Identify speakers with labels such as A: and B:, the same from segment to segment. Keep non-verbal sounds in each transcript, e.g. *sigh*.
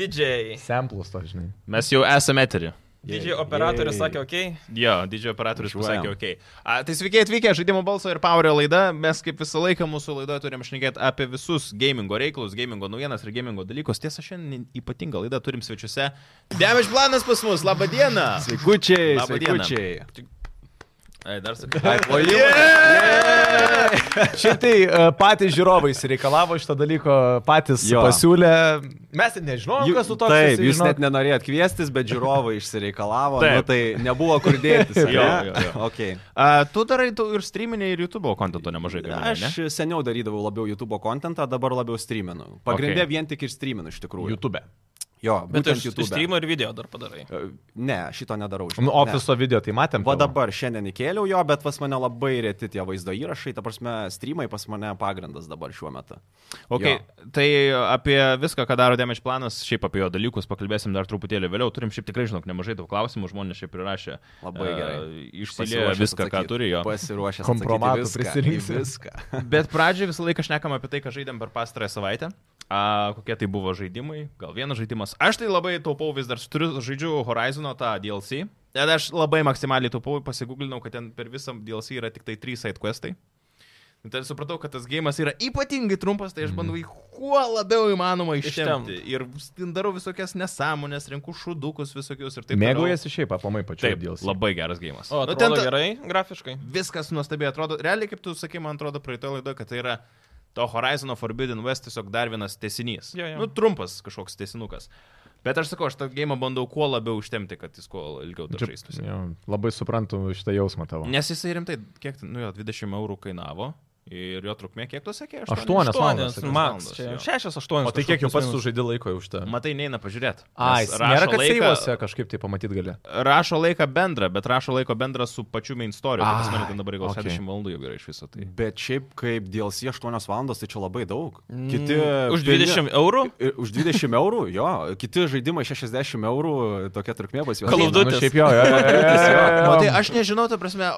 A: Didžiai.
B: Semplus to, žinai.
C: Mes jau esame eterį.
A: Didžiai operatorius
B: Jei.
A: sakė, okei.
C: Jo, didžiojo operatorius
B: Važiuojam.
C: pasakė, ok. A, tai sveiki atvykę, žaidimo balso ir Powerio laida. Mes kaip visą laiką mūsų laidoje turim šnekėti apie visus gamingo reikalus, gamingo naujienas ir gamingo dalykus. Tiesa, šiandien ypatingą laidą turim svečiuose. Damage planas pas mus, laba diena.
B: Sveikučiai,
C: Labą dieną.
B: sveikučiai.
C: Ai, dar sakai.
B: Šitai tai, e, patys žiūrovai įsireikalavo šitą dalyką, patys
D: Jo.
B: jo. pasiūlė. Mes net nežinojom, kas su toks.
D: Taip,
B: esi,
D: jūs
B: žinok.
D: net nenorėjot kviestis, bet žiūrovai išsireikalavo,
C: Taip.
D: nu, tai nebuvo kur dėtis. ar
C: Jo,
D: ne?
C: jo, jo.
D: Okay.
C: A, tu darai tu ir streaminį, ir YouTube kontento nemažai. gaminai,
D: Aš seniau darydavau labiau YouTube kontentą, dabar labiau streaminu. Pagrindė
C: Okay.
D: okay. vien tik ir streaminu iš tikrųjų.
B: YouTube.
D: Jo,
A: Bet
D: būtent
A: iš
D: YouTube.
A: streamų ir video dar padarai.
D: Ne, šito nedarau. žinok,
B: Nu,
D: ne.
B: ofiso video, tai matėm.
D: Va
B: tavo.
D: dabar šiandien įkėliau jo, bet pas mane labai reti tie vaizdo įrašai, ta prasme, streamai pas mane pagrindas dabar šiuo metu.
C: Okay, tai apie viską, ką daro Damage planas, šiaip apie jo dalykus pakalbėsim dar truputėlį vėliau. Turim šiaip tikrai, žinok, nemažai daug klausimų, žmonės šiaip prirašė.
D: Labai
C: e,
D: gerai.
C: Išsiliejo viską, ką turėjo.
D: Pasiruošęs.
B: Kompromatų prisirinksi.
D: *laughs* Viską.
C: Bet pradžioje visą laiką šnekam apie tai, ką žaidėm per pastarąją savaitę. A, kokie tai buvo žaidimai, gal vienas žaidimas. Aš tai labai taupau vis dar, turiu žaidžiu Horizon'o tą DLC. Bet aš labai maksimaliai taupau, pasigūglinau, kad ten per visą DLC yra tik tai 3 sidequestai. Tai supratau, kad tas gėjimas yra ypatingai trumpas, tai aš bandau jį kuo labiau įmanoma
A: Ištempti.
C: ištempti. Ir darau visokias nesąmonės, renku šudukus visokius ir taip toliau.
B: Tai Mėgaujasi šiaip aplamai pačiu.
C: Taip,
B: DLC.
C: labai geras gėjimas.
A: O,
C: Nu,
A: nu,
C: ten
A: ten
C: ta-
A: gerai, grafiškai.
C: viskas nuostabiai atrodo. Realiai, kaip tu sakai, man atrodo praeitoje laidoje, kad tai yra to Horizon Forbidden West tiesiog dar vienas tesinys.
A: Jo, jo.
C: Nu, trumpas kažkoks tesinukas. Bet aš sakau, aš tą gėjimą bandau kuo labiau užtemti, kad jis kuo ilgiau dar
B: Čia-
C: žaistųsi.
B: jo, Labai suprantu šitą jausmą tavo.
C: Nes jisai rimtai, kiek, ten, nu jo, 20 eurų kainavo ir jo trukmė, kiek tu
B: Aštuoni.
C: sakė?
B: Aštuonias valandas,
A: Aštuonias,
B: sakiau,
A: Max.
C: valandas,
A: čia
C: jo.
A: Šešias, aštuonias.
B: O tai kiek jau
A: kažkur
B: pats
A: plius minus.
B: sužaidai laiko už tą?
C: Matai, neina pažiūrėti.
B: Ai, nėra, kad seivuose kažkaip tai pamatyt gali.
C: rašo laiką bendrą, bet rašo laiko bendrą su pačiu main story. Tai pas mane
B: Ai,
C: ten dabar gal
B: okei.
C: 60 valandų jau yra iš viso tai.
D: Bet šiaip kaip DLC 8 valandos, tai čia labai daug.
B: Mm.
D: Kiti.
A: Mm, Už
D: pilni-
A: 20 eurų?
D: Ir Už 20 eurų, jo, kiti žaidimai 60 eurų, tokia trukmė pas juos.
A: Call of
D: eina.
A: Duty.
B: Nu, šiaip jo, jo, jo, jo, Nu, tai jo, jo.
C: Matai, Nu, tai aš nežinau, ta prasme,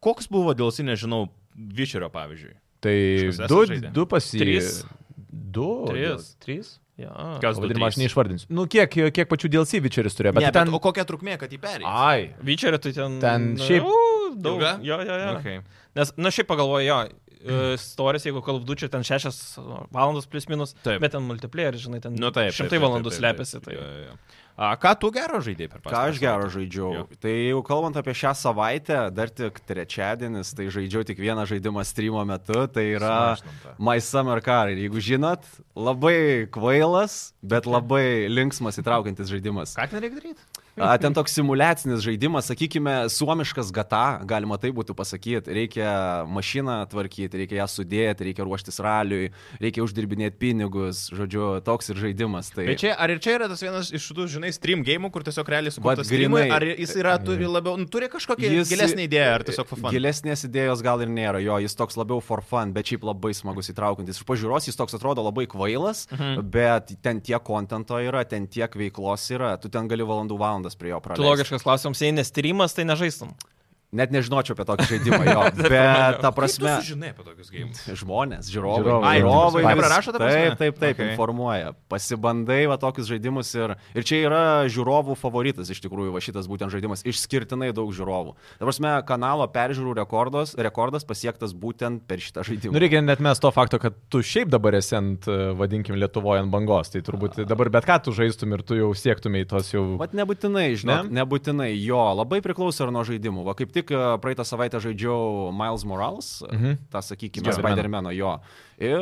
C: koks buvo dėl si, nežinau, Vičerio pavyzdžiui.
B: Tai
C: esat
B: du,
C: žaidę?
B: du pasi...
A: Trys.
B: Du.
A: Trys.
B: Trys.
A: Ja.
C: Kas
B: Pavadinimą aš neišvardinsiu. Nu, kiek, kiek pačių DLC vičeris turėjo,
C: Bet,
B: bet
C: ne,
B: tai ten...
C: bet o kokia trukmė, kad jį perėjo?
B: Ai.
A: Vyčerį tai ten.
B: Ten
A: na,
B: šiaip-
A: u, daug.
C: Ilga?
A: Jo, jo, jo.
C: Okay.
A: Nes, na, šiaip pagalvoju, jo, e, storis, jeigu kalbdučiu, ten 6 valandos plus minus,
C: Taip.
A: bet ten multiplayer, žinai, ten
C: Nu, taip,
A: šimtai valandų slepiasi. Tai.
C: Jo, jo, jo. A, ką tu gero žaidėjai per
D: Ką
C: pastarąją
D: aš gero
C: savaitę?
D: žaidžiau?
C: Jo.
D: Tai jau kalbant apie šią savaitę, dar tik trečiadienis, tai žaidžiau tik vieną žaidimą streamo metu, tai yra
C: Sumažinam tą.
D: My Summer Car. Ir jeigu žinot, labai kvailas, bet labai linksmas įtraukiantis žaidimas.
C: Ką ten reikia daryti?
D: A, Ten toks simulacinis žaidimas, sakykime, suomiškas gata, galima tai būtų pasakyti. Reikia mašiną tvarkyti, reikia ją sudėti, reikia ruoštis raliui, reikia uždirbinėti pinigus, žodžiu, toks ir žaidimas. Tai...
C: Bet čia, ar ir čia yra tas vienas iš šitų, žinai, stream game, kur tiesiog realiai sukurtas
D: Vat
C: streamai,
D: grynai.
C: ar jis yra, turi labiau, nu, turi kažkokią jis... gilesnę idėją, ar tiesiog fufan?
D: Gilesnės idėjos gal ir nėra, jo, jis toks labiau for fun, bet šiaip labai smagus įtraukiantis. Iš pažiūros jis toks atrodo labai kvailas, mhm. bet ten tiek kontento yra, ten tiek veiklos yra, tu ten gali valandų valandas prie jo
A: Tu
D: praleisti.
A: logiškas klausimas, jei nestrymas, tai nežaistum.
D: Net nežinočiau apie tokį žaidimą,
C: *laughs*
D: jo, bet ta prasme.
C: Žinai apie tokius games.
D: Žmonės, žiūrovai.
B: Žiūrovai.
D: Ai,
B: Ai,
D: žiūrovai
B: taip,
D: vis-
C: prirašo, ta prasme?
D: Taip, taip,
C: Okay.
D: taip, okay. informuoja. Pasibandai va tokius žaidimus ir, ir čia yra žiūrovų favoritas iš tikrųjų, va šitas būtent žaidimas. Išskirtinai daug žiūrovų. Dabar mes kanalo peržiūrų rekordas, rekordas pasiektas būtent per šitą
B: Nu,
D: žaidimą.
B: reikia net mes to fakto, kad tu šiaip dabar esi ant, e, vadinkim, Lietuvoje ant bangos. Tai turbūt dabar bet ką tu žaistum ir tu jau siektumai tos jau...
D: Vat nebūtinai, žinai, ne? nebūtinai jo, labai priklauso ir nuo žaidimų. Va kaip tik e, praeitą savaitę žaidžiau Miles Morales, mhm. tą sakykime,
B: Spider-Man.
D: Spider-Man'o jo. Ir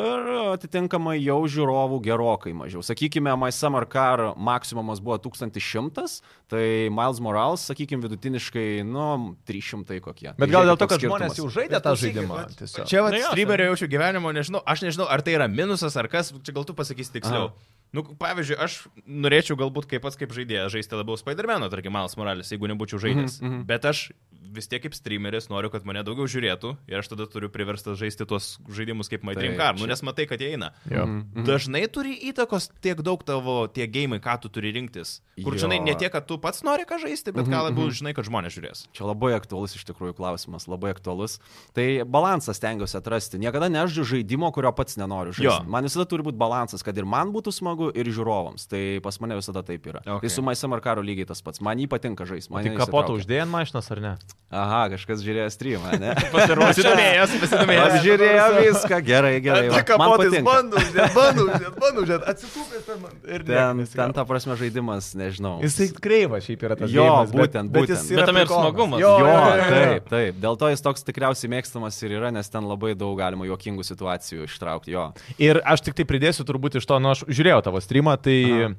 D: atitinkamai jau žiūrovų gerokai mažiau. Sakykime, My Summer Car maksimumas buvo 1100, tai Miles Morales, sakykime, vidutiniškai, nu, 300 kokie.
B: Bet
D: Tai
B: gal dėl
D: žiūrėkit,
B: to, kad
D: koks skirtumas.
B: žmonės jau žaidė tą žaidimą. Tiesiog.
C: Čia, va,
A: Na jo, tai-
C: streamerio jaučiu gyvenimo, nežinau, aš nežinau, ar tai yra minusas, ar kas, čia gal tu pasakysi tiksliau. Nu, pavyzdžiui, aš norėčiau galbūt kaip pats kaip žaidėjas žaisti labiau Spider-Man'o, tarkim, Malas Morales, jeigu nebūčiau žaidęs. Mm -hmm. Bet aš vis tiek kaip streameris noriu, kad mane daugiau žiūrėtų ir aš tada turiu priverstas žaisti tuos žaidimus kaip My Dream Car, nu, nes matai, kad jie eina.
B: Jo.
D: Mhm.
C: Dažnai turi įtakos tiek daug tavo tie gėjimai, ką tu turi rinktis. Kur,
D: Jo.
C: žinai, ne tiek, kad tu pats nori ką žaisti, bet ką labiau žinai, kad žmonės žiūrės.
D: Čia labai aktualus iš tikrųjų klausimas, labai aktualus. Tai balansą stengiuosi atrasti. Niekada nežaidžiu žaidimo, kurio pats nenoriu žaisti.
C: Jo.
D: Man visada turi būti balansas, kad ir man būtų smagu, smagu, ir žiūrovams. Tai pas mane visada taip yra.
C: Okay.
D: Okay. Tai su MySummer karo lygiai tas pats. Man jį patinka žaisti.
B: Tai kapotą uždėjant mašinas ar ne?
D: Aha, kažkas žiūrėjo streamą,
B: *laughs*
D: ne?
C: Pasidomėjęs,
D: Mes
C: pasidomėjęs.
D: žiūrėjo viską, gerai,
B: Tai *laughs*
D: gerai. va. Tai Man patinka.
B: bandau, bandau, bandau, atsitūpęs ten man. Ir
D: Ten, ten ta prasme žaidimas, nežinau.
B: Jisai kreivas šiaip yra tas
D: Jo,
B: žaidimas, bet-
D: būtent,
B: bet jis
D: būtent.
B: yra
A: Bet tame ir
B: prikonas.
A: smagumas.
B: Jo,
D: Jo,
B: jo, jo, jo.
D: taip, taip. Dėl to jis toks tikriausiai mėgstamas ir yra, nes ten labai daug galima juokingų situacijų ištraukti. Jo.
B: Ir aš tik tai pridėsiu turbūt iš to, nu aš žiūrėjau tavo streamą, tai e,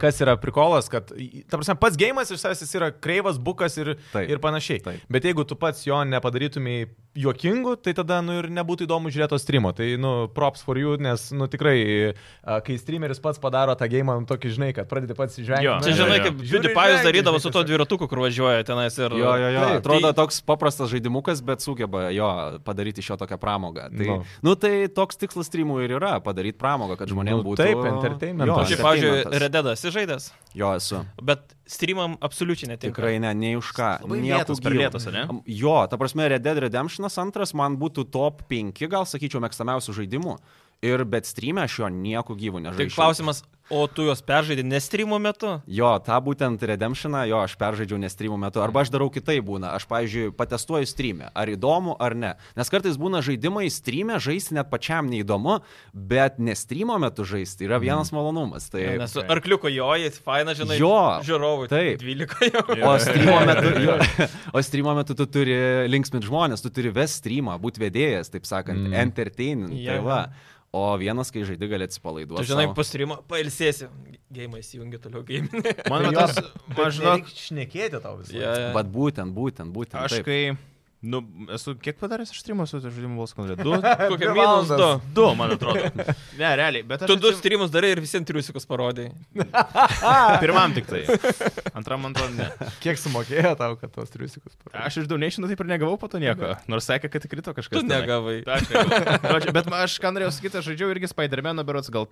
B: kas yra prikolas, kad, i- ta prasme, pats gėjimas iš savęs jis yra kreivas, bukas ir,
D: Taip.
B: ir panašiai.
D: Taip.
B: Bet jeigu tu pats jo nepadarytumai juokingu, tai tada, nu ir nebūtų įdomu žiūrėti to streamo. Tai, nu, props for you, nes, nu tikrai, a, kai streameris pats padaro tą gėjimą, nu tokį žinai, kad pradedi pats
C: Jo.
B: žvengti.
A: Čia
C: Jo,
A: žinai,
C: jo.
A: kaip
B: Žiūri
A: PewDiePie'us
B: žvengia,
A: darydavo
B: žinai,
A: su to
B: tiesiog.
A: dviratuku, kur važiuoja tenais ir...
D: tai Jo, jo, jo.
B: Taip.
D: Atrodo
A: Tai-
D: toks paprastas žaidimukas, bet sugeba jo padaryti šio tokią pramogą. Tai,
B: Nu.
D: no. nu, tai toks tikslas streamų ir yra - padaryti pramogą, kad
B: Nu,
D: žmonėms būtų.
B: taip, entertainmentas.
D: Jo,
B: Šiaip,
A: Šiaip, pavyzdžiui,
D: entertainmentas.
A: Rededas įžaidęs,
D: Jo, esu.
A: bet streamam absoliučiai netinka.
D: Tikrai ne, nei už ką.
C: Labai
D: Nieko
C: lėtas, per
D: gyvo.
C: lėtas, ane?
D: Am, Jo, ta prasme, Red Dead Redemptionas antras man būtų top 5, gal sakyčiau, mėgstamiausių žaidimų. Ir bet streamę aš jo nieko
A: Tik
D: gyvų nežaidžiu.
A: Tai klausimas, o tu juos peržaidai ne streamo metu?
D: Jo, tą būtent Redemptioną, jo, aš peržaidžiau ne streamų metu. Arba aš darau kitai būna. Aš, pavyzdžiui, patestuoju streamę. Ar įdomu, ar ne. Nes kartais būna žaidimai streamę, žaisti net pačiam neįdomu, bet ne streamo metu žaisti yra
A: Mm.
D: vienas malonumas. Tai...
A: Nes su arkliuko joji, tai faina, žinai,
D: Jo,
A: žiūrovui. tai
D: taip.
A: 12 jau.
D: O streamo metu, jo, o streamo metu tu turi linksmint žmonės, tu turi ves streamą, būti vedėjas, taip sakant, mm. entertaining.
A: Jo.
D: Tai va. o vienas, kai žaidži, gali atsipalaiduoti.
A: Tu žinai, po streamo pailsėsi. Gėjimą įsijungi toliau gėjimą.
C: Man
B: Jo,
C: tas,
B: bet
C: man žinok,
B: Tai nereik Šnekėti tau visą. laiką.
A: Yeah.
D: Bet būtent, būtent, būtent.
C: aš
D: taip.
C: kai... Nu, esu kiek padaręs iš streamo su tuo žaidimu Balls Control?
A: *laughs*
C: Du,
A: Kokia
B: Dvi
A: minus
B: valandas.
A: 2.
C: du, man atrodo. Ne, realiai, bet aš...
A: Tu du
C: atsim-
A: streamus darai ir visiems triusikus parodai.
C: Pirmam tik
A: *laughs*
C: tai. Antram, man atrodo, ne.
B: Kiek sumokėjo tau, kad tos triusikus parodė?
C: Aš iš Donationų taip ir negavau po to nieko. Nors sakė, kad krito kažkas.
A: Tu
C: tenai.
A: negavai.
C: Tai aš negavau. *laughs* Žodžiu, Bet ma- aš ką norėjau sakyti, aš žaidžiau irgi Spider-Man berots gal.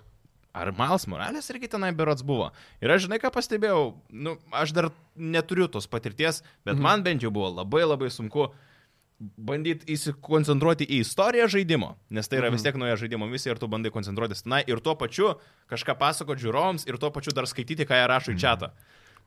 C: Ar Miles Morales irgi tenai berots buvo. Ir aš žinai, ką pastebėjau, nu, aš dar neturiu tos patirties, bet mm
D: Mhm.
C: -hmm. man bent jau buvo labai labai sunku bandyti įsikoncentruoti į istoriją žaidimo, nes tai yra mm -hmm.
D: Mhm.
C: vis tiek nauja žaidimo misija ir tu bandai koncentruotis tenai ir tuo pačiu kažką pasakoti žiūrovams ir tuo pačiu dar skaityti, ką jie rašo į čatą.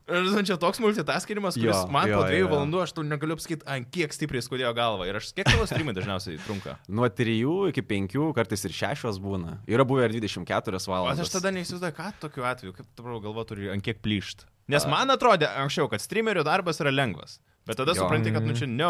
C: Ir žinai, čia toks multitaskinimas, kuris
D: Mhm. Jo,
C: jo, man jo, po
D: jo,
C: dviejų
D: jo, jo.
C: valandų aš tu negaliu apskait, ant kiek stipriai skaudėjo galva. Ir aš kiek tavo streamai dažniausiai trunka.
D: Nuo 3 iki 5, kartais ir 6 būna. Yra buvę ir 24
C: O
D: valandas.
C: aš tada neįsivaizduoju, ką tokiu atveju, kaip tavo galva turi ant kiek plyšt. Nes man atrodė anksčiau, kad streamerio darbas yra lengvas. Bet tada
D: Jo.
C: supranti, kad nu čia ne.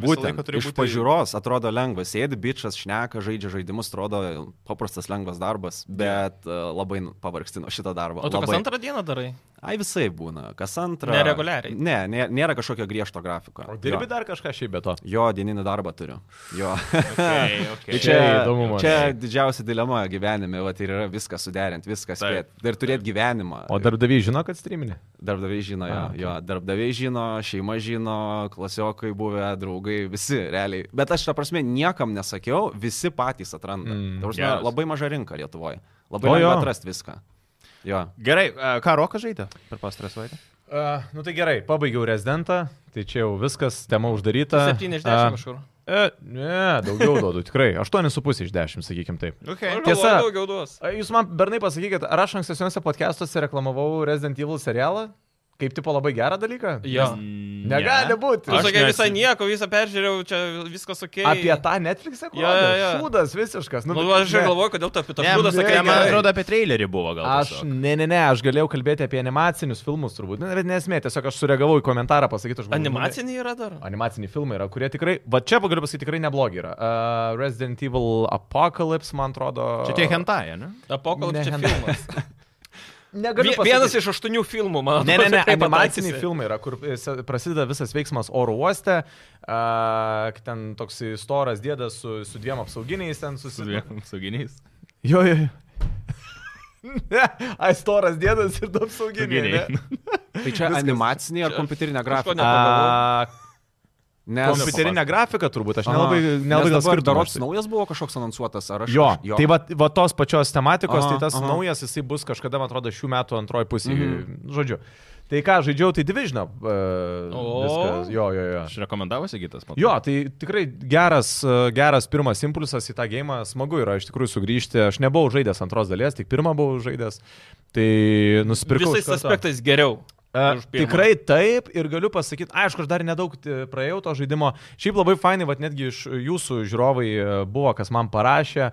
D: Būtent, iš būti... pažiūros atrodo lengvas, sėdi bičias, šneka, žaidžia žaidimus, atrodo paprastas lengvas darbas, bet uh, labai nu- pavargsti nuo šito darbo.
A: O tu kas
D: Labai.
A: antrą dieną darai?
D: Ai visai būna, kas antrą.
A: Nereguliariai.
D: Ne, nė- nėra kažkokio griežto grafiko.
B: O dirbi dar kažką šiaip be to?
D: Jo, dieninį darbą turiu. Jo.
C: Okay, okay.
D: Tai
B: Čia įdomumas.
D: Čia didžiausia dilema gyvenime, va, tai ir yra viską suderinti, viską
C: Taip.
D: spėti. Ir turėti gyvenimą.
B: O darbdaviai žino, kad streaminė?
D: Darbdaviai žino, jo,
B: A,
D: okay. jo, darbdaviai žino, šeima žino, klasiokai buvę, draugai, visi realiai. Bet aš, ta prasme, niekam nesakiau, visi patys atranda.
B: Mm,
D: Mm, ta prasme,
C: geras.
D: labai maža rinka Lietuvoje.
B: O,
D: Labai lengva
B: jo.
D: atrasti viską. Jo.
C: Gerai, a, ką Rokas žaidė per pastarą savaitę?
B: Uh, nu tai gerai, pabaigiau rezidentą, tai čia jau viskas, tema uždaryta.
A: 7 iš 10 kažkur.
B: Uh, ne, daugiau duodu, tikrai. 8,5 iš 10, sakykim taip.
C: Okay.
A: Aš
B: Tiesa.
A: galvoju, Daugiau duos.
B: A, Jūs man bernai pasakykit, ar aš ankstesniuose podcastuose reklamavau Resident Evil serialą? Kaip tipo labai gerą dalyką?
A: Jo.
B: Negali būti.
A: Tu
C: Aš
A: sakai
C: neatsi-
A: visą nieko, visą peržiūrėjau, čia viskas ok.
B: Apie tą Netflixą, kur
A: Jo, jo,
B: rodė?
A: jo.
B: šūdas visiškas. tai
A: Nu, aš ir
B: ne.
A: galvoju, kodėl tu apie tą
C: Ne,
A: būdą
C: būdas, sakai,
A: sakai,
B: ne,
C: man
B: gerai.
A: man
C: atrodo, apie trailerį buvo gal.
B: Aš,
C: tiesiog.
B: ne, ne, ne, aš galėjau kalbėti apie animacinius filmus turbūt. Na, bet nesmė, tiesiog aš sureagavau į komentarą, pasakytų žmonių. nu,
A: Animaciniai yra dar?
B: Animaciniai filmai yra, kurie tikrai, va čia pagaliau pasakyti, tikrai neblogi yra. Uh, Resident Evil Apocalypse, man atrodo.
C: Čia tie hentai, ne?
A: Apokalipsė
B: Ne,
A: filmas.
B: Negaliu.
A: Vi- Vienas
B: pasakyti.
A: iš aštuonių filmų, man
B: *laughs*
A: atrodo.
B: Ne, *laughs* ne, ne,
A: tikrai
B: animaciniai
A: pataikysi.
B: filmai yra, kur e, se- prasideda visas veiksmas oro uoste, uh, ten toks storas dėdas su, su dviem apsauginiais ten
C: Su
B: susidūrė.
C: dviem apsauginiais.
B: Jo, jo. *laughs* jo. Ne, ai storas dėdas ir du apsauginiai. ne?
D: Tai čia Viskas. animacinė ar kompiuterinė
A: Kažko
D: grafika?
A: ne-
B: A,
D: Nes...
B: Kompiuterinė grafika turbūt, aš
D: Aha.
B: nelabai, nelabai
D: Nes
B: gal
D: dabar
B: skirtumo
D: darots
B: aš tai-
D: naujas buvo kažkoks anonsuotas, ar aš...
B: Jo,
D: jo.
B: tai va, va tos pačios tematikos,
D: Aha, Mhm.
B: tai tas
D: aha.
B: naujas jisai bus kažkada, man atrodo, šių metų antroji pusė. Mm -hmm. Žodžiu. Tai ką, žaidžiau, tai Division.
A: O.
B: Uh, jo, jo, jo.
C: *laughs* Aš rekomendavosi kitas po to.
B: Jo, tai tikrai geras, e, geras pirmas impulsas į tą gėjimą, smagu yra iš tikrųjų sugrįžti. Aš nebuvau žaidęs antros dalies, tik pirmą buvau žaidęs. Tai nusipirkau. iš
A: Visais
B: karto.
A: aspektais geriau.
B: E,
A: už pirmą.
B: Tikrai taip ir galiu pasakyti, aišku, aš dar nedaug e, praėjau to žaidimo. Šiaip labai fainai, vad netgi iš jūsų žiūrovai e, buvo, kas man parašė, e,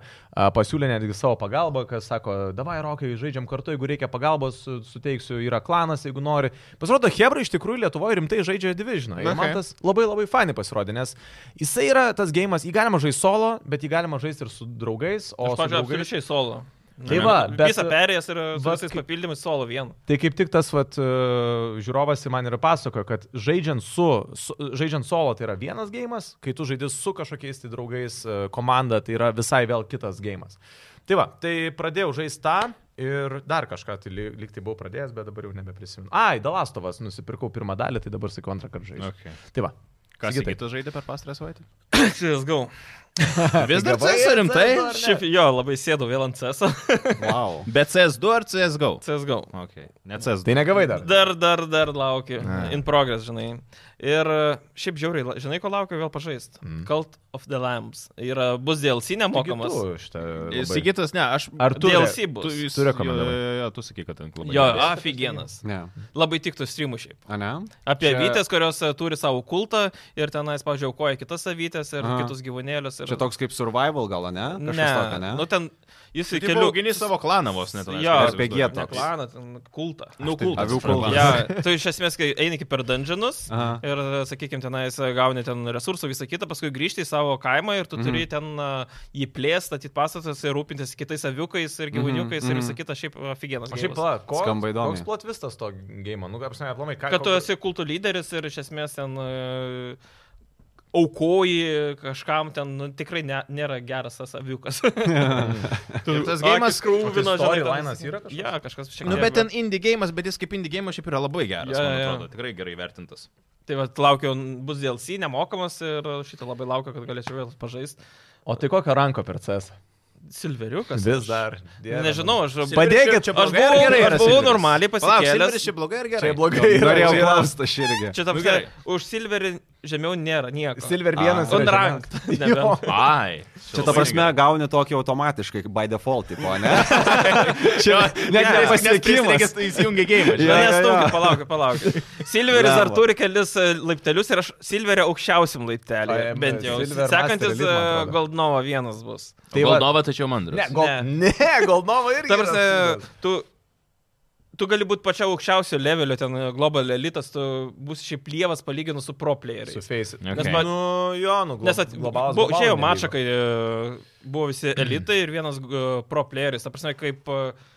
B: pasiūlė netgi savo pagalbą, kas sako, davai, rokai, žaidžiam kartu, jeigu reikia pagalbos, su- suteiksiu, yra klanas, jeigu nori. Pasirodo, Hebra iš tikrųjų Lietuvoje rimtai žaidžia Divisioną. Ir
C: Okay.
B: man tas labai labai fainai pasirodė, nes jisai yra tas gėjimas, jį galima žaisti solo, bet jį galima žaisti ir su draugais, o
A: Aš,
B: su
A: pažiūrėjau,
B: draugais.
A: absoliučiai solo.
B: Tai va, bet-
A: Visą perėjęs ir su
B: Vat
A: visais
B: kaip-
A: papildymais solo vienu. *laughs*
B: Tai kaip tik tas vat, e, žiūrovas man ir pasakojo, kad žaidžiant, su, su, žaidžiant solo tai yra vienas gėjimas, kai tu žaidži su kažkokiais tai draugais e, komanda, tai yra visai vėl kitas gėjimas. Tai va, tai pradėjau žaisti tą ir dar kažką tai li- lyg tai buvau pradėjęs, bet dabar jau nebeprisimenu. Ai, Dalastovas, nusipirkau pirmą dalį, tai dabar sakau antrą kartą žaidžiu.
C: Okay.
B: Tai va.
C: Kas
B: Sigitai.
C: kitas žaidė per pastarą savaitę?
A: Cheers, go.
C: Vis dar
B: gavai
C: CS rimtai?
B: CS2?
A: Šiaip jo, labai sėdau vėl ant CS.
D: Wow.
C: Bet CS2 ar CSGO?
A: CSGO.
C: Okay. Ne CS2.
B: Tai negavai dar.
A: Dar, dar, dar laukiu.
C: A.
A: In progress, žinai. Ir e, šiaip žiauriai, la- žinai, ko laukiu vėl pažaist. Mm. Cult of the Lambs. Ir bus DLC nemokamas.
B: Taigi tu šitą labai-
C: Sigitas, ne, aš.
B: Ar tu
A: DLC
C: tu,
A: bus.
C: jis,
B: tu rekomendavai?
C: Jo, jo, jo, tu sakai, kad ten labai.
A: Jo,
C: gerai.
A: aфигienas.
D: Ne.
A: Labai tiktų streamų šiaip.
D: A ne?
A: Apie
B: Čia-
A: Čia... vytės, kurios e, turi savo kultą ir tenais, pavyzdžiui, aukoja kitas avytės ir
D: Aha.
A: Aha. kitus gyvūnėlius. Ir...
D: Čia toks kaip survival gal, ne?
A: Tai ne,
D: Kažkas tokio,
A: ne.
D: ne?
A: Nu, ten jis
C: Tai
A: į
C: keliu
A: kelių
C: augini savo klaną vos net.
A: Jo,
D: apie
A: Ne
D: getą. toks.
A: klaną, ten kultą.
C: Nu,
D: taip,
C: kultas.
D: avių
C: suprantu.
D: kultas.
A: Ja, tu iš esmės, kai eini kaip per dungeonus
D: Aha.
A: ir, sakykime, tenais gauni ten resursų, visą kitą, paskui grįžti į savo kaimą ir tu
D: Mhm.
A: turi ten a, jį plėsti, atitį pastatus ir rūpintis kitais aviukais ir gyvūniukais ir
D: mhm.
A: visą kitą, šiaip aфигienas.
B: O šiaip, pala, ko,
D: Skamba įdomiai.
B: Koks plotvistas to gėjimo? Nu, apsimė, aplamai, ką.
A: kad tu
B: ko-
A: esi kultų lyderis ir iš esmės ten e, aukoji kažkam ten, nu, tikrai ne, nėra geras tas aviukas.
C: Ir tas gėjimas
A: krūvina,
B: O tai storylainas yra kažkoks?
A: Ja, kažkas šiek tiek.
C: Nu, bet ten indie gėjimas, bet jis kaip indie gėjimas šiaip yra labai geras,
A: Jo,
C: man
A: jo.
C: atrodo. Tikrai gerai vertintas.
A: Tai va, laukiu, bus DLC nemokamas ir šitą labai laukiu, kad galėčiau vėl pažaisti.
B: O tai kokią ranką per CS?
A: Silveriukas.
B: Vis dar. Dieve
A: Nežinau, aš
B: Padėkit,
A: Aš buvau, gerai, aš buvau normaliai pasikėlęs.
C: Čia blogai ar gerai?
B: Čia blogai yra.
D: Norėjau
B: Čia yra-
D: klausti aš irgi.
A: Čia tam
C: Nu,
A: gerai.
C: gerai.
A: Už silverį žemiau nėra nieko.
B: Silver
D: A.
B: 1.
A: On ranked.
B: *laughs*
A: nebent.
C: Ai.
D: Čia ta prasme gauni tokį automatiškai, by default, tipo,
A: *laughs*
D: ne?
C: čia
D: net ne pasiekimas.
C: Nes tai įsijungia gėjimą.
A: Ja,
D: Jo, jo,
A: Nes
D: jo.
A: daug, palauk,
B: *laughs*
A: palauk. Silveris
D: Blemba.
A: dar turi kelis e, laiptelius ir aš Silverio aukščiausiam laiptelį.
B: Ai,
A: Bent jau.
B: Silver Master
A: Sekantis e,
B: Elite, man atrodo.
A: Goldnova vienas bus.
B: Tai va-
C: Valdova, tačiau mandras.
B: Ne, Gold... *laughs* ne. ne Goldnova irgi.
A: Tarsi,
B: Tai yra silver.
A: tu, tu gali būti pačio aukščiausio levelio, ten e, global elitas, tu būsi šiaip lievas palyginus su pro playeriais.
B: Su Face.
C: Okay.
A: Nes
B: Nu, jo, nu, glo...
A: Nes at,
B: globalas.
A: buvo,
B: globalas
A: išėjo
B: nelygu.
A: mačą, kai e, buvo visi elitai ir vienas e, pro playeris. Ta prasme, kaip, e,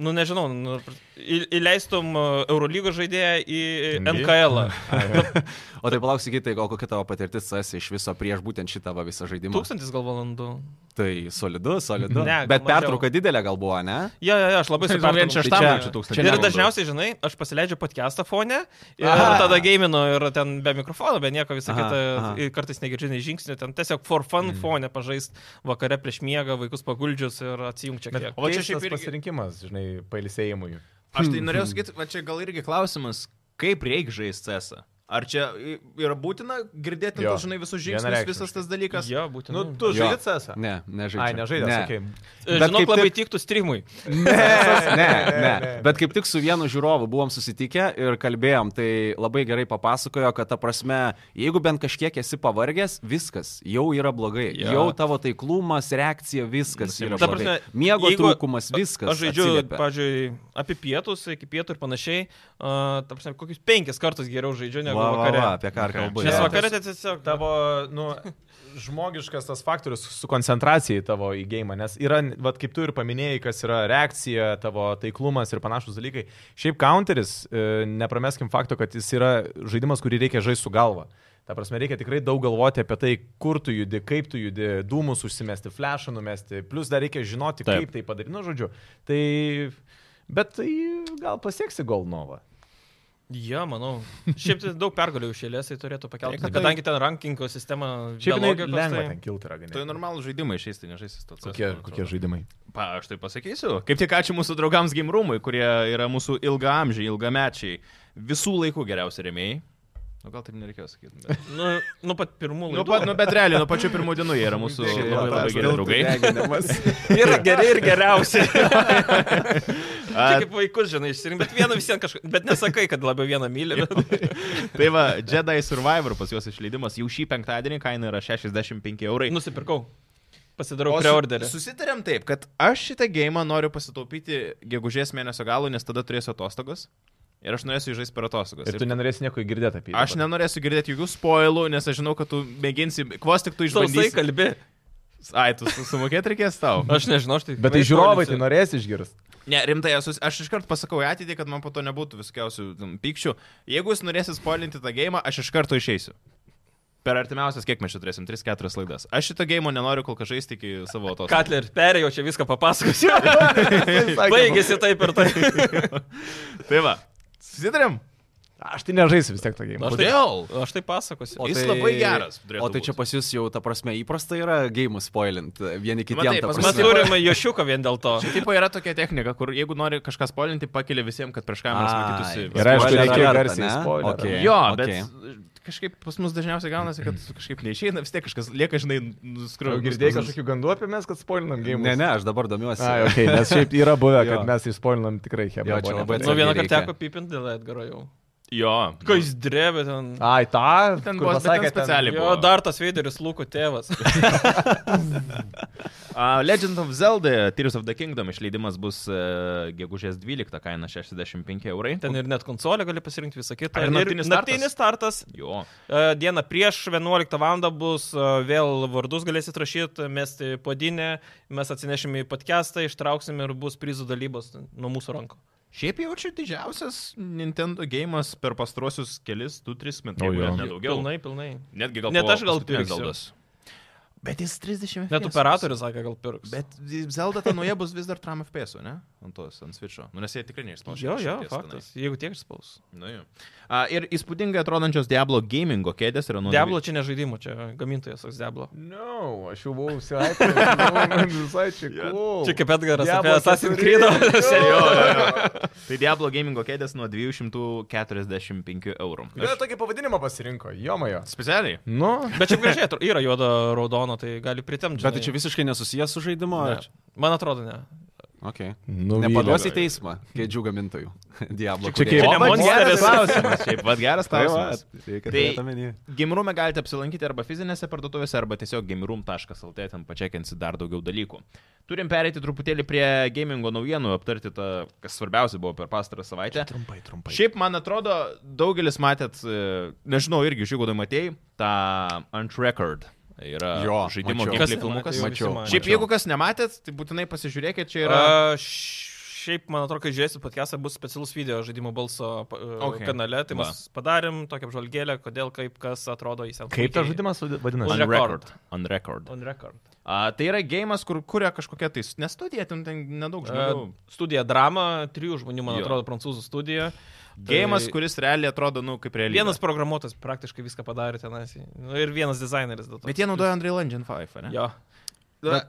A: nu nežinau, nu, į- įleistum e, Eurolygos žaidėją į
C: NBA?
A: NKL. -ą.
D: O tai palauk, sakytai, o kokia tavo patirtis CS iš viso prieš būtent šitą va visą žaidimą?
A: Tūkstantis gal valandų.
D: Tai solidu, solidu.
A: Ne, gal
D: Bet
A: mažiau.
D: pertrauka didelė gal buvo, ne?
A: Jo, jo, jo, aš labai suprantu.
C: Supratau, Tai
A: Tai
C: vien šeštam
D: čia-
C: jaučiu tūkstantį.
D: čia
A: Ir
D: Nevalandų.
A: dažniausiai, žinai, aš pasileidžiu podcastą fone ir
D: Aha.
A: aha. tada gaminu ir ten be mikrofono, be nieko visą
D: Aha,
A: kitą,
D: aha.
A: ir kartais negirdžiu nei žingsnių, ten tiesiog for fun fone pažaist vakare prieš miegą, vaikus paguldžius ir atsijungčiu.
B: Bet, o
C: O va čia
B: čia
C: šiaip
B: šiaip
C: irgi-
B: pasirinkimas, žinai, pailsėjimui.
C: Aš
B: Hmm,
C: tai norėjau sakyti, va čia gal irgi klausimas, kaip reikia žaisti CS? Ar čia i- yra būtina girdėti,
B: Jo.
C: tas, žinai, visus žingsnius,
B: Vienareikšmiškai.
C: visas tas dalykas?
A: Jo, būtent.
B: Nu, tu
D: Jo.
B: žaidži CS.
D: Ne, nežaidžiu.
B: Ai, nežaidži, ne. sakai.
D: bet
A: Žinau,
D: kaip
A: labai tiktų streamui.
D: *laughs* Ne, ne, ne. Bet kaip tik su vienu žiūrovu buvom susitikę ir kalbėjom, tai labai gerai papasakojo, kad ta prasme, jeigu bent kažkiek esi pavargęs, viskas jau yra blogai.
A: Jo.
D: Jau tavo taiklumas, reakcija, viskas yra
A: Ta prasme,
D: blogai. Miego
A: jeigu-
D: trūkumas, viskas.
A: Aš žaidžiu,
D: atsiliepia.
A: pavyzdžiui, apie pietus, iki pietų ir panašiai. Uh, ta prasme, kokius penkis kartus geriau žaidžiu negu
D: Va, va,
A: vakare.
D: va, tai apie ką ir kalbu.
A: Nes
D: jo.
A: vakare tai tiesiog tavo.
B: Tavo, nu, žmogiškas tas faktorius su koncentracija į tavo į gėjimą, nes yra, vad kaip tu ir paminėjai, kas yra reakcija, tavo taiklumas ir panašus dalykai. Šiaip counteris, e, neprameskim fakto, kad jis yra žaidimas, kurį reikia žaisti su galva. Ta prasme, reikia tikrai daug galvoti apie tai, kur tu judi, kaip tu judi, dūmus užsimesti, flashą numesti, plus dar reikia žinoti,
C: Taip.
B: Taip. kaip tai padaryti, nu, žodžiu. Tai, bet tai gal pasieksi Golnovą.
A: Ja, manau. Šiaip tai daug pergalių išėlės, tai turėtų pakelti.
C: Tai, kad
A: Kadangi ten rankingo sistema... be
B: Šiaip jinai
A: logikos,
B: lengva
A: tai-
B: ten kilti yra ganėtinai.
C: Tai normalų žaidimai išeis, tai nežaisis tas.
B: Kokie, kokie žaidimai?
C: Pa, aš tai pasakysiu. Kaip tik ačiū mūsų draugams Game Roomui, kurie yra mūsų ilgaamžiai, ilgamečiai, visų laikų geriausi rėmėjai. Nu, gal taip nereikėjo
B: *laughs*
C: sakyti. Bet...
A: Nu, nu pat pirmų
C: nu,
A: laikų.
C: pat, nu, bet realiai, nuo pačių pirmų dienų jie yra
B: *laughs*
C: mūsų
B: Čia
C: labai,
B: yra
C: labai,
B: tas
C: labai geri draugai.
D: *laughs* draugai.
A: Yra geri ir geriausi. *laughs*
C: A,
A: Čia kaip vaikus, žinai, išsirinkti, bet vieną visiems kažką, bet nesakai, kad labiau vieną myli. Bet...
C: tai va, Jedi Survivor pas juos išleidimas jau šį penktadienį, kaina yra 65 eurai.
A: Nusipirkau. Pasidarau
C: O su-
A: preorderį.
C: Susitarėm taip, kad aš šitą gėjimą noriu pasitaupyti gegužės mėnesio galų, nes tada turėsiu atostogas. Ir aš norėsiu žaisti per atostogas.
B: Ir
C: Ir
B: tu nenorėsi nieko girdėti apie jį.
C: Aš nenorėsiu girdėti jokių spoilų, nes aš žinau, kad tu mėginsi, kvos tik tu
A: Išklausai
C: išbandysi.
A: kalbi.
C: Ai, tu su- sumokėti reikės tau.
A: *laughs* Aš nežinau, aš tai.
B: Bet tai žiūrovai tai norės išgirsti.
C: Ne, rimtai, esu, aš iškart pasakau į ateitį, kad man po to nebūtų visokiausių ten, pykčių. Jeigu jūs norėsit spoilinti tą gėjimą, aš iš karto išeisiu. Per artimiausias, kiek mes čia turėsim, 3-4 laidas. Aš šito gėjimo nenoriu kol kas žaisti iki savo to.
A: Katler, perėjau čia viską
B: *laughs*
A: papasakosiu. *laughs* Baigėsi taip ir taip.
C: Tai va. Susidarėm?
B: Aš tai nežaisiu vis tiek
A: *laughs*
B: tokį.
A: Aš tai-
C: Kodėl?
A: Aš tai pasakosiu.
C: O- Jis labai geras turėtų
D: O tai čia
C: būt.
D: pas jūs jau, ta prasme, įprasta yra gėjimų spoilint e, vieni kitiems.
C: Matai,
D: ta
C: pas
D: prasme.
A: Mes
C: Prasideda.
A: turime Jošiuką vien dėl to.
C: Čia tipo yra tokia technika, kur jeigu nori kažką spoilinti, pakeli visiems, kad prieš kamerą matytųsi.
B: Ir aišku,
D: Spoiler
B: reikia
D: alertą,
B: garsiai
D: ne?
B: spoilerą.
D: Okei,
C: Jo, bet
D: okei.
C: kažkaip pas mus dažniausiai gaunasi, kad kažkaip neišeina, vis tiek kažkas lieka, žinai, nuskriaudžiamas.
B: Girdėjai kažkokių gandų apie mes, kad spoilinam gėjimus?
D: Ne, ne, aš dabar domiuosi.
B: Ai, okay, nes šiaip yra buvę,
D: Jo.
B: kad mes išspoilinam tikrai hebra.
D: Jo,
B: buvo
D: čia labai
B: nepatinka.
A: Nu vieną
D: reikia.
A: kartą teko pipinti dėl Edgaro jau.
C: Jo.
A: Kai jis drebė ten.
B: Ai, tą,
C: Ten
B: kur
C: buvo- bet ten
B: pasakė ten-
C: specialiai.
A: Jo, dar tas Veideris Luko tėvas. *laughs*
C: Uh, Legend of Zelda, Tears of the Kingdom išleidimas bus uh, gegužės 12, kaina 65 eurai.
A: Ten ir net konsolę gali pasirinkti visą kitą.
C: Ar naktinis startas?
A: naktinis startas.
C: Jo.
A: E, Dieną prieš 11 val. bus e, vėl vardus galėsit rašyti, mesti podinę, mes atsinešim į podcastą, ištrauksim ir bus prizų dalybos ten nuo mūsų rankų.
C: Šiaip jaučiu didžiausias Nintendo gėjimas per pastruosius kelis, 2-3 metus.
B: O
C: jeigu
B: jo.
C: net Nedaugiau.
A: Pilnai, pilnai.
C: Netgi gal
A: Net
C: po
A: aš gal
C: paskutinės
A: pirksiu.
C: Zeldos. Bet jis 30
A: Net
C: FPS.
A: operatorius sakė, gal pirks.
C: Bet Zelda ta nauja bus vis dar tram FPS, ne? Ant tos, ant Switch'o. Nu, nes jie tikrai neišspaus.
A: Jo, jo, faktas. Jeigu tiek išspaus.
C: Nu, jo. A, ir įspūdingai atrodančios Diablo gamingo kėdės yra nuo...
A: Diablo čia ne žaidimų, čia gamintojas toks Diablo.
B: No, aš jau buvau užsiaipinęs, visai čia cool.
A: Čia kaip Edgaras
B: Diablo
A: apie Assassin's
B: keturi.
A: Creed.
C: Jo, jo, jo. Tai Diablo gamingo kėdės nuo 245 eurų.
B: Kodėl tai- tokį pavadinimą pasirinko? Jomajo.
C: Specialiai.
B: Nu,
A: Bet čia gražiai atro- yra juoda raudona, tai gali pritemti.
D: *laughs* Bet tai čia visiškai nesusijęs su žaidimu.
A: Ne.
D: ar čia-
A: Man atrodo, ne.
D: Okay.
B: nu
D: Nepaduosi į teismą kėdžių gamintojų. *laughs* Diablo.
B: Čia
A: Čia
D: kūrėjų.
B: kaip-
A: ne
B: O, bet
A: monsteris.
C: klausimas. Šiaip, vad
A: *laughs*
C: geras
D: Tai va,
C: klausimas.
D: reikia
C: Tai-
D: turėt omeny.
C: Gimrume galite apsilankyti arba fizinėse parduotuvėse, arba tiesiog gimrum.lt ten pačiakinsi dar daugiau dalykų. Turim pereiti truputėlį prie gamingo naujienų, aptarti tą, kas svarbiausia buvo per pastarą savaitę.
B: Trumpai, trumpai.
C: Šiaip, man atrodo, daugelis matėt, e, nežinau, irgi žiūrėjau, matėjai, tą Ant Record. Yra
D: Jo,
C: žaidimo
D: mačiau.
C: gameplay
A: Kas
C: filmukas.
A: nematė, jau
D: Mačiau.
A: visi matė.
C: Šiaip, jeigu kas nematėt, tai būtinai pasižiūrėkit, čia yra...
A: A, Šiaip, man atrodo, kai žiūrėsit podcastą, bus specialus video žaidimo balso
C: Okay.
A: okay. kanale, tai mes padarėm tokią apžvalgėlę, kodėl, kaip, kas atrodo į seną.
B: Kaip tas žaidimas vadinasi?
A: on
C: On record.
A: record.
C: On record.
A: On record.
C: A, tai yra gėjimas, kur kuria kažkokia tai... Nestudija, ten, ten nedaug žmonių.
A: Uh, studija drama, trijų žmonių, man
C: Jo.
A: jo. atrodo, prancūzų studija.
C: Gėjimas,
A: tai-
C: kuris realiai atrodo, nu, kaip realiai.
A: Vienas programuotojas praktiškai viską padarė tenais. Nu, ir vienas dizaineris dėl to.
C: Bet jie naudoja Unreal Engine 5, ne?
A: Jo.
C: Na,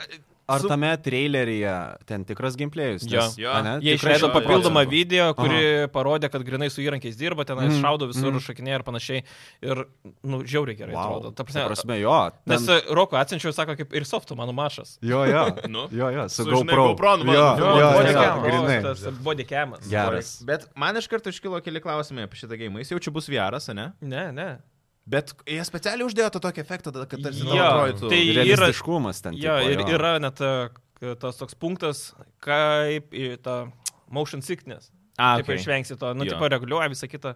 D: Ar
C: su-
D: tame traileryje ten tikras gameplayus?
A: Jo.
D: nes-
C: Jo.
D: ane,
A: Jie
D: tikrai
A: išleido
C: šimtą
D: šimtu
A: papildomą
D: procentų.
A: video, kuri parodė, kad grinai su įrankiais dirba, ten
C: Mhm.
A: mm. šaudo visur, mm. šakinėje ir panašiai. Ir, nu, žiauriai gerai wow.
D: Wow.
A: atrodo. Ta
D: Ta
A: prasme,
D: prasme, jo.
A: Nes e,
D: ten-
A: Roko atsiunčiau, sako, kaip ir softų mano mašas.
D: Jo,
A: *laughs*
D: jo.
C: Nu.
D: Jo, jo, su
C: Su, žinai,
D: GoPro.
C: GoPro
D: Jo,
C: nufilmuotas.
D: jo, jo,
B: Body
D: jo,
B: cam.
D: grinai.
A: Bodycamas.
D: Geras.
C: Bet man iš karto iškilo keli klausimai apie šitą gėjimą. Jis jau čia bus vieras, ne?
A: Ne, ne.
C: Bet jie specialiai uždėjo tą tokį efektą, tada, kad tarsi
A: Jo,
C: tau atrodytų.
A: tai- yra-
D: Realistiškumas ten.
A: Jo,
D: tipo,
A: ir yra net e, k- tas toks punktas, kaip į tą motion sickness.
C: A,
A: Kaip
C: okay.
A: išvengsi to, nu,
C: Jo.
A: tipo, reguliuoja visą kitą.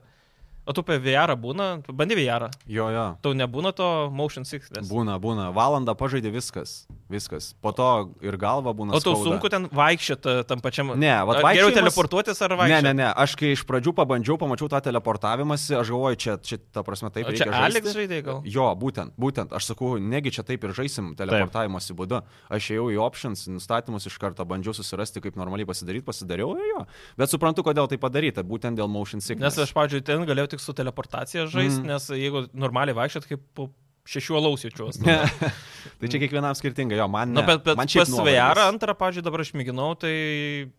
A: O tu apie VR -ą būna, Tu bandai VR. -ą.
D: Jo, jo.
A: Tau nebūna to motion sickness.
D: Būna, būna. Valandą pažaidė viskas. Viskas. Po to ir galva būna.
A: O tau
D: skauda.
A: sunku ten vaikščioti tam pačiam.
D: Ne, vat
A: Ar Geriau
D: vaikščiojimas-
A: teleportuotis ar
D: Ne,
A: vaikščioti?
D: ne, ne. Aš kai iš pradžių pabandžiau, pamačiau tą teleportavimąsi, aš galvoju, čia, čia ta prasme taip.
A: O čia
D: reikia
A: Alex
D: žaisti.
A: žaidė gal?
D: Jo, būtent, būtent. Aš sakau, negi čia taip ir žaisim teleportavimosi būdu. Aš ėjau į options, nustatymus iš karto, bandžiau susirasti, kaip normaliai pasidaryti, pasidariau ir jo. Bet suprantu, kodėl tai padaryta, būtent dėl motion sickness.
A: Nes aš, pavyzdžiui, ten galėjau tik su teleportacija žaisti,
D: Mm.
A: mm. nes jeigu normaliai vaikščiot, kaip po šešių alaus jaučiuosi.
D: Ne. tai čia kiekvienam skirtingai, jo, man.
A: Na,
D: ne.
A: bet, bet
D: man
A: pas VR
D: nuovargis.
A: antrą, pavyzdžiui, dabar aš mėginau, tai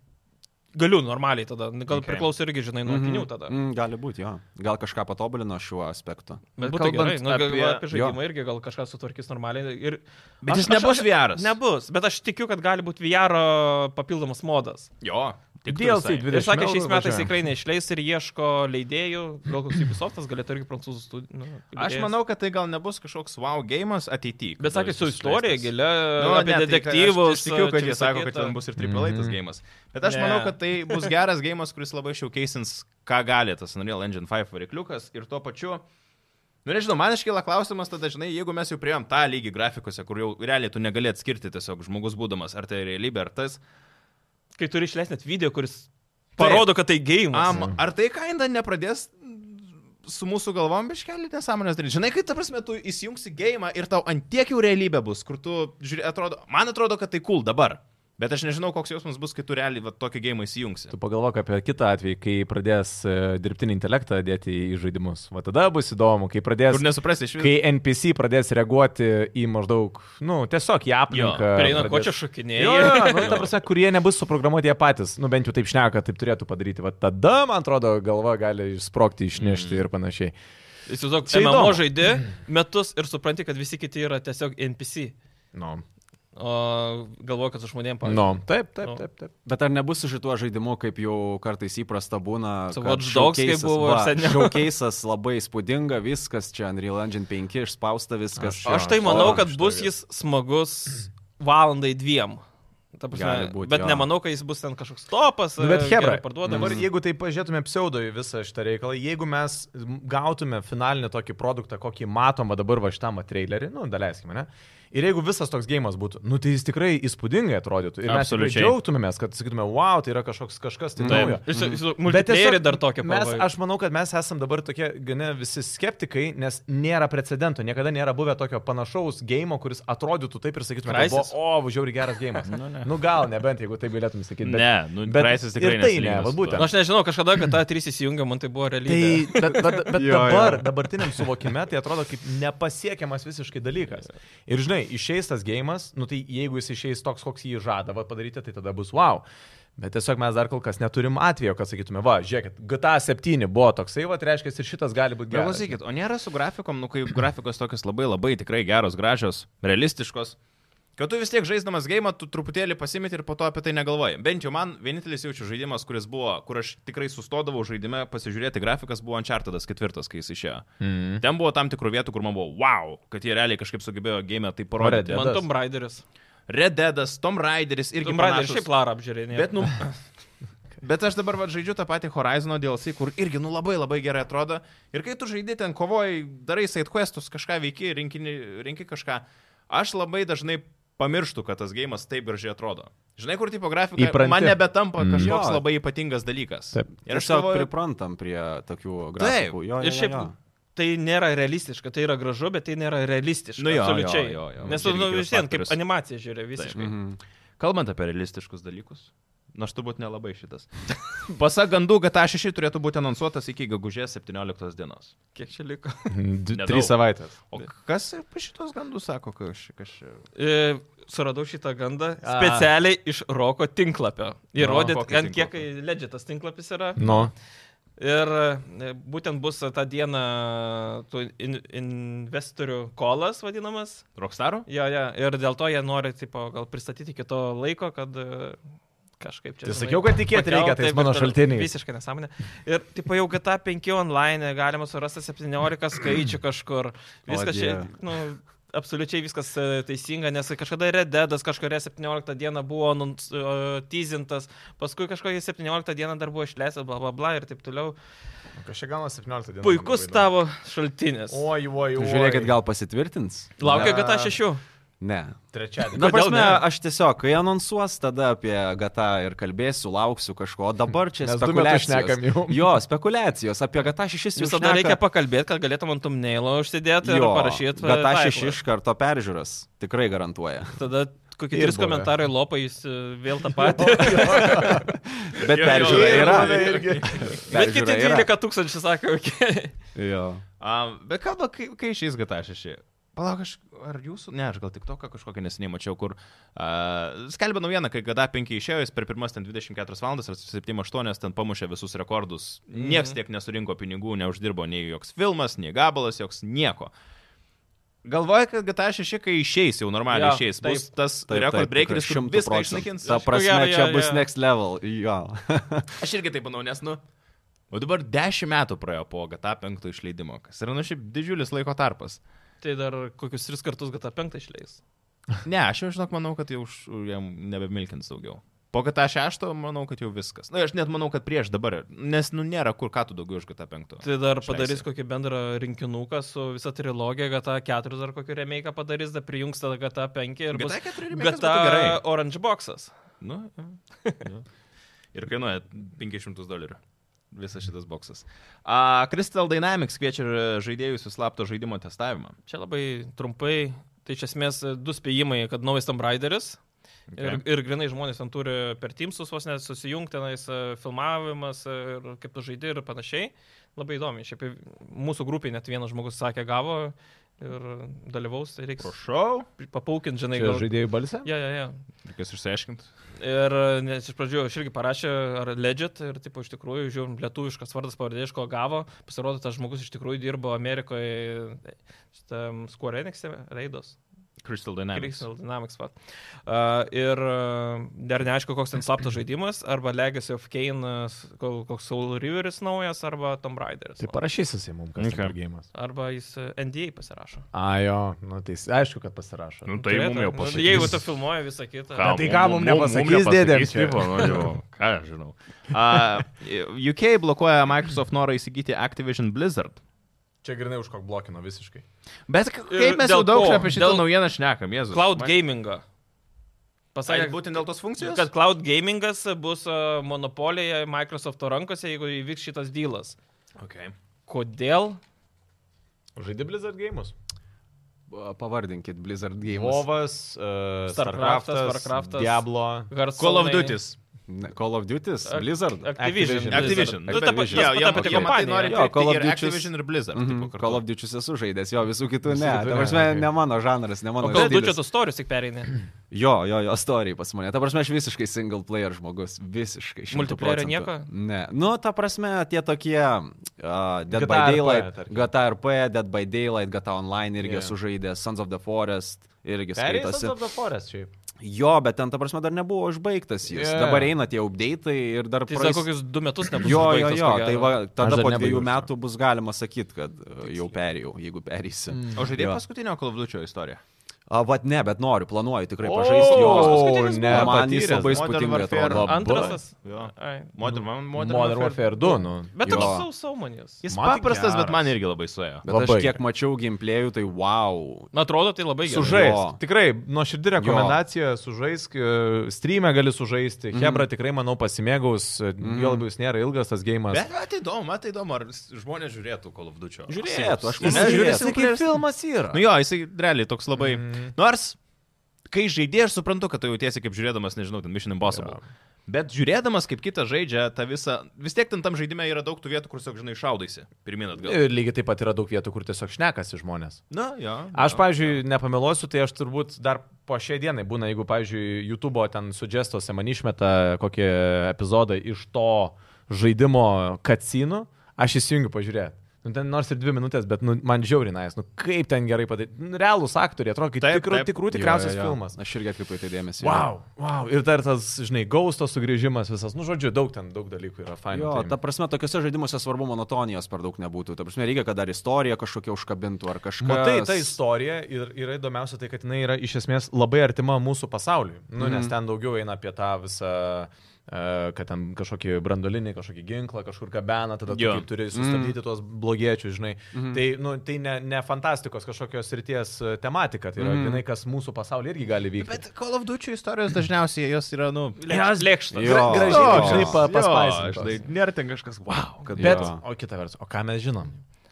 A: galiu normaliai tada. Gal
C: Okay.
A: okay. priklauso irgi, žinai, nuo
D: Mhm.
A: akinių tada.
D: Mm, gali būti, jo. Gal kažką patobulino šiuo aspektu.
A: Bet
C: Būtų
A: būtų gerai,
C: kalbant
A: nu, apie,
C: apie-
A: apie žaidimą irgi gal kažką sutvarkys normaliai. Ir...
C: Bet
A: Aš-
C: jis
A: aš-
C: nebus
A: aš-
C: VR.
A: Nebus, bet aš tikiu, kad gali būti VR papildomas modas.
C: Jo. tiktų
B: DLC
C: visai.
B: 20.
A: Ir sakė,
B: eurų
A: šiais metais
B: važiuoja.
A: tikrai neišleis ir ieško leidėjų, gal koks Ubisoftas galėtų irgi prancūzų studijų. Nu,
C: Aš
A: leidėjas.
C: manau, kad tai gal nebus kažkoks wow gėjimas ateityje.
A: Bet sakė, su istorija gilia,
C: Nu,
A: nu, apie ne,
C: ne, tai
A: detektyvus.
C: Aš tikiu, kad
A: čia
C: jie
A: visa
C: sako, kad
A: kita.
C: ten bus ir triplaitas mm
B: Mhm.
C: -hmm. gėjimas. Bet aš
A: Ne.
C: ne. manau, kad tai bus geras gėjimas, kuris labai šiaukeisins, ką gali tas Unreal Engine 5 varikliukas ir tuo pačiu. Nu, nežinau, man iškyla klausimas tada, žinai, jeigu mes jau prieėm tą lygį grafikose, kur jau realiai tu negali atskirti tiesiog žmogus būdamas, ar tai realybė, ar tas.
A: Kai turi išleisti net video, kuris parodo, kad tai gėjimas.
C: Am, ar tai kaina nepradės su mūsų galvom biškelį nesąmonės daryti? Žinai, kaip ta prasme, tu įsijungsi gėjimą ir tau antiek jau realybė bus, kur tu, žiūrė, atrodo, man atrodo, kad tai cool dabar. Bet aš nežinau, koks jausmas bus, kai tu realiai va, tokį gėjimą įsijungsi.
B: Tu pagalvok apie kitą atvejį, kai pradės e, dirbtinį intelektą dėti į žaidimus. O tada bus įdomu, kai pradės...
C: Kur nesuprasi iš
B: Kai
C: viso.
B: NPC pradės reaguoti į maždaug, nu, tiesiog į aplinką.
A: Prieina, ko čia
B: pradės-
A: šokinėjai.
B: Jo, jo, jo, nu, ta prasme, kurie nebus suprogramuoti jie patys, nu bent jau taip šneka, taip turėtų padaryti. Va tada, man atrodo, galva gali išsprokti, išnešti ir panašiai.
A: *laughs* Įsivaizduok,
B: Čia
A: MMO
B: įdomu.
A: žaidži metus ir supranti, kad visi kiti yra tiesiog NPC.
B: Nu,
A: O galvoju, kad su žmonėm
B: no.
A: pavyzdžiui.
B: no. taip, taip,
A: Nu.
B: taip, taip.
D: Bet ar nebus su šituo žaidimu, kaip jau kartais įprasta būna?
A: Su
D: kad
A: Watch Dogs, kaip
D: showcase'as-
A: buvo ir
D: va,
A: seniau.
D: Showcase'as labai spūdinga, viskas čia Unreal Engine 5 išspausta viskas.
B: Aš-
A: Aš tai
B: Jo,
A: manau,
B: šitoj
A: kad
B: vietoj.
A: bus jis smagus valandai dviem. Ta Prasme,
D: Gali būt,
A: bet
D: jo.
A: nemanau, kad jis bus ten kažkoks topas.
B: Nu, bet
A: e,
B: Hebra,
A: gerai parduodamas.
B: dabar jeigu tai pažiūrėtume pseudo į visą šitą reikalą, jeigu mes gautume finalinį tokį produktą, kokį matom va dabar va šitam trailerį, nu, daleiskime, ne? Ir jeigu visas toks gėjimas būtų, nu, tai jis tikrai įspūdingai atrodytų. Ir mes tikrai
C: Absoliučiai.
B: džiaugtumėmės, kad sakytume, wow, tai yra kažkoks kažkas tai naujo.
A: Jis, jis,
B: Bet
A: multiplayerį
B: tiesiog
A: dar tokį
B: mes,
A: pavojų.
B: aš manau, kad mes esam dabar tokie gana visi skeptikai, nes nėra precedento, niekada nėra buvę tokio panašaus gėjimo, kuris atrodytų taip ir sakytume, kad buvo,
A: Crysis?
B: o, važiuoji geras gėjimas. nu, nu gal, nebent jeigu taip galėtum sakyti. Bet...
C: Ne, nu,
B: bet
C: Crysis tikrai
B: ir tai
C: nesilygina
B: ne,
C: su
B: va
C: tuo.
B: būtent.
A: Na, Nu, aš nežinau, kažkada, kad ta 3 įsijungia, man tai buvo realybė.
B: Tai, bet, bet, *laughs* bet
D: Jo, jo.
B: dabar, dabartiniam suvokime, tai atrodo kaip nepasiekiamas visiškai dalykas. Ir žinai, išeis tas gėjimas, nu tai jeigu jis išeis toks, koks jį žada va, padaryti, tai tada bus wow. Bet tiesiog mes dar kol kas neturim atvejo, kad sakytume, va, žiūrėkit, GTA 7 buvo toksai, va, tai reiškia, ir šitas gali būti geras. *laughs*
C: Galvosykit, o nėra su grafikom, nu kaip grafikos tokios labai labai tikrai geros, gražios, realistiškos. Kad tu vis tiek žaisdamas gėjimą, tu truputėlį pasimeti ir po to apie tai negalvoji. Bent jau man vienintelis jaučiu žaidimas, kuris buvo, kur aš tikrai sustodavau žaidime pasižiūrėti grafikas, buvo Uncharted ketvirtas, kai jis išėjo.
B: Mm.
C: Ten buvo tam tikrų vietų, kur man buvo wow, kad jie realiai kažkaip sugebėjo gėjimą tai
B: Red
C: parodyti.
B: Dead.
A: Man Tom Raideris.
C: Red Deadas, Tom Raideris irgi
A: Tom Raideris
C: panašūs.
A: šiaip Lara apžiūrėjo.
C: Bet, nu.
B: *laughs*
C: Bet aš dabar va, žaidžiu tą patį Horizon DLC, kur irgi nu labai labai gerai atrodo. Ir kai tu žaidži ten kovoji, darai side questus, kažką veiki, rinkini, rinki kažką. Aš labai dažnai pamirštu, kad tas gėjimas taip gražiai atrodo. Žinai, kur tipografika
B: Įpranti.
C: man nebetampa
B: Mm.
C: kažkoks
D: Jo.
C: mm. labai ypatingas dalykas.
B: Taip.
C: Ir aš
D: Tiesiog
C: savo...
D: priprantam prie tokių grafikų. Jo, jo,
A: Ir šiaip
D: jo, jo.
A: tai nėra realistiška, tai yra gražu, bet tai nėra realistiška.
C: Nu jo,
A: absoliučiai.
C: jo, jo, jo.
A: Nes
C: Čia
A: tu
C: irgi
A: nu,
C: kitas
A: vis vien kaip
C: faktorius.
A: animacija žiūri visiškai.
C: Taip.
D: Mhm.
C: Kalbant apie realistiškus dalykus. Na, aš turbūt nelabai šitas. *laughs* Pasak gandų, kad A6 turėtų būti anonsuotas iki gegužės 17 dienos.
A: Kiek čia liko?
C: Nedaug.
B: Trys savaitės.
C: O kas apie šitos gandus sako, kad kažkaip...
A: E, suradau šitą gandą
B: A.
A: specialiai iš Roko tinklapio. Įrodyt,
C: No,
A: no,
C: kokio
A: ant kiek
C: tinklapio?
A: ledžia tas tinklapis yra.
B: Nu,
A: Ir e, būtent bus tą dieną tų in, investorių kolas vadinamas.
C: Rockstaro?
A: Jo, jo. Ir dėl to jie nori, tipo, gal pristatyti kito laiko, kad e, kažkaip čia.
B: Tai
A: žinai,
B: sakiau, kad tikėt
A: pakelt,
B: reikia tais
A: taip ir
B: mano
A: toliau.
B: šaltiniais.
A: Visiškai nesąmonė. Ir, tipo, jau GTA 5 online galima surasti 17 skaičių kažkur.
D: O,
B: Oh,
A: Viskas čia,
D: Dieve.
A: nu, absoliučiai viskas e, teisinga, nes kažkada Red Deadas kažkuria 17 dieną buvo nunc- e, teasintas, paskui kažkokią 17 dieną dar buvo išleistas, bla bla bla ir taip toliau.
B: Kažkaip gal nuo 17 dienų.
A: Puikus tavo šaltinis.
B: Oi, oi, oi.
D: Žiūrėkit, gal pasitvirtins?
A: Laukia
B: Ne.
A: GTA 6.
D: Ne.
B: *laughs* Trečiadienį.
D: Na,
A: Kodėl
D: prasme,
A: ne?
D: aš tiesiog, kai anonsuos, tada apie GTA ir kalbėsiu, lauksiu kažko, o dabar čia
B: Mes du metus šnekam jau.
D: spekuliacijos. Jo, spekuliacijos apie GTA 6 jau
A: Visada reikia
D: šneka-
A: pakalbėti, kad galėtum ant thumbnailo užsidėti ir
D: Jo,
A: parašyti. e,
D: GTA
A: titlą.
D: 6 iš karto peržiūras tikrai garantuoja.
A: Tada kokie
B: Ir
A: trys
B: buvę.
A: komentarai lopa, jis e, vėl tą patį.
D: Bet
C: Jo, jo,
D: peržiūra
C: jo,
D: yra.
C: jo,
A: *laughs* Bet kiti
D: Peržiūra yra.
A: 12 tūkstančių sakė, okei. *laughs*
D: Jo.
C: Um, bet kalba, kai, kai išeis GTA 6. Palauk, aš, ar jūsų, ne, aš gal tik toką kažkokią neseniai mačiau, kur uh, skelbė naujieną, kai GTA 5 išėjo, jis per pirmas ten 24 valandas ar 7-8 ten pamušė visus rekordus.
A: Mhm.
C: Niekas tiek nesurinko pinigų, neuždirbo nei joks filmas, nei gabalas, joks nieko. Galvoju, kad GTA 6, kai išeis, jau normaliai
A: Jo,
C: ja, išeis, bus
A: taip.
C: tas
D: Taip,
C: Tai rekord
D: taip,
C: breakeris,
D: tikrai,
C: kur
D: 100
C: viską
D: procentų.
C: išnaikins.
D: Ta
C: Aš-
D: prasme,
A: jo,
D: čia
A: jo,
D: bus
A: jo.
D: next level. Jo.
C: Aš irgi taip manau, nes, nu. O dabar 10 metų praėjo po GTA 5 išleidimo, kas yra, nu, šiaip didžiulis laiko tarpas.
A: Tai dar kokius tris kartus GTA 5 išleis.
C: Ne, aš jau žinok, manau, kad jau už, jam nebemilkins daugiau. Po GTA 6, manau, kad jau viskas. Na, nu, aš net manau, kad prieš dabar, nes, nu, nėra kur ką tu daugiau už GTA 5.
A: Tai dar
C: Išleisi.
A: padarys kokį bendrą rinkinuką su visa trilogija, GTA 4 ar kokį remake padarys, dar prijungs tada GTA 5 ir bus
C: GTA 4 remake'as
A: GTA
C: būtų gerai.
A: Orange Boxas.
C: Nu, jo. *laughs* Jo. Ir kainuoja 500 dolerių. Visas šitas boksas. Uh, Crystal Dynamics kviečia e, žaidėjus į slapto žaidimo testavimą.
A: Čia labai trumpai, tai iš esmės e, du spėjimai, kad naujas Tomb Raideris. Okay. Ir, ir grinai žmonės ten turi per Teamsus vos net susijungti, tenais e, filmavimas e, ir kaip tu žaidži ir panašiai. Labai įdomi. Šiaip jau mūsų grupiai net vienas žmogus sakė gavo ir dalyvaus, tai reiks
C: Prašau.
A: papaukinti, žinai,
B: Čia
A: gal.
B: žaidėjų balsė?
A: Ja, ja, ja.
C: Reikės išsiaiškinti.
A: Ir e, nes iš pradžių aš irgi parašė, ar legit, ir taip iš tikrųjų, žiūrim, lietuviškas vardas pavardė iš ko gavo, pasirodo, tas žmogus iš tikrųjų dirbo Amerikoje, e, šitam Square Enix raidos.
C: Crystal Dynamics.
A: Crystal Dynamics. vat. Uh, ir uh, dar neaišku, koks ten slaptas žaidimas, arba Legacy of Kane, uh, kol- koks Soul Riveris naujas, arba Tomb Raideris.
B: Tai parašysi jisai mums, kas
C: Okay.
B: okay. gėjimas.
A: Arba jis uh, NDA pasirašo.
B: A, jo, nu tai jis- aišku, kad pasirašo.
C: Nu,
A: Turėtų. Nu, Jeigu tu filmuoji visą kitą.
B: Ką? Tai ką mum nepasakys, dėdėm čia?
C: Tipo, nu, jau, ką aš žinau. Uh, UK blokuoja Microsoft norą įsigyti Activision Blizzard.
B: Čia grinai už kokį blokino visiškai.
C: Bet k- kaip mes
A: dėl
C: jau daug
A: ko?
C: apie šitą
A: Dėl-
C: naujieną šnekam, Jėzus.
A: Cloud
C: Man-
A: gamingą.
C: Ai,
A: Pasakė,
C: būtent dėl tos funkcijos?
A: kad cloud gamingas bus uh, monopolija Microsofto rankose, jeigu įvyks šitas dylas.
C: Okay.
A: Kodėl?
B: Žaidė Blizzard gėjimus.
D: Pavardinkit Blizzard Games.
B: Vovas, uh,
A: Starcraftas,
B: Starcraftas,
A: Warcraftas.
B: Diablo.
C: Call of
A: Hearthstone'ai-
C: Duty.
D: Ne, Call of Duty,
A: Ac-
D: Blizzard.
A: Activision.
B: Activision.
C: Activision.
A: Nu, ta pati-
D: Activision.
A: ta- ta pati
D: Jo, jo, man
A: kompanija.
C: nori
D: Jo,
C: pirkti
D: Call of
C: ir
D: Duty's-
C: Activision ir Blizzard.
D: Mhm,
C: tipo, kartu.
D: Call of Duty esu žaidęs, jo, visų kitų
B: Visų
D: ne.
B: kitų
D: Ta
B: ne,
D: prasme,
B: okei.
D: ne mano žanras, ne mano
A: O Call of Duty
D: žanras.
A: tu storius tik pereini.
D: Jo, jo, jo, istorija pas mane. Ta prasme, aš visiškai single player žmogus. Visiškai. šimtu
A: Multiplayerio
D: procentų.
A: nieko?
D: Ne. Nu, ta prasme, tie tokie uh, Dead
B: GTA
D: by
B: RP,
D: Daylight,
B: tarkim.
D: GTA RP, Dead by Daylight, GTA Online irgi
B: Jo.
D: yeah. sužaidė, Sons of the Forest irgi
B: Perėjęs
D: skaitosi.
B: of the Forest šiaip.
D: Jo, bet ten, ta prasme, dar nebuvo užbaigtas jis.
B: Jo.
D: Yeah. Dabar eina tie update'ai ir dar
A: Tai dar kokius du metus nebus.
D: Jo, jo,
A: užbaigtas,
D: jo,
A: ko gero.
D: tai va, tada
B: dar
D: po
B: nebaigiau
D: dviejų
B: šio.
D: metų bus galima sakyti, kad uh, jau perėjau, jeigu perėsi.
A: Hmm.
D: Mm.
C: O žaidėjai
D: Jo.
C: paskutinio Call of Duty istoriją.
D: A, vat ne, bet noriu, planuoju tikrai
B: O,
D: pažaisti jo.
A: paskutinis
B: ne,
A: buvo.
D: Man jis
B: patyręs.
D: labai
C: Modern
D: spūdingai
C: Warfare
D: atrodo.
C: labai.
A: Antras. tas-
C: Jo.
A: Ai.
C: Modern, Modern,
B: Modern Warfare 2, nu.
A: Bet toks
D: Jo.
A: sau saumanės.
C: Jis
B: Man tai
C: paprastas, bet
B: geras.
C: man irgi labai suėjo.
D: Bet
B: Labai
D: aš kiek mačiau gameplayų, tai wow.
A: Na, atrodo, tai labai gerai.
D: Sužai-
B: Sužaist.
D: Jo.
B: Tikrai, nuoširdį rekomendacija, sužaisk, e, streamę gali sužaisti.
C: Mhm.
B: Mm. Hebra tikrai, manau, pasimėgaus, mm. jo labiau jis nėra ilgas tas gėjimas.
C: Bet man tai įdomu, man tai įdomu, ar s- žmonės žiūrėtų Call of Duty.
D: Žiūrėtų, aš
C: Jis
D: manau,
C: žiūrėsi
D: žiūrėsiu,
C: kaip
D: kaip filmas yra.
C: Nu jo, jisai realiai toks labai. Mm. Nors, kai žaidėjai, aš suprantu, kad tu jautiesi kaip žiūrėdamas, nežinau, ten Mission Impossible. Ja. Bet žiūrėdamas, kaip kitas žaidžia tą visą, vis tiek ten tam žaidime yra daug tų vietų, kur tiesiog, žinai, šaudaisi. Pirmin atgal.
B: Ir lygiai taip pat yra daug vietų, kur tiesiog šnekasi žmonės.
C: Na, jo.
B: Aš, pavyzdžiui, nepameluosiu, tai aš turbūt dar po šiai dienai būna, jeigu, pavyzdžiui, YouTube'o ten sugestose man išmeta kokį epizodą iš to žaidimo kacinų, aš įsijungiu pažiūrėti. Nu, ten nors ir dvi minutės, bet nu, man žiaurinais, nu kaip ten gerai padaryti. Nu, realūs aktoriai, atrodo, kaip
C: Taip,
B: tikrų,
C: taip.
B: tikrų
D: Jo,
B: tikriausias
D: jo, jo.
B: filmas.
D: Aš irgi atkreipiu į tai dėmesį. jo.
B: Wow, wow. Ir dar tas, žinai, gausto sugrįžimas visas. Nu, žodžiu, daug ten, daug dalykų yra fainų.
D: Jo,
B: tai-
D: ta prasme, tokiuose žaidimuose svarbu monotonijos per daug nebūtų. Ta prasme, reikia, kad dar istorija kažkokia užkabintų ar kažkas.
B: Matai, Nu, tai ta istorija ir yra įdomiausia tai, kad jinai yra iš esmės labai artima mūsų pasauliui. Nu, nes
D: Mhm.
B: ten daugiau eina apie tą visą, e, kad ten kažkokį brandolinį, kažkokį ginklą kažkur gabena, tada tu
C: Jo.
B: kaip
D: Mhm.
B: turi sustabdyti tuos blogiečius, žinai. Tai, nu, tai ne, ne fantastikos kažkokios ryties e, tematika, tai yra
D: Mhm.
B: vienai, kas mūsų pasaulyje irgi gali vykti.
C: Bet Call of Duty istorijos dažniausiai jos yra, nu,
A: Lėkštas. Lėkštas.
D: Jo.
B: gražiai,
D: Jo.
B: žinai, pa,
C: Jo, žinai,
B: paspaisinti.
C: Nėra ten kažkas, wow.
D: tai, kad
B: Bet,
D: jo.
B: o kita vertus, o ką mes žinom?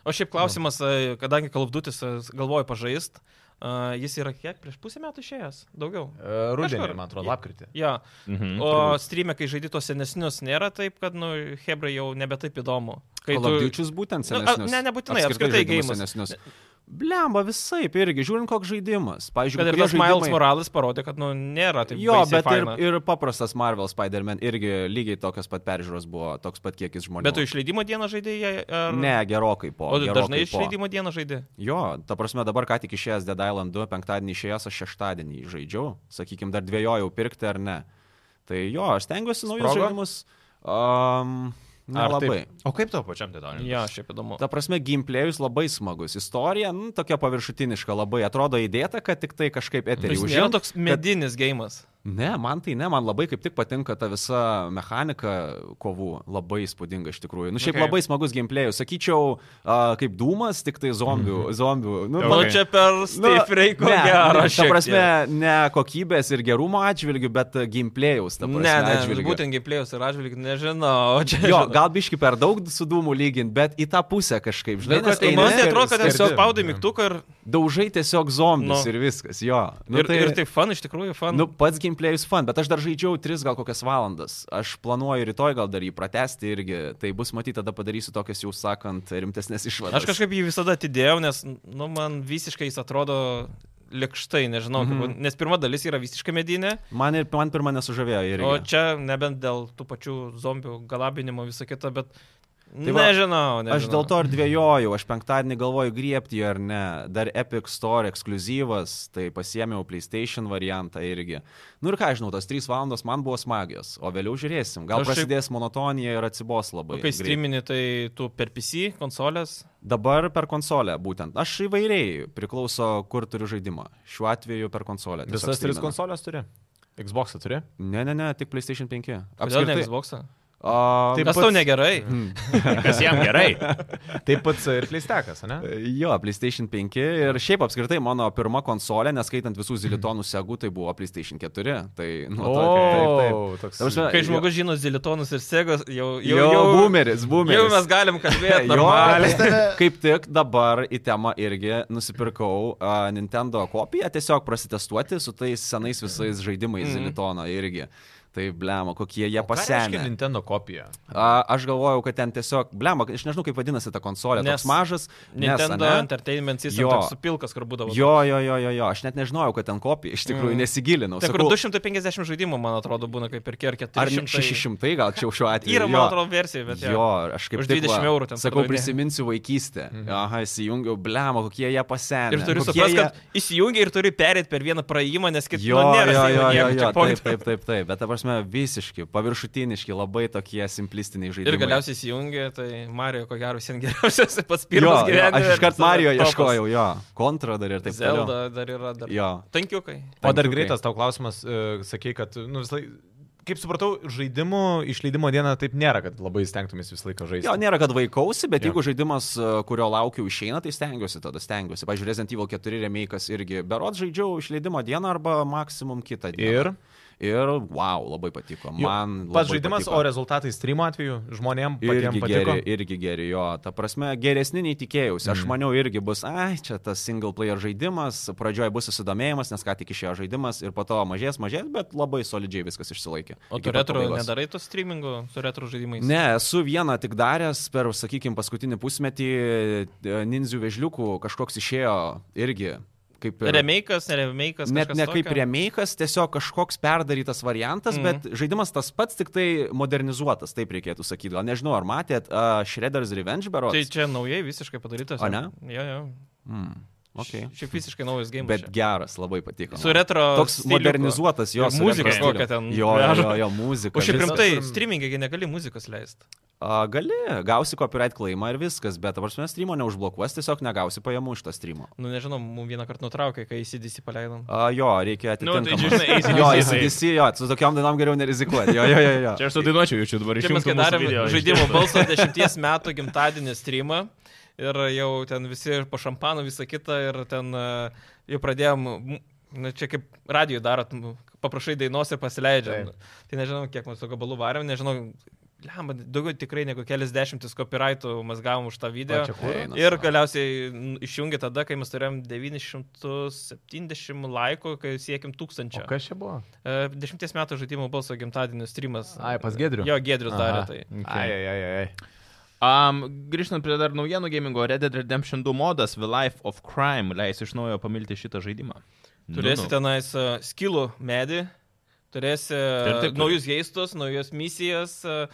A: O šiaip klausimas, e, kadangi kalbdutis galvoju pažaist, e, jis yra kiek prieš pusę metų išėjęs? Daugiau.
B: E, Rudenį,
A: Kažkur.
B: man atrodo,
A: Jo.
B: lapkritį.
A: Ja.
C: Mhm.
D: Nu,
A: O streamė, kai žaidži tos senesnius, nėra taip, kad, nu, Hebra jau nebe taip įdomu. Kai
D: Kalabdyčius būtent
A: Nu, a-
D: senesnius.
A: ne, nebūtinai, apskritai
D: žaidimus
A: geimus.
D: Senesnius. Blemba visai, irgi, žiūrint, koks žaidimas. Pavyzdžiui,
A: Kad ir
D: kai kurie
A: tas Miles
D: žaidimai-
A: Morales parodė, kad, nu, nėra taip.
D: Jo,
A: baisiai
D: bet ir,
A: faina.
D: ir paprastas Marvel Spider-Man irgi lygiai tokios pat peržiūros buvo, toks pat kiekis žmonių.
A: Bet tu išleidimo dieną žaidėjai? Ar...
D: Ne, gerokai po.
A: O tu
D: gerokai
A: dažnai
D: po.
A: išleidimo dieną žaidė?
D: Jo, ta prasme dabar ką tik išėjęs Dead Island 2, penktadienį išėjęs, aš šeštadienį jį žaidžiau, sakykim, dar dvėjojau pirkti ar ne. Tai jo, aš stengiuosi naujus
B: Sprogo?
D: žaidimus. Um,
B: Ar
D: Nelabai.
C: O kaip tau pačiam tai darom?
A: Ja, šiaip įdomu.
D: Ta prasme, gameplayus labai smagus. Istorija, nu, tokia paviršutiniška, labai atrodo įdėta, kad tik tai kažkaip eterį
A: Jis nėra
D: užimt.
A: toks medinis gėjimas.
D: Ne, man tai ne, man labai kaip tik patinka ta visa mechanika kovų, labai įspūdinga iš tikrųjų. Nu, šiaip
C: Okay.
D: okay. labai smagus gameplayus, sakyčiau, uh, kaip dūmas, tik tai zombių.
A: Mhm.
D: zombių. Nu,
C: Okay.
A: Okay. Man čia per Steve Reiko gerą
D: Ta prasme, ne kokybės ir gerumo atžvilgių, bet e, gameplayaus, ta
A: Ne,
D: prasme,
A: ne,
D: atžvilgiu.
A: būtent gimplėjus ir atžvilgiu, nežinau. Čia,
D: Jo, gal biški per daug su dūmų lygint, bet į tą pusę kažkaip, žinai,
A: žinai,
D: nes
A: tai
D: eini
A: man tai
D: ir
A: atrodo, kad
B: skerdi.
A: tiesiog spaudai
B: Jo.
A: mygtuką ir,
D: daužai tiesiog zombius
A: Nu.
D: ir viskas, jo.
A: nu, ir, tai, ir tai fan, iš tikrųjų fan.
D: Nu, pats gameplayus fan, bet aš dar žaidžiau 3 gal kokias valandas. Aš planuoju rytoj gal dar jį pratesti irgi. Tai bus matyti, tada padarysiu tokias, jau sakant, rimtesnės išvadas.
A: Aš kažkaip jį visada atidėjau, nes nu, man visiškai jis atrodo lėkštai, nežinau, mm -hmm. nes pirma dalis yra visiškai medinė,
D: Man, ir, man pirmą nesužavėjo ir...
A: o čia nebent dėl tų pačių zombių galabinimo visą kitą, bet tai
D: va,
A: nežinau, nežinau.
D: Aš dėl to ir dvėjojau, aš penktadienį galvoju griebti jį ar ne. Dar Epic Store ekskluzyvas, tai pasiemiau PlayStation variantą irgi. Nu ir ką aš žinau, tas 3 valandos man buvo smagios, o vėliau žiūrėsim. Gal
A: Aš šiaip-
D: prasidės monotonija ir atsibos labai.
A: O kai
D: greit.
A: streamini, tai tu per PC, konsolės,
D: Dabar per konsolę būtent. Aš įvairiai priklauso, kur turiu žaidimą. Šiuo atveju per konsolę. tiesiog
B: Visas tris
D: streaminu.
B: konsolės turi? Xbox turi?
D: Ne, ne, ne, tik PlayStation 5.
A: kodėl ne Xbox'ą?
D: A,
B: Taip
A: Kas
B: pats-
A: tau negerai?
C: Kas jam *laughs* gerai?
B: Taip pat ir kleistekas,
D: E,
B: ne?
D: *laughs* Jo, PlayStation 5 ir šiaip apskritai mano pirma konsolė, neskaitant visų zilitonų segų, tai buvo PlayStation 4. Tai, nu,
B: O,
D: to-
B: toks-
D: Ta prasme,
A: Kai
D: jo-
A: žmogus žino Zilitonus ir Segas, jau...
D: Jau, jau, jau boomeris, boomeris.
A: Jau mes galim kalbėti.
D: *laughs* Jo,
A: normaliai.
D: kaip tik dabar į temą irgi nusipirkau uh, Nintendo kopiją, tiesiog prasitestuoti su tais senais visais žaidimais
A: Mhm.
D: mm. Zilitono irgi. Tai blemo, kokie jie
B: Pasenė.
D: pasenę.
B: Nintendo kopija.
D: A, aš galvojau, kad ten tiesiog, blemo, aš nežinau, kaip vadinasi ta konsolė, nes,
A: Nes
D: toks mažas.
A: Nintendo
D: nes, ane?
A: Entertainment System
D: Jo.
A: toks supilkas, kur būdavo.
D: Jo, jo, jo, jo, jo, aš net nežinojau, kad ten kopija, iš
A: Mm.
D: tikrųjų mm. nesigilinau.
A: Tai kur
D: Sakau,
A: 250 žaidimų, man atrodo, būna kaip ir kiek 400.
D: ar ne- 600 gal čia jau šiuo atveju.
A: Yra,
D: jo.
A: man atrodo, versija, Tai bet
D: Jo, aš kaip
A: Už
D: tik,
A: 20
D: va,
A: eurų ten
D: Sakau,
A: pardavinėja.
D: prisiminsiu vaikystę. Aha, įsijungiau, blemo, kokie jie pasenę.
A: Ir turi
D: kokie
A: suprasti,
D: Nu, jie-
A: kad įsijungi ir turi perėti per vieną praėjimą, nes kitaip
D: Jo,
A: nu, nėra.
D: jo, jo, jo, jo, taip,
A: jo,
D: taip, taip, taip, bet ta prasme visiški, paviršutiniški, labai tokie simplistiniai
A: *laughs*
D: žaidimai.
A: ir galiausiai įsijungi, tai Mario, ko gero, visiems geriausias *laughs* pats
D: jo,
A: pirmas
D: jo,
A: gyvenimas.
D: aš iškart Mario ieškojau, jo, kontra dar ir taip
A: Zelda
D: toliau.
A: dar yra dar.
D: Jo.
A: Tankiukai.
B: O dar
D: Tankiukai.
B: greitas tau klausimas, e, sakei, kad, nu, visą laiką, kaip supratau, žaidimų išleidimo diena taip nėra, kad labai stengtumės visą laiką žaisti.
D: Jo, nėra, kad vaikausi, bet
B: Jo.
D: jo. jeigu žaidimas, e, kurio laukiu, išeina, tai stengiuosi tada, stengiuosi. Pavyzdžiui, Resident Evil 4 remake'as irgi berot žaidžiau išleidimo dieną arba maksimum kitą dieną.
B: Ir
D: Ir wow, labai patiko. Man
B: pats
D: labai
B: žaidimas,
D: patiko.
B: o rezultatai streamo atveju žmonėm patiems
D: Irgi
B: patiko.
D: geri, irgi geri, jo, ta prasme, geresni nei tikėjausi. Aš maniau irgi bus, ai, čia tas single player žaidimas, pradžioje bus susidomėjimas, nes ką tik išėjo žaidimas ir po to mažės, mažės, bet labai solidžiai viskas išsilaikė.
A: O
D: Iki
A: tu
D: pat
A: retro
D: pabaigos.
A: nedarai tų streamingų su retro žaidimais?
D: Ne, esu vieną tik daręs per, sakykime, paskutinį pusmetį e, ninzių vežliukų kažkoks išėjo irgi. kaip ir...
A: Remake'as, ne remake'as.
D: Net
A: kažkas
D: ne kaip
A: tokio?
D: remake'as, tiesiog kažkoks perdarytas variantas,
A: Mhm.
D: mm. bet žaidimas tas pats, tik tai modernizuotas, taip reikėtų sakyti. Gal nežinau, ar matėt uh, Shredder's Revenge baro?
A: Tai čia naujai visiškai padarytas.
D: O ne?
A: Jo, jo.
D: Mm. Okay.
A: Šiaip visiškai naujas game.
D: Bet geras, labai patiko.
A: Su retro.
D: Toks
A: stiliuku.
D: modernizuotas jo.
A: Ir
D: su
A: muzika
D: retro stilium.
A: kokia ten
D: Jo, jo,
A: veža.
D: jo, jo muzika.
A: O šiaip
D: visas.
A: rimtai, streamingai negali muzikos leisti.
D: A, gali, gausi copyright klaimą ir viskas, bet dabar mes streamo neužblokuos, tiesiog negausi pajamų iš to streamo.
A: Nu nežinau, mums vieną kartą nutraukė, kai įsidėsi paleidom.
D: A, jo, reikia
C: Nu, tai
D: atitinkamai.
C: čia, žinai, AC/DC
D: jo,
C: taip.
D: ACDC, jo, su tokiam dainom geriau nerizikuoti. Jo, jo, jo, jo.
C: Čia aš sudainuočiau, jaučiu dabar iš
A: Čia mes kai darėm žaidimo balso 10 metų gimtadienį streamą ir jau ten visi ir po šampanų visą kitą ir ten e, jau pradėjom, m, nu, čia kaip radijų darot, m, paprašai dainos ir pasileidžiam. Tai nežinau, kiek mūsų gabalų varėm, nežinau, lemba, daugiau tikrai negu kelias dešimtis copyrightų mes gavom už tą video.
D: Eina,
A: Ir
D: sau.
A: galiausiai n, išjungė tada, kai mes turėjom 970 laikų, kai siekim 1000.
B: O kas čia buvo?
A: E, Dešimties metų žaidimo balso gimtadienio streamas.
B: Ai, pas Giedrių? Nu,
A: Jo, Gedrius darė tai.
B: Ai, ai, ai, ai.
C: Um, grįžtant prie dar naujienų gamingo, Red Dead Redemption 2 modas The Life of Crime leis iš naujo pamilti šitą žaidimą. Nu,
B: nu.
A: Turėsi tenais e, skilų medį, turėsi
C: Taip,
A: e,
C: taip.
A: naujus geistus, naujas misijas, e, e,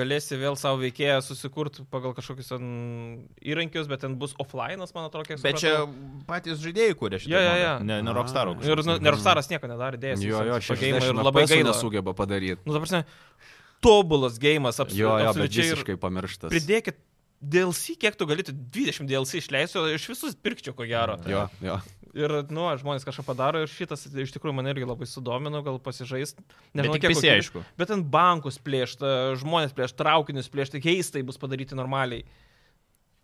A: galėsi vėl savo veikėją susikurti pagal kažkokius ten įrankius, bet ten bus offline'as, man atrodo, kiek
C: Bet čia
A: supratau.
C: patys žaidėjai kūrė šitą.
A: Jo, jo,
C: modą,
A: jo.
C: Ne, ne Rockstar.
A: Ir nu, Nerfstaras nieko nedarė, dėjęs.
D: Jo, jo,
A: visiems
D: šiaip
A: pageimą
D: ir
A: ir labai gaila.
D: sugeba padaryti.
A: Nu, ta prasme, tobulas gėjimas, absoliučiai.
D: Jo, jo, bet
A: absoliučiai ir-
D: visiškai pamirštas.
A: Pridėkit DLC, kiek tu galėtum, 20 DLC išleisiu, iš visus pirkčiau, ko gero.
D: Jo, jo.
A: Ir, nu, žmonės kažką padaro ir šitas iš tikrųjų mane irgi labai sudomino, gal pasižais.
C: Nežinau,
A: kiek
C: kiek visi
A: kokybiš-
C: aišku.
A: Bet ten bankus plėšta, žmonės plėšta, traukinius plėšta, keistai bus padaryti normaliai.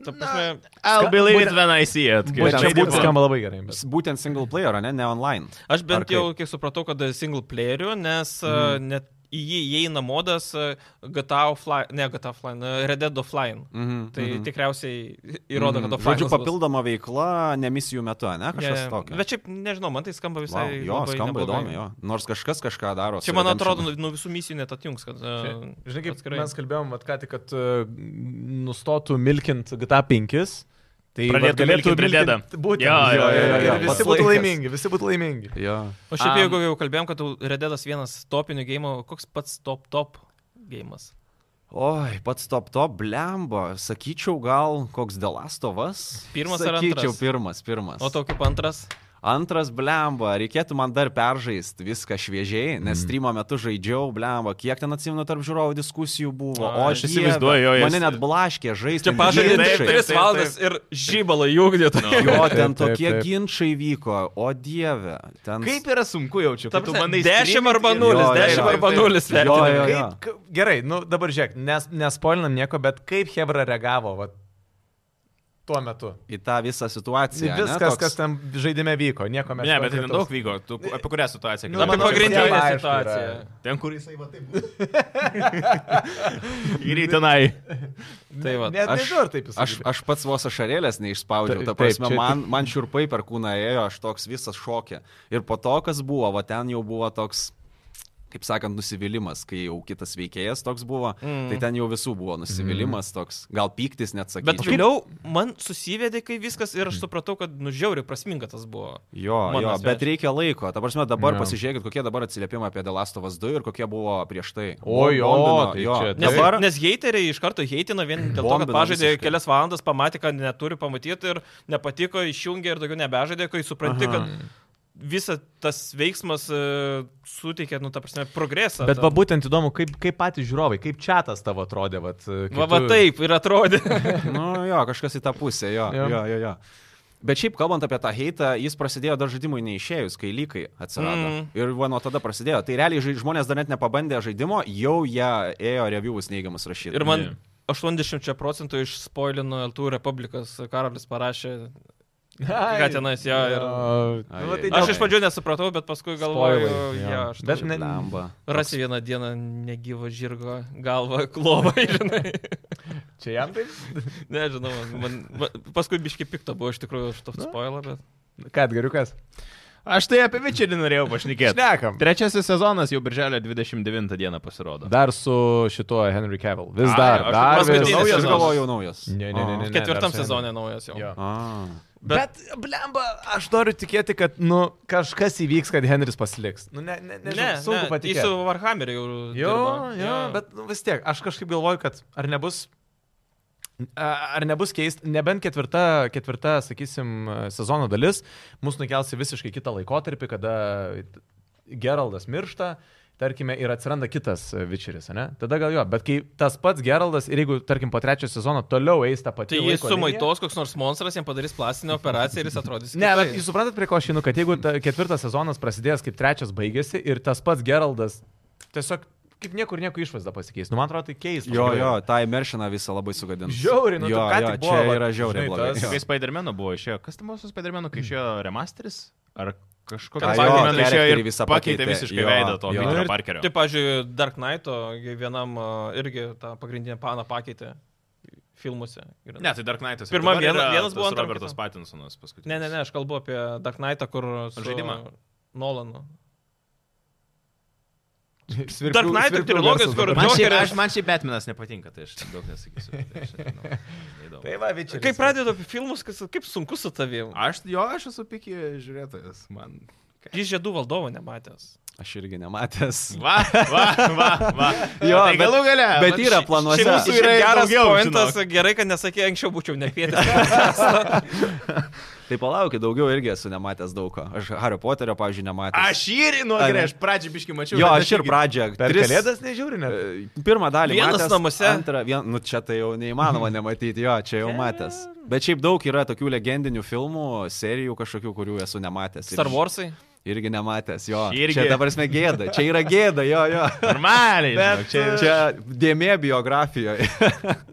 A: Ta prasme,
C: I'll believe it when I see it.
B: Bet
D: čia
B: čia
D: būtent-
B: būtų skamba labai gerai. bet-
D: Būtent single player, ne, ne online.
A: aš
D: Ar
A: bent
D: kaip?
A: jau kiek supratau, kad single playerių, nes mm. net į jį įeina modas e, GTA offline, ne GTA offline, e, Red Dead offline.
D: Mhm,
A: Tai
D: mhm.
A: tikriausiai įrodo, kad
D: Mhm.
A: offline.
D: Žodžiu, papildoma veikla, ne misijų metu, ne kažkas yeah, tokio.
A: Bet šiaip, nežinau, man tai skamba visai.
D: Vau, jo,
A: labai
D: skamba
A: neblogai.
D: įdomi, jo. Nors kažkas kažką daro.
A: Čia,
D: su
A: man
D: Redemption.
A: atrodo, nu- nuo visų misijų net atjungs, kad... e,
B: Žinai, kaip
A: atskirai.
B: mes kalbėjom, vat ką tik, kad e, nustotų milkint GTA 5. Tai vat
C: Pradėtų milkint Red Deadą.
B: Būtent.
C: Jo, jo, jo, jo, jo.
B: Ir Visi
D: Pats
B: būtų
D: laikas.
B: laimingi, visi būtų laimingi.
A: nu-
D: Jo.
A: O šiaip
C: Am.
A: jeigu jau kalbėjom, kad tau Red Deadas vienas topinių gėjimų, koks pats top top gėjimas?
D: Oi, pats top top, blemba. Sakyčiau, gal koks Delastovas.
A: Pirmas ar
D: Sakyčiau,
A: antras?
D: pirmas, pirmas.
A: O tau kaip antras?
D: Antras blemba, reikėtų man dar peržaisti viską šviežiai,
B: Mhm.
D: nes mm. streamo metu žaidžiau blemba, kiek ten atsimenu tarp žiūrovų diskusijų buvo.
A: Ai,
D: O
C: aš
D: dieve,
C: įsivaizduoju, jo, jis-
D: Mane net blaškė žaisti.
A: Čia pažaidė
C: taip, taip,
A: tris
C: taip.
A: valandas ir žybalą jūgdėt.
D: Jo, ten
B: Taip, taip,
D: tokie
B: taip.
D: ginčiai vyko, o dieve. Ten...
C: Kaip yra sunku jaučiu,
A: Ta
C: kad tu
A: prasme,
C: manai...
A: 10 arba
C: streamint
A: 0,
C: ir-
D: Jo, jo,
A: 10
D: jo.
A: arba
C: Taip,
A: 0
C: taip.
D: Jo,
A: vertinimai.
D: jo, jo.
B: Kaip, ka- gerai, nu dabar žiūrėk, nes, nespoilinam nieko, bet kaip Hebra reagavo vat, tuo metu?
D: Į tą visą situaciją. ne,
B: Viskas,
D: toks-
B: kas ten žaidime vyko, nieko mes
C: Ne, bet ten
B: konkretaus.
C: daug vyko. Tu, apie kurią situaciją?
B: Nu,
A: Apie
B: Manau, kad
A: pagrindinę
B: visiem aišku
A: situaciją.
B: yra.
C: Ten, kur jisai va taip. *laughs* Ir į tenai.
A: Tai va.
B: Net
D: aš-
B: nežinau, ar taip jis.
D: Aš, aš pats vos ašarėlės neišspaudžiau,
B: Taip,
D: ta prasme,
B: taip, čia-
D: man, man šiurpai per kūną ėjo, aš toks visas šokė. Ir po to, kas buvo, va ten jau buvo toks, kaip sakant, nusivylimas, kai jau kitas veikėjas toks buvo, mm. tai ten jau visų buvo nusivylimas toks, gal pyktis net
A: Bet
D: sakyčiau.
A: vėliau man susivedė, kai viskas
D: Mhm.
A: ir aš supratau, kad nužiauri prasminga tas buvo.
D: Jo,
A: Mano
D: jo, bet
A: asmeniškai.
D: reikia laiko. Ta prasme, dabar
B: Jo.
D: no. pasižiūrėkit, kokie dabar atsiliepimai apie Delastovas 2 ir kokie buvo prieš tai.
B: O, jo,
D: Bombino,
B: tai
D: jo.
B: čia-
A: Nes,
D: dabar...
A: nes heiteriai iš karto heitina vien dėl to, kad
D: Bombina
A: pažaidė
D: visiškai.
A: kelias valandas, pamatė, kad neturi pamatyti ir nepatiko, išjungė ir daugiau nebežaidė, kai supranti,
D: Aha.
A: kad visas tas veiksmas e, suteikia, nu, ta prasme, progresą.
B: Bet
A: Ten.
B: va būtent įdomu, kaip, kaip patys žiūrovai, kaip čatas tavo atrodė. Vat, kai
A: Va, tai, va
B: tu- *laughs*
A: taip ir atrodė.
D: Nu jo, kažkas į tą pusę, jo.
B: Jo.
D: jo. jo, jo, jo. Bet šiaip kalbant apie tą heitą, jis prasidėjo dar žaidimui neišėjus, kai lygai atsirado.
A: Mm.
D: Mm. Ir va, nuo tada prasidėjo. Tai realiai žai- žmonės dar net nepabandė žaidimo, jau jie ėjo reviewus neigiamus rašyti.
A: Ir man
C: Ne.
A: 80 procentų išspoilino LTU Republikas, Karolis parašė.
B: Ai,
A: Ką tenais, jo, ir-
B: jo.
D: Ai,
B: Nu, va,
D: ai,
B: tai
D: ai.
A: Aš
B: dėl-
A: iš pradžių nesupratau, bet paskui galvoju,
B: Spoilai, jo.
A: ja, aš
B: Bet
A: bet...
B: ne-
D: Lamba.
A: rasi vieną dieną negyvo žirgo galvą, *laughs* klovą, žinai.
B: Čia jam taip.
A: Nežinau, man, man, man, paskui biški pikto buvo iš tikrųjų už
B: Nu.
A: to spoilą, bet...
B: Ką, geriukas?
C: Aš tai apie Vičerį norėjau pašnekėti.
B: Šnekam.
C: Trečiasis sezonas jau birželio 29 dieną pasirodo.
B: Dar su šituo Henry Cavill. Vis
C: Ai,
B: dar.
C: aš
B: dar vis.
C: paskutinis
D: Naujas,
C: sezonas.
D: galvoju, naujas.
B: Ne, ne, ne, ne, ne.
A: Ketvirtam
B: dar su Henry.
A: sezonė naujas jau.
B: Jo.
D: A.
A: Bet,
B: Bet, blemba, aš noriu tikėti, kad, nu, kažkas įvyks, kad Henris pasiliks. Nu, ne, ne,
A: bet
B: nežinau, ne, sunku patikėti.
A: Jis su Warhammeriu jau.
B: Jo,
A: dirba.
B: jo, bet nu, vis tiek, aš kažkaip galvoju, kad ar nebus, a- ar nebus keist, nebent ketvirta, ketvirta, sakysim, sezono dalis mus nukelsi visiškai kitą laikotarpį, kada Geraldas miršta. Tarkime, ir atsiranda kitas vičeris, ne? Tada gal jo, bet kai tas pats Geraldas ir jeigu, tarkim, po trečio sezono toliau eis tą patį...
A: Tai jis sumaitos koks nors monstras, jam padarys plastinę operaciją ir jis atrodys.
B: Ne, bet
A: kitaip.
B: jūs suprantat, prie ko aš einu, kad jeigu ta, ketvirtas sezonas prasidės kaip trečias baigėsi ir tas pats Geraldas tiesiog kaip niekur nieko išvaizda pasikeis. Nu, man atrodo, tai keista.
D: Jo, jo, tą imeršiną visą labai sugadins.
B: Žiauriai, nu, tu
D: jo,
B: ką
D: jo,
B: tik
D: čia
B: buvo, vat,
D: yra žiauriai
B: žinai,
D: blogai.
B: tas-
D: jo.
C: Kai Spider-Man'o buvo išėjo, kas ten buvo su Spider-Man'u, kai išėjo remasteris? Ar kažkokia
D: Ką, jo,
C: Spider-Man'o išėjo ir
D: charakterį visą
C: pakeitė
D: pakeitė,
C: visiškai
D: jo,
C: veidą to
D: jo.
C: Peterio
B: Ir-
C: Parkerio.
A: Taip, pažiūrėjau, Dark Knight'o gi vienam a, irgi tą pagrindinę paną pakeitė filmuose. Ir-
C: Ne, tai Dark Knight'as. ir
A: Pirma
C: dabar
A: viena-
C: yra
A: vienas buvo,
C: tas
A: antram
C: Robertas
A: kitam.
C: Patinsonas paskutinis.
A: ne, ne, ne, aš kalbu apie Dark Knight'ą, kur... su
C: Žaidimą?
A: Nolanu.
B: Svirplių-
A: Dark Knight
B: svirplių
A: trilogijos,
B: garsas
A: kur
B: dabar.
C: Man šiaip,
A: Jokeris-
C: aš, man šiaip Batmanas nepatinka, tai aš daug *laughs* nesakysiu. Tai aš nežinau, neįdomu.
B: Tai va, vičiai.
A: Kai pradedu apie filmus, kas, kaip sunku su tavim.
C: Aš, jo, aš esu pikį žiūrėtojas. Man.
A: Jis žiedų valdovo nematęs.
D: Aš irgi nematęs.
C: Va, va, va, va.
D: Jo,
C: tai galų gale.
D: Bet yra planuose.
C: šiaip mūsų- yra ir
A: geras
C: daugiau,
A: pointas, gerai, kad nesakė, anksčiau būčiau nekvietęs.
C: *laughs*
D: Tai palaukit, daugiau irgi esu nematęs daug ko. Aš Hario Poterio, pavyzdžiui, nematęs.
C: Aš ir, nu,
D: Ai,
C: gerai,
D: ne.
C: aš pradžią biškai mačiau.
D: Jo,
C: bet
D: aš ir
C: irgi-
D: pradžią.
B: Per
D: tris-
B: kalėdas nežiūri, ne?
D: e, Pirmą dalį.
A: Vienas
D: matęs,
A: namuose.
D: Antrą, vien, nu čia tai jau neįmanoma nematyti, jo, čia jau matęs. Bet šiaip daug yra tokių legendinių filmų, serijų kažkokių, kurių esu nematęs. Ir-
A: Star Warsai.
D: Irgi nematęs, jo.
C: Irgi.
D: Čia dabar mes gėda, čia yra gėda, jo, jo.
A: *laughs*
C: Normaliai.
D: Bet
C: žinok,
D: čia,
C: čia-
D: čia dėmė biografijoje.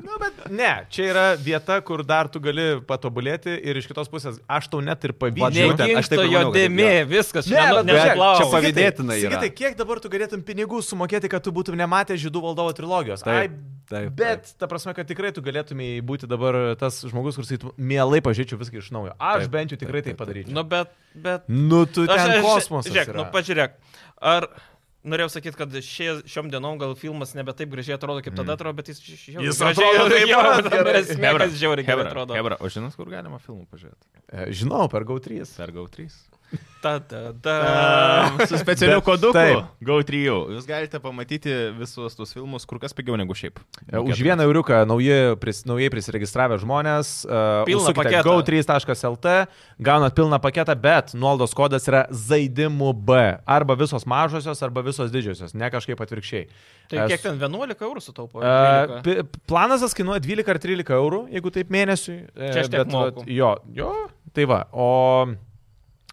B: Nu, bet ne, čia yra vieta, kur dar tu gali patobulėti ir iš kitos pusės aš tau net ir pavydžiu.
D: Vadžiu. būtent, aš taip ir
A: jo
D: maniau, kad
A: dėmė, viskas. nu,
B: Ne, bet žiūrėk,
D: čia
A: neklausiu.
D: pavyzdžiui, pavydėtina yra.
B: Sigitai, kiek dabar tu galėtum pinigų sumokėti, kad tu būtum nematęs žydų valdovo trilogijos?
D: Taip,
B: Ai,
D: taip,
B: bet, ta prasme, kad tikrai tu galėtumai būti dabar tas žmogus, kuris sakytų, mielai pažiūrėčiau viską iš naujo. Aš
D: Taip,
B: bent jau tikrai
D: taip,
B: tai
D: taip, taip.
B: padaryčiau.
A: Nu, bet, bet
B: Nu, tu
A: Aš-
B: ten
A: aš-
B: kosmosas.
A: Žiūrėk, nu
B: yra.
A: pažiūrėk. Ar norėjau sakyti, kad šie, šiom dienom gal filmas nebe taip gražiai atrodo, kaip tada atrodo, bet jis žiauriai
B: Jis
A: gražiai *laughs*
B: atrodo taip pat gerai.
A: Mes mėgas uh, žiauriai gerai atrodo.
C: Hebra, o žinot, kur galima filmų pažiūrėti?
B: E, Žinau, per GAU3.
C: Per GO3.
A: Ta, ta, ta.
C: *laughs* Um, su specialiu
B: Bet
C: kodu
B: taip.
C: GO3. Jūs galite pamatyti visus tuos filmus kur kas pigiau negu šiaip.
B: E, Už vieną euriuką nauji, pris, naujai prisiregistravę žmonės. Uh,
A: Pilną paketą.
B: Go3.lt, gaunat pilną paketą, bet nuoldos kodas yra žaidimų B. Arba visos mažosios, arba visos didžiosios. Ne kažkaip atvirkščiai.
A: Tai
B: Es-
A: kiek ten 11 eurų sutaupo?
B: E,
A: 12?
B: pi- Planas kainuoja 12 ar 13 eurų, jeigu taip mėnesiui. E,
A: Čia aš tiek
B: bet vat,
A: moku.
B: Jo, jo, tai va. O,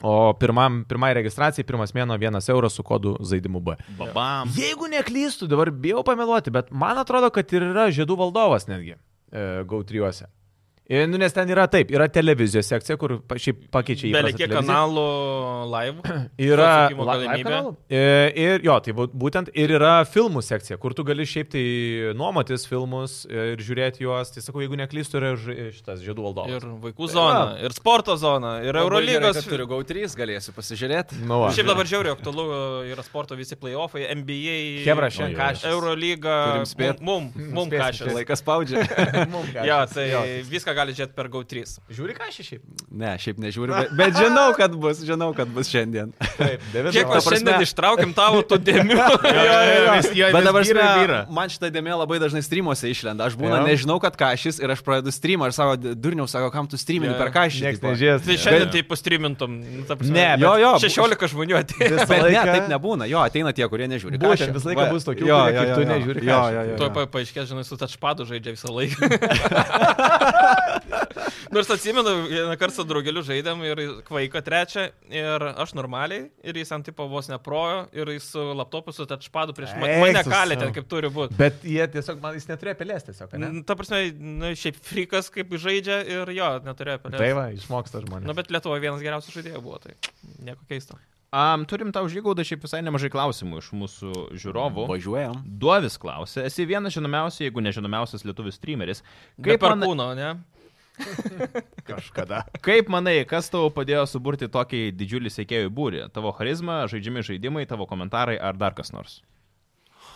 B: o pirmam, pirmai registracijai pirmas mėno 1 euras su kodu žaidimu B.
C: Babam.
B: Jeigu neklystu, dabar bijau pameluoti, bet man atrodo, kad ir yra žiedų valdovas netgi e, GAU3. E, nu, nes ten yra taip, yra televizijos sekcija, kur pa, šiaip pakeičia į...
A: Belie
B: įprastą
A: kiek
B: televiziją.
A: kanalų
B: *clears throat*
A: live.
B: Yra
A: Atsakymų
B: la- live
A: galimybė.
B: kanalų. E, Ir jo, tai bū- būtent ir yra filmų sekcija, kur tu gali šiaip tai nuomotis filmus e, ir žiūrėti juos. Tai sakau, jeigu neklystu, yra ž- šitas žiedų valdovas.
A: Ir vaikų zona, ir sporto zona, ir Eurolygos.
D: Turiu GAU3, galėsiu pasižiūrėti.
B: Nu, va.
A: Šiaip dabar žiauriai aktualu yra sporto visi playoffai, NBA.
B: Chebra, šiandien
A: Ojoj.
B: kašis.
A: Eurolyga.
D: Turim spėt.
A: Mum, mum, mum
B: Spėsim,
A: kažkas.
D: Laikas spaudžia.
B: *laughs* Mum gali.
A: Ja, tai
B: Jo.
A: viską gali žiūrėti per GAU3.
B: Žiūri ką aš šiaip.
D: Ne, šiaip nežiūriu, bet, bet žinau, kad bus, žinau, kad bus šiandien.
B: Taip,
A: Kiek
D: Ta
A: mes
D: prasme-
A: šiandien ištraukim tavo tų
B: *laughs*
A: dėmių?
D: Bet dabar
C: yra
D: yra.
C: vyra.
D: Man šitą dėmę labai dažnai streamuose išlenda. Aš būna
B: Jo.
D: nežinau, kad kažis ir aš pradedu streamą ir savo durniau sako, kam tu streamini
A: Jo.
D: per kažį.
B: Niekas nežies.
A: Tai šiandien tai pastrymintum.
B: Ne,
D: jo, jo.
A: 16 žmonių atėjo.
B: Visą
D: Bet ne,
B: laiką-
D: taip nebūna. Jo, ateina tie, kurie nežiūri.
B: Būtent,
D: kašio.
B: visą laiką
D: Va.
B: bus tokių,
D: Jo,
B: kurie
D: jo,
B: kaip tu
D: jo, jo.
B: nežiūri
D: Jo,
B: kašio.
D: jo, jo,
A: Tuo
D: jo.
A: pa- paaiškės, žinai, su tačpadu žaidžia visą laiką. Nors atsimenu, vieną kartą su draugeliu žaidėm ir kvaiko trečią, ir aš normaliai, ir jis ant tipo vos neprojo, ir jis su laptopu su tačpadu prieš ma-
B: Eik
A: mane
B: tu
A: kalė
B: savo.
A: ten, kaip turi būti.
B: Bet jie tiesiog, man jis neturėjo pelės tiesiog. Ne?
A: Ta prasme, nu, šiaip frikas kaip žaidžia ir jo, neturėjo apie
B: Tai va, išmoksta žmonės.
A: Nu, bet Lietuvoje vienas geriausių žaidėjų buvo, tai nieko keisto.
C: Um, turim tau žygaudą šiaip visai nemažai klausimų iš mūsų žiūrovų.
D: Važiuojam.
C: Duovis klausia, esi vienas žinomiausių, jeigu nežinomiausias lietuvių streameris.
A: Kaip
C: Kaip,
A: per
C: man,
A: kūno, ne?
B: kažkada.
C: kaip manai, kas tau padėjo suburti tokį didžiulį sėkėjų būrį? Tavo charizma, žaidžiami žaidimai, tavo komentarai ar dar kas nors?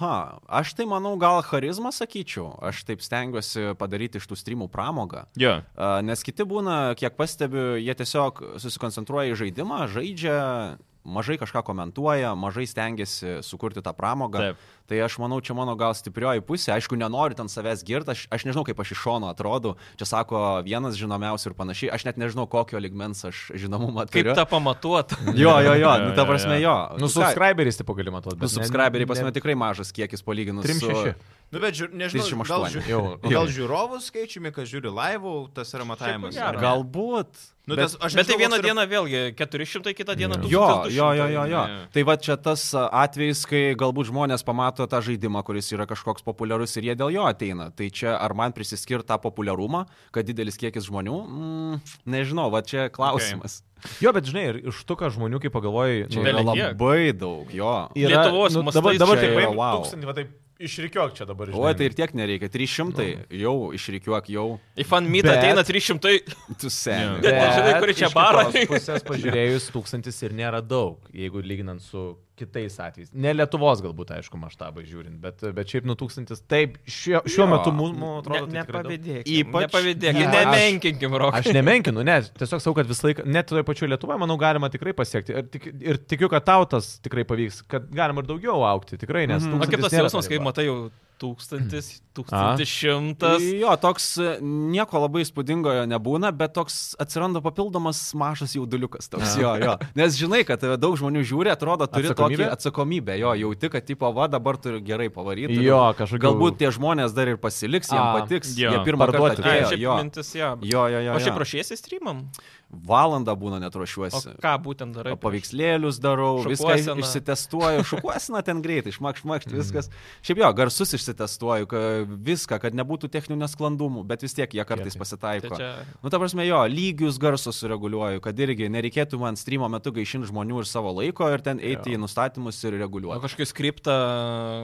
D: Ha, aš tai manau, gal charizmą sakyčiau. Aš taip stengiuosi padaryti iš tų streamų pramogą.
C: Jo.
D: A, Nes kiti būna, kiek pastebiu, jie tiesiog susikoncentruoja į žaidimą, žaidžia, mažai kažką komentuoja, mažai stengiasi sukurti tą pramogą.
C: Taip.
D: Tai aš manau, čia mano gal stiprioji pusė. Aišku, nenoriu ten savęs girti, aš, aš nežinau, kaip aš iš šono atrodau. Čia sako vienas žinomiausių ir panašiai. Aš net nežinau, kokio ligmens aš žinomumą
A: Kaip
D: turiu.
A: tą pamatuot?
D: *laughs* Jo, jo, jo,
C: Jo,
D: nu,
C: jo,
D: ta prasme
C: jo.
D: jo.
B: Nu, subscriberiais tipo gali matuoti. bet
D: Nu,
B: ne-
D: subscriberiai pas
B: ne-
D: mane tikrai mažas kiekis palyginus.
B: Trim
D: su-
B: šeši.
C: Nu, bet žiūr, nežinau, gal,
D: 38.
C: žiū,
B: Jau, jau.
C: gal žiūrovų skaičiumi, kad žiūri laivų, tas yra matavimas.
A: gero.
C: Gal,
D: Galbūt.
C: nu,
D: bet-
C: tas, aš
A: Bet tai
C: nežinau,
A: vieną
C: koks yra-
A: dieną vėlgi 400, kitą dieną 1000.
D: Jo, jo, jo, jo, jo.
C: ne.
D: Tai va čia tas a, atvejis, kai galbūt žmonės pamato tą žaidimą, kuris yra kažkoks populiarus ir jie dėl jo ateina. Tai čia ar man prisiskirti tą populiarumą, kad didelis kiekis žmonių, mm, nežinau, va čia klausimas.
B: jo, bet žinai, ir iš tu, ką žmonių, kai pagalvoji,
D: Čia
B: nu,
D: yra
A: Bele kiek.
D: labai daug, jo.
A: Lietuvos
B: nu,
A: mastais
B: dabar, dabar
A: čia
B: tik
A: yra,
B: paimk
D: wow.
B: tūkstantį, va taip išrikiuok čia dabar.
D: O, tai ir tiek nereikia. 300 jau išrikiuok, jau
A: Į fan meet
B: Bet-
A: ateina 300.
D: tu seni.
A: Bet *laughs* nežinai, kuri čia bara.
B: Pusės pažiūrėjus, tūkstantis ir nėra daug, jeigu lyginant su kitais atvejais. Ne Lietuvos galbūt, aišku, maštabai žiūrint, bet, bet šiaip nu tūkstantis. Taip, šiuo, šiuo
D: Jo.
B: metu mums atrodo. tai tikrai daug.
A: Nepavydėk.
D: Ypač-
A: Nepavydėk.
B: Ne, aš-
A: Nemenkinkim, Rokas.
B: Aš nemenkinu, ne, tiesiog sakau, kad visą laiką, net toje pačioje Lietuvoje, manau, galima tikrai pasiekti. Ir, tik, ir tikiu, kad tau tas tikrai pavyks, kad galima ir daugiau aukti, tikrai, nes...
D: Mhm.
A: Na kaip
B: tūkstantis
A: tas
B: nėra
A: jausmas,
B: ta
A: kai
B: riba.
A: matai jau tūkstantis, tūkstantis šimtas.
D: Jo, toks e, nieko labai įspūdingojo nebūna, bet toks atsiranda papildomas mažas jauduliukas. Toks, jo,
B: *laughs*
D: jo. Nes žinai, kad tave daug žmonių žiūri, atrodo, turi
B: Atsakomybė?
D: atsakomybę? tokį atsakomybę. Jo, jauti, kad tipo, va, dabar turi gerai pavaryti.
B: Jo, kažkokių-
D: Galbūt tie žmonės dar ir pasiliks, jiems
B: A,
D: patiks.
C: jo,
D: Jo, jie pirmą kartą
B: parduoti.
A: Ai,
D: atėjo.
A: šiaip
D: Jo,
A: mintis, jo.
D: jo, jo. jo,
A: O šiaip
D: jo.
A: prašysi streamam?
D: Valandą būna
A: O
D: netrošiuosi.
A: ką būtent darai?
D: Paveikslėlius darau, viską
A: Šukuoseną. Mhm.
D: išsitestuoju, šukuosina ten greitai, išmakš, makšt, viskas. Šiaip jo, garsus išsitestuoju, ka- viską, kad nebūtų techninių nesklandumų, bet vis tiek jie
B: Gerai.
D: kartais
A: Tai
D: pasitaiko.
A: čia...
D: Nu, ta prasme, jo, lygius garsus sureguliuoju, kad irgi nereikėtų man streamo metu gaišinti žmonių ir savo laiko ir ten eiti jo. į nustatymus ir
A: O
D: reguliuoti.
A: kažkokį skriptą.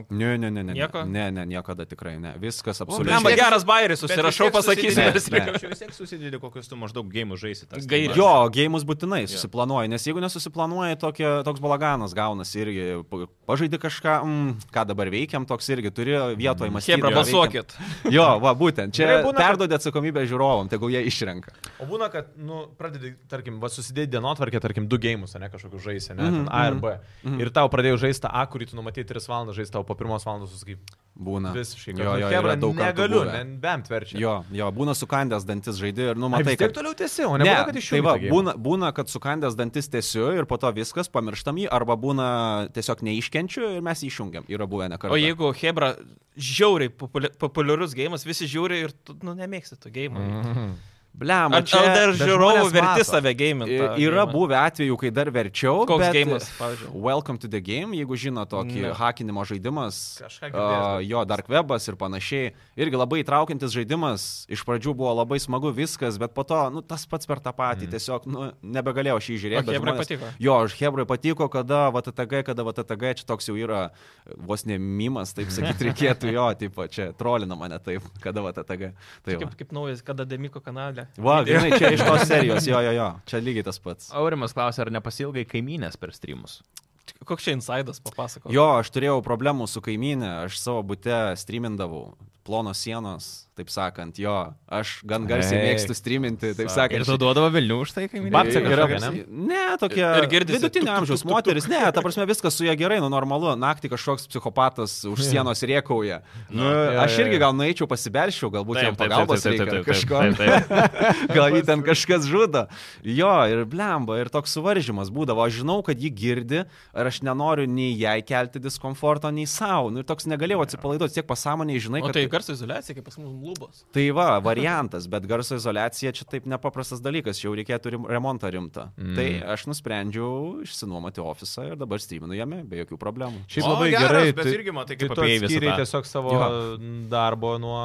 D: Ne, ne, ne, ne.
A: Nieko?
D: Ne, ne, niekada tikrai ne. Viskas
A: Ne,
D: absoliučiai.
A: man
C: vis tiek-
A: geras bairis,
C: Bet
A: susirašau,
C: vis tiek
A: pasakysiu.
D: Ne,
C: susidedi-
A: nes-
D: ne.
C: bet Vis tiek susidedi, kokius tu maždaug gėjimus žaisi. tas
A: Gairės.
C: temas.
D: Jo, gėjimus būtinai susiplanuoji, nes jeigu nesusiplanuoji, tokie, toks balaganas gaunasi irgi. Pa- Pažaidi kažką, mm, ką dabar veikiam, toks irgi turi vietoje mąstyti.
A: Hebra,
D: ką veikiam.
A: balsuokit.
D: Jo, va, būtent. Čia
B: Gerai būna, kad-
D: perdodė atsakomybę žiūrovom, tegul jie išrenka.
B: O būna, kad, nu, pradedi, tarkim, va, susidėti dienotvarkę, tarkim, du gėjimus, ne kažkokius žaisę, ne, mm
D: Mhm,
B: -hmm. A ir
D: mhm,
B: B. Mm -hmm. Ir tau pradėjau žaisti tą A, kurį tu numatėjai 3 valandas, žaisti tau po 1 valandos, sakai,
D: Būna.
B: visiškai. nu,
D: Jo, jo,
B: chebra,
D: yra daug kartų
B: negaliu,
D: buvę.
B: ne, bent verčia.
D: Jo, jo, būna sukandęs dantis žaidėjai ir
B: Ai,
D: numatai,
B: vis tiek
D: kad
B: toliau tiesi, o ne,
D: Ne,
B: būna, kad iš jų.
D: tai va, būna, būna, kad sukandęs dantis tiesiu ir po to viskas, pamirštam jį, arba būna tiesiog neiškenčiu ir mes jį išjungiam. Yra buvę ne kartą.
A: O jeigu Hebra žiauriai populi- populiarus gėjimas, visi žiūri ir tu, nu, nemėgsti to gėjimo.
D: Mhm.
A: Mm.
B: Mhm.
D: Blem,
A: Ar,
D: čia
A: ar dar
B: bet
A: žiūrovų
B: žmonės
A: verti
B: mato.
A: save gėjiminti?
D: i- yra buvę atvejų, kai dar verčiau.
A: Koks
D: bet-
A: gėjimas, pavyzdžiui?
D: Welcome to the game, jeigu žino tokį
A: Ne.
D: no. hakinimo žaidimas,
B: Kažką girdėjęs,
D: uh, jo Dark Webas ir panašiai, irgi labai įtraukiantis žaidimas, iš pradžių buvo labai smagu viskas, bet po to, nu, tas pats per tą patį, mm. tiesiog, nu, nebegalėjau šį
A: O
D: žiūrėti. bet
A: Hebra
D: žmonės- Tai
A: patiko.
D: Jo, aš Hebrai patiko, kada VTTG, kada VTTG, čia toks jau yra vos ne mimas,
A: *laughs*
D: taip sakyti, reikėtų jo, tipo, čia trolina mane taip, kada VTTG. Tai va.
A: Kaip, kaip naujas, kada Demiko kanale. *laughs*
D: Va, žinai, čia iš tos serijos, jo, jo, jo, čia lygiai tas pats.
C: Aurimas klausė, ar nepasilgai kaimynės per streamus.
A: Koks čia insidas papasako?
D: Jo, aš turėjau problemų su kaimynė, aš savo bute streamindavau, plonos sienos, taip sakant, jo, aš gan garsiai
B: Eik,
D: mėgstu streaminti, taip
C: Ir
D: sakant.
C: tu duodavo Vilnių už tai kaimynės.
B: Babcė
D: Yra,
B: kažkokia, ne?
D: ne, tokia.
A: Ir- ir girdisi
D: Vidutinio amžiaus moteris, ne, ta prasme viskas su ja gerai, nu normalu, naktį kažkoks psichopatas už sienos riekauja. Nu,
B: jo,
D: aš
B: jo,
D: irgi
B: jo.
D: gal nueičiau pasibelščiau, galbūt jam pagalbos reikia ar kažko,
C: taip.
D: gal jį ten kažkas žudo. Jo, ir blemba, ir toks suvaržymas būdavo, aš žinau, kad ji girdi, ir aš nenoriu nei jai kelti diskomforto, nei savo. Nu, ir toks negalėjau atsipalaiduoti, tiek pasąmoniai žinai,
A: O
D: kad...
A: tai garso izolacija, kaip pas mus lubos.
D: Tai va, variantas, bet garso izolacija čia taip nepaprastas dalykas, jau reikėtų rim, remontą rimtą. Mm. Tai aš nusprendžiau išsinuomoti ofisą ir dabar streaminu jame be jokių problemų.
B: Šiaip
C: O,
B: labai
C: geras,
B: gerai,
C: bet irgi matai, kaip
B: tai tu
C: apėjai visą
B: atskyrei
C: tą.
B: tiesiog savo
D: Jo.
B: darbo nuo,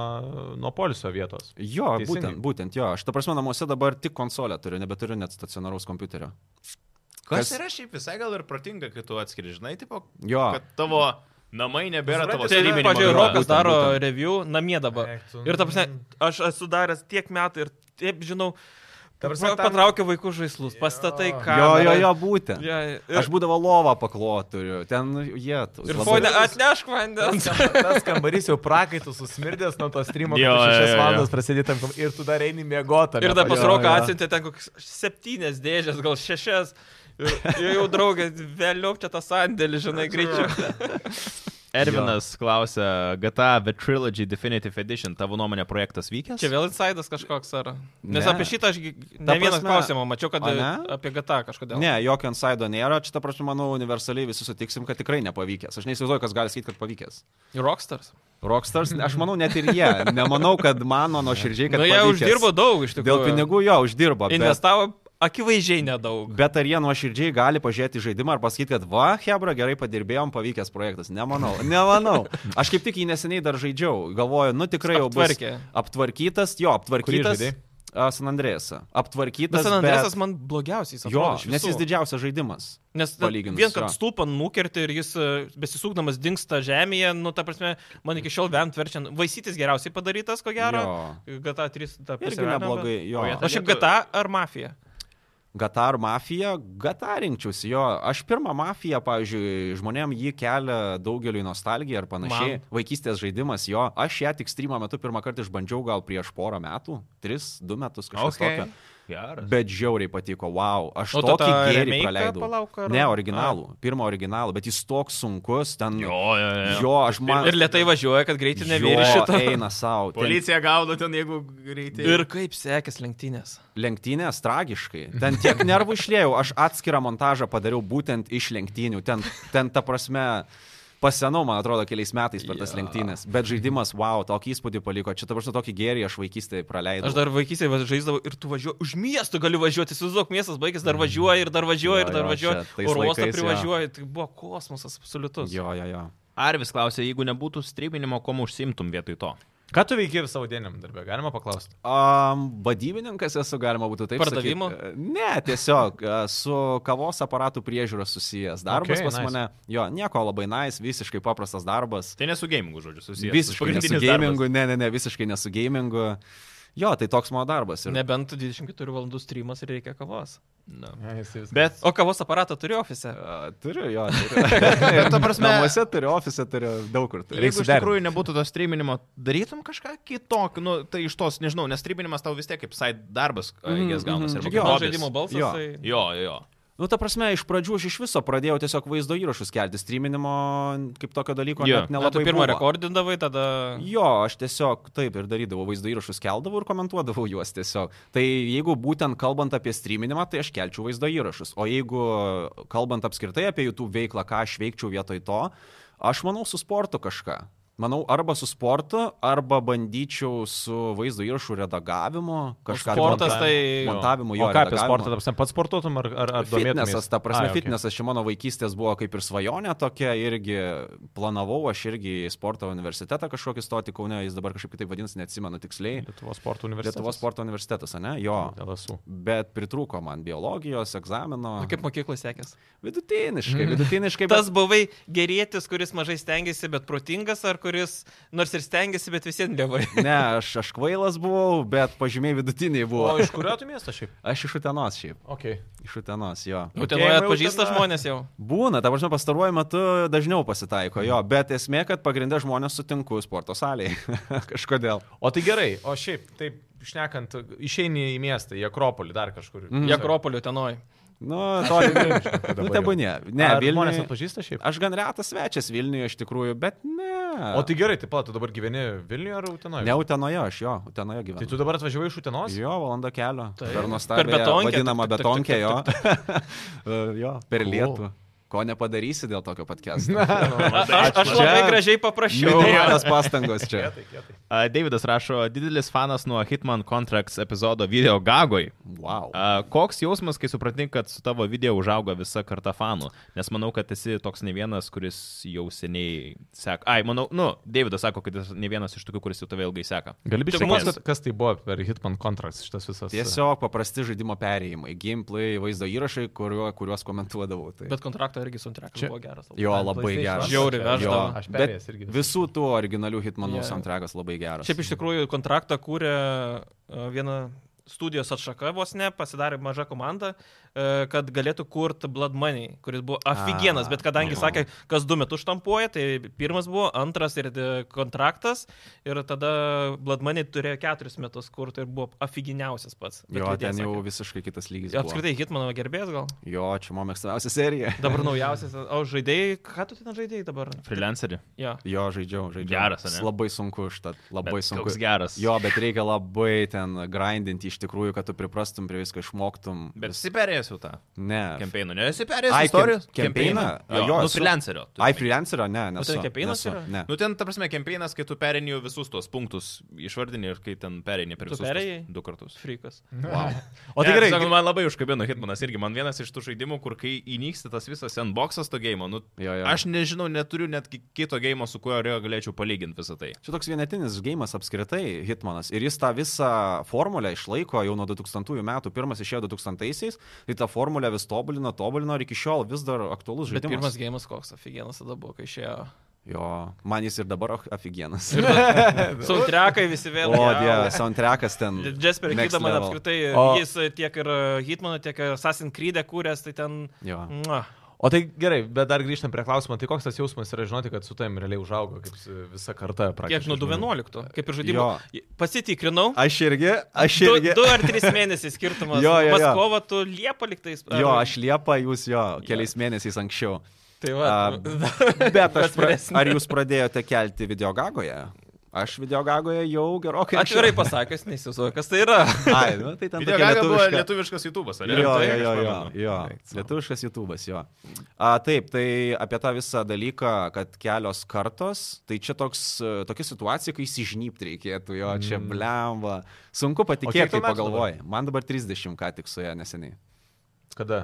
B: nuo poliso vietos.
D: Jo,
B: Teisingai.
D: būtent, būtent jo. Aš ta prasme namuose dabar tik konsolę turiu, nebeturiu net stacionaraus kompiuterio.
C: Kas
D: Kas-
C: yra šiaip visai gal ir protinga, kai tu atskiri, žinai, tipo,
D: Jo.
C: kad tavo namai nebėra tavo
A: Tai,
C: streaminimo
A: pažiūrėjau,
C: biura.
A: Rokas
D: Būtent,
A: daro
D: būtent.
A: review namie dabar.
B: Eik tu,
A: Ir, ta prasme,
B: mm.
A: aš esu daręs tiek metų ir taip žinau,
B: Ta prasme,
A: Pa-
B: tam-
A: Patraukia vaikų žaislus, pastatai ką.
D: Jo, jo, jo, būtent.
A: Ja, ir,
D: Aš būdavo lovą pakloturiu, ten nu, jie.
A: ir fone atnešk
D: *laughs*
A: vandens.
B: Tas kambarys jau prakaitų susmirdęs nuo to streamo,
C: Jo,
B: kad
C: jo,
B: 6
C: jo.
B: valandas prasidėtam ir tu dar eini miegotą.
A: Ir dar pasiroka atsintė ten kokias septynes dėžės, gal šešias. Ir ir jau draugė, vėliau čia tas sandėlis, žinai, greičiau.
C: Ervinas klausia, GTA The Trilogy Definitive Edition, tavo nuomonė projektas vykęs?
A: Čia vėl insidas kažkoks ar. Nes
D: Ne.
A: apie šitą aš gi-
D: Ta
A: ne vieną
D: prasme-
A: klausimą mačiau, kad
D: O ne?
A: apie GTA kažkodėl.
D: Ne, jokio insaido nėra, čia, ta prasme, manau, universaliai visi sutiksim, kad tikrai nepavykęs. Aš neįsivaizduoju, kas gali sakyti, kad pavykęs.
A: Ir Rockstars. *laughs*
D: Rockstars, aš manau, net ir jie. Nemanau, kad mano nuoširdžiai,
A: Na, Nu,
D: Tai kad...
A: jie
D: pavykęs.
A: uždirbo daug iš tikrųjų.
D: Dėl pinigų jo uždirbo. Bet,
A: Investavo akivaizdžiai nedaug.
D: bet ar jie nuoširdžiai gali pažiūrėti į žaidimą ar pasakyti, kad va, Hebra, gerai padirbėjom, pavykęs projektas?
A: *laughs*
D: Nemanau. Nemanau. Aš kaip tik jį neseniai dar žaidžiau. Galvoju, nu tikrai jau bus
A: Aptvarkė.
D: aptvarkytas. Jo, aptvarkytas.
B: žaidei?
D: a, San Andrėsą.
A: Bet
D: Aptvarkytas.
A: San Andresas man blogiausiai
D: Bet...
A: sakė.
D: Jo, nes jis didžiausias žaidimas.
A: Nes
D: Palyginus,
A: palyginus. Vien, kad
D: jo.
A: stulpą nukerti ir jis e, besisukdamas dinksta žemėje, nu, ta prasme, man iki šiol vemt verčiant. Vaisytis geriausiai padarytas, ko gero. GTA 3 ta
D: Irgi
A: pasiverda,
D: neblogai.
A: bet-
D: Jo.
C: O jie
A: O šiaip GTA ar mafija?
D: Gatar mafija, Gatar rinkčiausi jo. Aš pirmą mafiją, pavyzdžiui, žmonėm jį kelia daugeliu nostalgiją ar panašiai. Man. Vaikystės žaidimas jo. Aš ją tik streamo metu pirmą kartą išbandžiau gal prieš porą metų, tris, du metus kažkas
C: Okay.
D: okay. tokio.
C: Geras.
D: Bet žiauriai patiko, wow, aš
A: O
D: o
A: tu
D: tokį
A: tą
D: gėrį
A: remake'ą
D: praleidau.
A: palauk, ar-
D: Ne, originalų, pirmą originalą, bet jis toks sunkus, ten...
C: Jo, jo, jo.
D: jo aš man...
A: Ir lietai važiuoja, kad greitai nevėri
D: Jo,
A: šitą.
D: Eina savo.
C: Policija gaudo ten, jeigu greitai.
A: Ir kaip sekės lenktynės?
D: lenktynės tragiškai.
A: Mhm.
D: Ten tiek nervų išlėjau, aš atskirą montažą padariau būtent iš lenktynių. Ten, ten ta prasme, pasenau, man atrodo, keliais metais per tas
A: Jo.
D: lenktynės. Bet žaidimas, wow, tokį įspūdį paliko. Čia ta prasme tokį gerį aš vaikystėje praleidau.
A: Aš dar vaikystėje va- žaisdavau ir tu važiuoji, už miestų gali važiuoti, įsivaizduok, miestas baigės, dar važiuoji ir dar važiuoji
D: Jo,
A: ir dar
D: jo,
A: važiuoji.
D: čia tais
A: Oro uostą
D: laikais, jo.
A: privažiuoji, tai buvo kosmosas absoliutus.
D: Jo, jo, jo.
C: Arvis klausia, jeigu nebūtų streaminimo, kom užsimtum vietoj to?
B: Ką tu veiki savo dieniniam darbę? Galima paklausti.
D: Um, vadybininkas esu, galima būtų taip
A: Pardavimo?
D: sakyt. Ne, tiesiog e, su kavos aparatų priežiūros susijęs darbas
B: Okay,
D: okay, pas
B: nice.
D: nice. mane. Jo, nieko labai nais, nice, visiškai paprastas darbas.
C: Tai nesu gamingu, žodžiu, susijęs.
D: Visiškai ne su
C: Pagrindinis
D: gamingu, ne, ne, ne, visiškai ne su gamingu. Jo, tai toks mano darbas. Ir...
A: Nebent 24 valandų streamas ir reikia kavos.
C: darbas. Nu.
B: Bet
C: Bet
A: O kavos aparatą turi ofise.
D: A, e, Turiu, jo.
C: *laughs*
D: Turiu.
C: Nu, ta prasme-
D: Namuose turiu, ofise turiu, daug kur turiu.
C: Jeigu iš tikrųjų nebūtų to streaminimo, darytum kažką kitokio, nu, tai iš tos, nežinau, nes streaminimas tau vis tiek kaip side darbas,
D: Mhm,
C: jis gaunasi.
D: mhm.
C: arba
D: Čia
C: kaip
D: jo,
A: Mano
C: hobis.
A: žaidimo balsas.
D: Jo.
A: Tai...
C: Jo, jo.
D: Nu, ta prasme, iš pradžių aš iš viso pradėjau tiesiog vaizdo įrašus kelti, streaminimo kaip tokio dalyko
C: Jo.
D: yeah. net
A: Na, tu
D: nelabai.
A: pirmą
D: buvo.
A: rekordindavai, tada...
D: Jo, aš tiesiog taip ir darydavau vaizdo įrašus, keldavau ir komentuodavau juos tiesiog. Tai jeigu būtent kalbant apie streaminimą, tai aš kelčiau vaizdo įrašus. O jeigu kalbant apskritai apie YouTube veiklą, ką aš veikčiau vietoj to, aš manau su sportu kažką. Manau, arba su sportu, arba bandyčiau su vaizdo įrašų redagavimu kažką
A: sportas
D: monta-
A: tai-
D: montavimu jo.
B: o ką apie
D: redagavimu.
B: sportą, ta prasme, pats sportuotum ar, ar, ar domėtumės?
D: Fitnesas, ta prasme, okay. fitnesas čia mano vaikystės buvo kaip ir svajonė tokia, irgi planavau, aš irgi į sporto universitetą kažkokį stoti Kaune, jis dabar kažkaip kitaip vadinasi, neatsimenu tiksliai.
B: Lietuvos sporto universitetas.
D: Lietuvos sporto universitetas, ne? Jo.
B: LSU.
D: Bet pritruko man biologijos, egzamino.
A: Nu, kaip mokykloje sekės?
B: Mhm.
D: Vidutiniškai, vidutiniškai.
A: Tas buvai gerėtis, kuris mažai stengiasi, bet protingas, ar kuris nors ir stengiasi, bet visiems dievai.
D: bet, ne, aš, aš kvailas buvau, bet pažymiai vidutiniai
B: O
D: buvo.
B: iš kurio tu miesto šiaip?
D: Aš iš Utenos šiaip.
B: Okay.
D: Iš Utenos, jo.
A: O ten
B: Tikėjimai
A: Nu, atpažįsta
B: Utena.
A: žmonės jau.
D: Būna, ta prasme, pastaruoju metu dažniau pasitaiko jo, bet esmė, kad pagrindę žmonės sutinku sporto salėje. *laughs* Kažkodėl.
B: O tai gerai, o šiaip, taip, išnekant, išeini į miestą, į Akropolį dar kažkur.
D: Mm.
A: Jakropoliu tenoj.
D: Nu, to Nu, tebūnie. Ne,
B: Ar
D: Vilnius.
B: Žmonės atpažįsta šiaip.
D: Aš gan retas svečias Vilniuje iš tikrųjų, bet ne.
B: O tai gerai, tai pala, tu dabar gyveni Vilniuje ar Utenoje?
D: Ne Utenoje, aš jo, Utenoje
B: Tai
D: gyvenu.
B: tu dabar atvažiavai iš Utenos?
D: Jo, valanda kelio.
A: Taip.
D: Per nuostabią.
A: Per betonkę,
D: Vadinama
A: tuk, tuk, tuk,
D: betonkė
A: tuk,
D: jo.
A: tuk,
D: *laughs* Uh, jo. Per
B: Cool.
D: lietų. Ko nepadarysi dėl tokio podcast'o.
A: Aš, aš, aš
D: Čia-
A: labai gražiai paprašiau.
D: Minėtas pastangos čia.
B: Kietai, kietai.
C: A, Davidas rašo, didelis fanas nuo Hitman Contracts epizodo video gagoj.
D: Wow.
C: A, Koks jausmas, kai supranti, kad su tavo video užaugo visa karta fanų? Nes manau, kad esi toks ne vienas, kuris jau seniai seka. Ai, manau, nu, Davidas sako, kad esi ne vienas iš tokių, kuris jau tave ilgai seka.
B: Gali
A: biškį
B: bičiuliai,
A: pasakyt,
B: kas, kas tai buvo per Hitman kontraktas šitas visas?
D: Tiesiog paprasti žaidimo perėjimai, gameplay, vaizdo įrašai, kuriuo, kuriuos komentuodavau. Tai.
A: Bet kontrakto irgi soundtrackas
B: Čia-
A: buvo geras.
D: Jo, labai geras.
A: Žiauriai
D: jo,
A: veždavo.
B: Aš
D: bet
B: perėjęs irgi.
D: Visų tų originalių
A: Jo.
D: hitmanų nu. yeah. soundtrackas labai geras.
A: Šiaip iš tikrųjų kontraktą kūrė e, viena studijos atšaka vos ne, pasidarė maža komanda, e, kad galėtų kurti Blood Money, kuris buvo aфиgenas,
D: A,
A: bet kadangi
D: jo.
A: sakė, kas du metus štampuoja, tai pirmas buvo, antras ir e, kontraktas, ir tada Blood Money turėjo keturis metus kurti ir buvo aфиginiausias pats. Bet
D: Jo,
A: leidėjas
D: ten jau
A: sakė.
D: visiškai kitas lygis. buvo.
A: Apskritai, Hitmano gerbėjas gal?
D: Jo, čia mano mėgstamiausia serija.
A: Dabar naujausias, o žaidėjai, ką tu ten žaidėjai dabar?
C: Freelancerį.
A: Ja.
D: Jo, žaidžiau, žaidžiau.
C: Geras, ane?
D: Labai sunku, štat, labai
C: Bet
D: sunku.
C: koks geras.
D: Jo, bet reikia labai ten grindinti iš tikrųjų, kad tu priprastum prie visko, išmoktum.
C: Bet esi perėjęs jau tą
D: Ne.
C: kampeiną. Ne, esi perėjęs
D: Ai,
C: istorijos?
D: kem- kempeiną?
C: Jo,
D: Jo,
C: jo nu,
D: esu.
C: freelancerio. Tu-
D: Ai, freelancerio, ne,
A: tai- O
D: nes.
A: ten kepeinas yra?
D: Ne.
C: Nu ten, ta prasme, kempeinas, kai tu perėjai visus tuos punktus, išvardini ir kai ten perėjai per
A: Tu
C: visus tuos
A: perėjai?
C: du kartus.
A: Frikas.
B: e,
C: Wow.
B: *laughs* O tai gerai.
C: Sakau,
A: nu,
C: man labai užkabino Hitmanas irgi. Man vienas iš tų žaidimų, kur kai įnyksta tas visas sandboxas to gėjimo, nu,
D: Jo, jo.
C: aš nežinau, neturiu net ki- kito gėjimo, su kuriuo galėčiau palyginti visą tai.
D: Čia toks vienetinis žaidimas apskritai, Hitmanas. Ir jis tą visą formulę išlaiko jau nuo 2000 metų. Pirmas išėjo 2000-aisiais, tai tą formulę vis tobulino, tobulino ir iki šiol vis dar aktualus
A: Bet
D: žaidimas.
A: pirmas gėjimas koks aфиgenas tada buvo, kai išėjo.
D: Jo, man jis ir dabar aфиgenas.
A: Sautriakai visi vėl.
D: O,
A: jo.
D: dieve, soundtrackas ten.
A: Jasper
D: Next
A: Hidaman
D: level.
A: apskritai,
B: O-
A: jis tiek ir Hitmano, tiek ir Assassin's Creed kūręs, tai ten...
D: Jo.
A: Mua.
B: O tai gerai, bet dar grįžtam prie klausimo, tai koks tas jausmas yra žinoti, kad su tavim realiai užaugo, kaip su- visa karta praktiškai.
A: Kiek nuo
B: žmonių?
A: 2.11, kaip ir žaidimo. Pasitikrinau.
D: Aš irgi, aš
A: Du,
D: irgi.
A: du ar trys mėnesiai skirtumas.
D: *laughs* Jo, jo, jo.
A: Maskova, tu liepa liktais. ar-
D: Jo, aš liepą, jūs jo, keliais mėnesiais anksčiau.
A: Tai va.
D: A,
A: *laughs*
D: Bet aš. Pra... Ar jūs pradėjote kelti videogagoje? Aš videogagoje jau gerokai. anksčiau.
A: Atvirai pasakęs, neįsivaizduoju, kas tai yra.
D: *laughs* Ai, nu, tai ten
C: Video
D: tokia
C: gaga buvo
D: lietuviška.
C: lietuviškas YouTube'as, ar ne?
D: Jo,
C: Tai
D: jo,
C: aš
D: jo, jo,
C: pamenu.
D: jo. Lietuviškas YouTube'as, jo. A, taip, tai apie tą visą dalyką, kad kelios kartos, tai čia toks, e, tokia situacija, kai įsižnypti reikėtų, jo, čia
A: Mm.
D: blemba. Sunku
B: kiek
D: patikėti,
B: tau
D: kai
B: metų
D: pagalvoji. Man dabar 30 ką tik suėjo neseniai.
B: Kada?